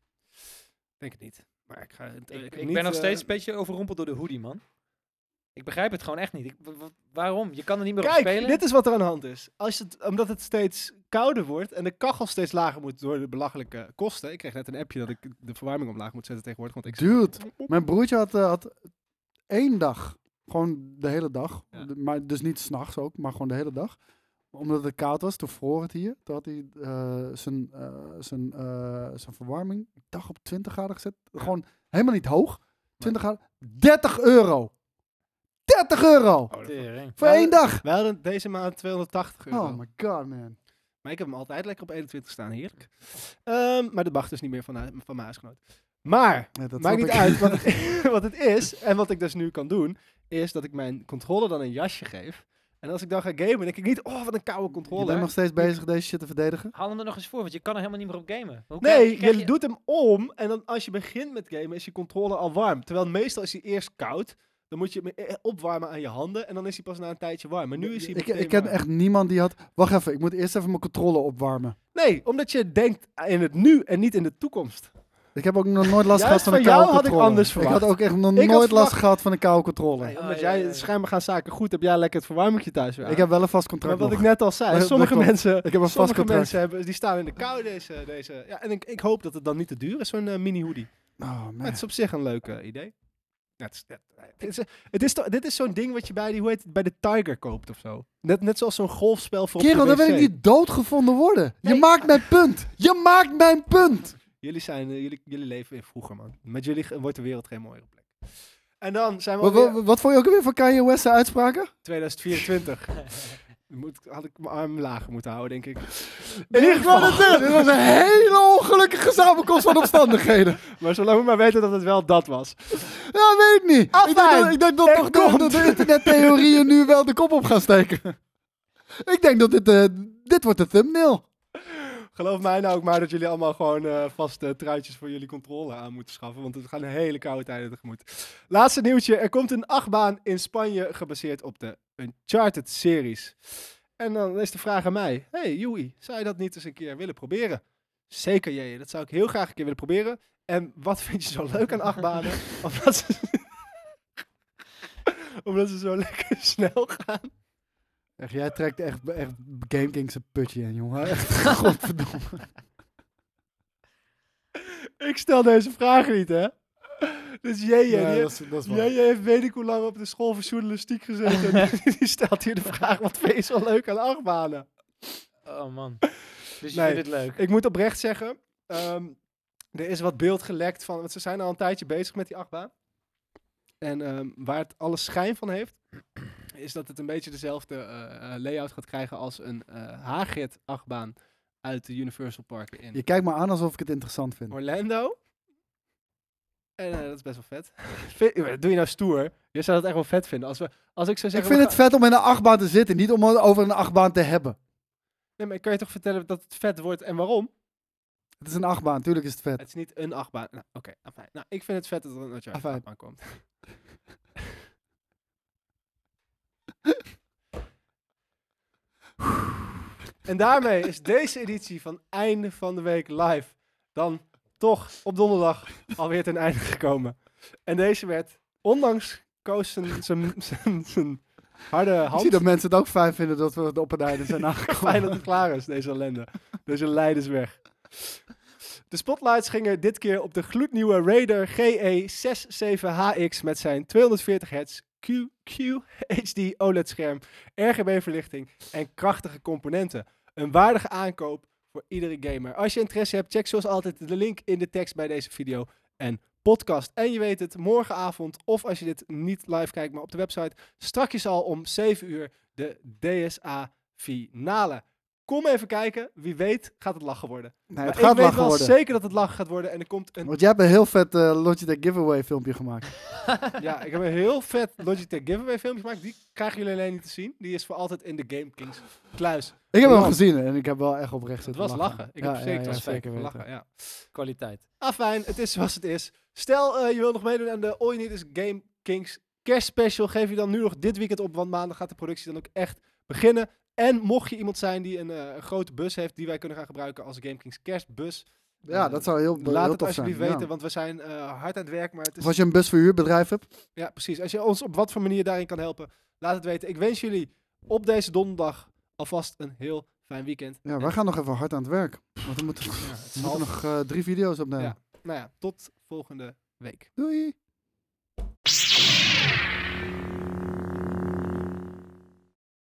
Denk het niet. Maar ik ga. het- Ik, heb ik niet, ben nog eh, steeds een beetje overrompeld door de hoodie, man. Ik begrijp het gewoon echt niet. Ik, wa- wa- waarom? Je kan er niet meer op Kijk, spelen. dit is wat er aan de hand is. Als het, omdat het steeds kouder wordt en de kachel steeds lager moet door de belachelijke kosten. Ik kreeg net een appje dat ik de verwarming omlaag moet zetten tegenwoordig. Want ik Dude, Mijn broertje had, eh, had één dag, gewoon de hele dag. Ja. De- Maar dus niet s'nachts ook, maar gewoon de hele dag. Omdat het koud was, toen vroor het hier. Toen had hij eh, zijn, eh, zijn, eh, zijn verwarming, ik dacht op 20 graden gezet. Gewoon helemaal niet hoog. 20 graden. 30 euro! 30 euro! Oh, dat- Tering. Voor Ja, één dag! Wij hadden deze maand 280 euro. Oh my god, man. Maar ik heb hem altijd lekker op 21 staan, heerlijk. Ehm, maar dat mag dus niet meer van, hu- van mijn huisgenoot. Maar, Ja, dat maakt niet snap ik. uit wat het, wat het is. En wat ik dus nu kan doen, is dat ik mijn controller dan een jasje geef. En als ik dan ga gamen, denk ik niet, oh wat een koude Je bent controller. nog steeds bezig deze shit te verdedigen? Haal hem er nog eens voor, want je kan er helemaal niet meer op gamen. Hoe krijg- Nee, krijg je doet hem om en dan als je begint met gamen is je controller al warm. Terwijl meestal is hij eerst koud. Dan moet je hem e- opwarmen aan je handen en dan is hij pas na een tijdje warm. Maar nu is hij Ik, meteen ik ken warm. echt niemand die had... Wacht even, ik moet eerst even mijn controle opwarmen. Nee, omdat je denkt in het nu en niet in de toekomst. Ik heb ook nog nooit last Juist gehad van van een koude jou had ik controle. anders Ik verwacht. had ook echt nog Ik had nooit last verwacht- gehad van een koude controle. Nee, Ah, omdat ja, jij ja, ja. schijnbaar gaan zaken goed, heb jij lekker het verwarmertje thuis weer aan. Ik heb wel een vast maar contract wat nog. ik net al zei, Dat- dat sommige klopt. mensen, Ik heb een vast sommige contract. mensen hebben, die staan in de kou deze. deze ja, en ik, ik hoop dat het dan niet te duur is, zo'n eh, mini hoodie. Oh, Maar man. het is op zich een leuk eh, idee. Ja, het is, het, het is, het is toch- dit is zo'n ding wat je bij, die, hoe heet het, bij de Tiger koopt of zo. Net, net zoals zo'n golfspel voor op Kerel, de dan wil wc. ik niet doodgevonden worden. Je Nee. maakt mijn punt. Je maakt mijn punt. Jullie, zijn, eh, jullie, jullie leven in vroeger, man. Met jullie ge- wordt de wereld geen mooiere plek. En dan zijn we Wat, alweer wat, wat vond je ook alweer van Kanye West's uitspraken? 2024. Moet, had ik mijn arm lager moeten houden, denk ik. In ieder geval, dit dit was een hele ongelukkige samenkomst van omstandigheden. Maar zolang we maar weten dat het wel dat was. Ja, weet ik niet. Ik denk dat, Afijn. ik denk dat Er toch de, de, komt. de internettheorieën nu wel de kop op gaan steken. Ik denk dat dit, eh, dit wordt de thumbnail. Geloof mij nou ook maar dat jullie allemaal gewoon eh vast eh, truitjes voor jullie controle aan moeten schaffen. Want we gaan een hele koude tijden tegemoet. Laatste nieuwtje. Er komt een achtbaan in Spanje gebaseerd op de Uncharted-series. En dan is de vraag aan mij. hey, Joey, zou je dat niet eens een keer willen proberen? Zeker, jij. Dat zou ik heel graag een keer willen proberen. En wat vind je zo leuk aan achtbanen? Omdat ze... Omdat ze zo lekker snel gaan. Echt, jij trekt echt, echt Game Kings een putje in, jongen. Echt, godverdomme. Ik stel deze vraag niet, hè? Dus JJ, die Nee, heeft- dat is, dat is waar. JJ heeft weet ik hoe lang op de school voor journalistiek gezeten. En die stelt hier de vraag, wat vind je zo leuk aan achtbanen? Oh man. Dus je Nee. vindt het leuk. Ik moet oprecht zeggen, ehm, er is wat beeld gelekt van, want ze zijn al een tijdje bezig met die achtbaan. En ehm, waar het alle schijn van heeft, is dat het een beetje dezelfde eh, eh, layout gaat krijgen als een eh Hagrid achtbaan uit de Universal Park in Je kijkt me aan alsof ik het interessant vind. Orlando. En eh, dat is best wel vet. Vind- ja, maar dat Doe je nou stoer? Je zou dat echt wel vet vinden. Als, we, als ik zou Ik zeggen... vind we het gaan- vet om in een achtbaan te zitten, niet om over een achtbaan te hebben. Nee, maar ik kan je toch vertellen dat het vet wordt en waarom? Het is een achtbaan, tuurlijk is het vet. Het is niet een achtbaan. Nou, Oké, afijn. Nou, ik vind het vet dat er een Uncharted Afijn. achtbaan komt. en daarmee is deze editie van Einde van de Week live dan toch op donderdag alweer ten einde gekomen. En deze werd, ondanks Koos zijn- zijn- zijn zijn harde Ik hand... zie dat mensen het ook fijn vinden dat we op een einde zijn aangekomen. Fijn dat het klaar is, deze ellende. Deze leid is weg. De spotlights gingen dit keer op de gloednieuwe Raider E GE67HX met zijn 240 Hz QQ HD OLED-scherm, RGB-verlichting en krachtige componenten. Een waardige aankoop voor iedere gamer. Als je interesse hebt, check zoals altijd de link in de tekst bij deze video en podcast. En je weet het, morgenavond of als je dit niet live kijkt, maar op de website, strakjes al om 7 uur de DSA finale. Kom even kijken. Wie weet gaat het lachen worden. Nee, Maar het ik gaat weet lachen wel worden. zeker dat het lachen gaat worden. En er komt een... Want jij hebt een heel vet eh, Logitech giveaway filmpje gemaakt. Ja, ik heb een heel vet Logitech giveaway filmpje gemaakt. Die krijgen jullie alleen niet te zien. Die is voor altijd in de Game Kings kluis. Ik heb hem Man. gezien en ik heb wel echt oprecht Het zitten was lachen. Ik Ja, heb ja, zeker, ja, het was zeker zeker weten. lachen. Ja. Kwaliteit. Afijn, het is zoals het is. Stel, eh, je wil nog meedoen aan de All You Need Is Game Kings kerstspecial. Geef je dan nu nog dit weekend op, want maandag gaat de productie dan ook echt beginnen. En mocht je iemand zijn die een eh, een grote bus heeft, die wij kunnen gaan gebruiken als Game Kings kerstbus, Ja, Eh, dat zou heel, heel laat het tof alsjeblieft zijn. ja. weten, want we zijn eh, hard aan het werk. Maar het Of is, als je een busverhuurbedrijf hebt, ja, precies. Als je ons op wat voor manier daarin kan helpen, laat het weten. Ik wens jullie op deze donderdag alvast een heel fijn weekend. ja, wij gaan nog even hard aan het werk. Want we moeten, we Ja, het is moeten half. nog eh, drie video's opnemen. Nou ja, tot volgende week. Doei!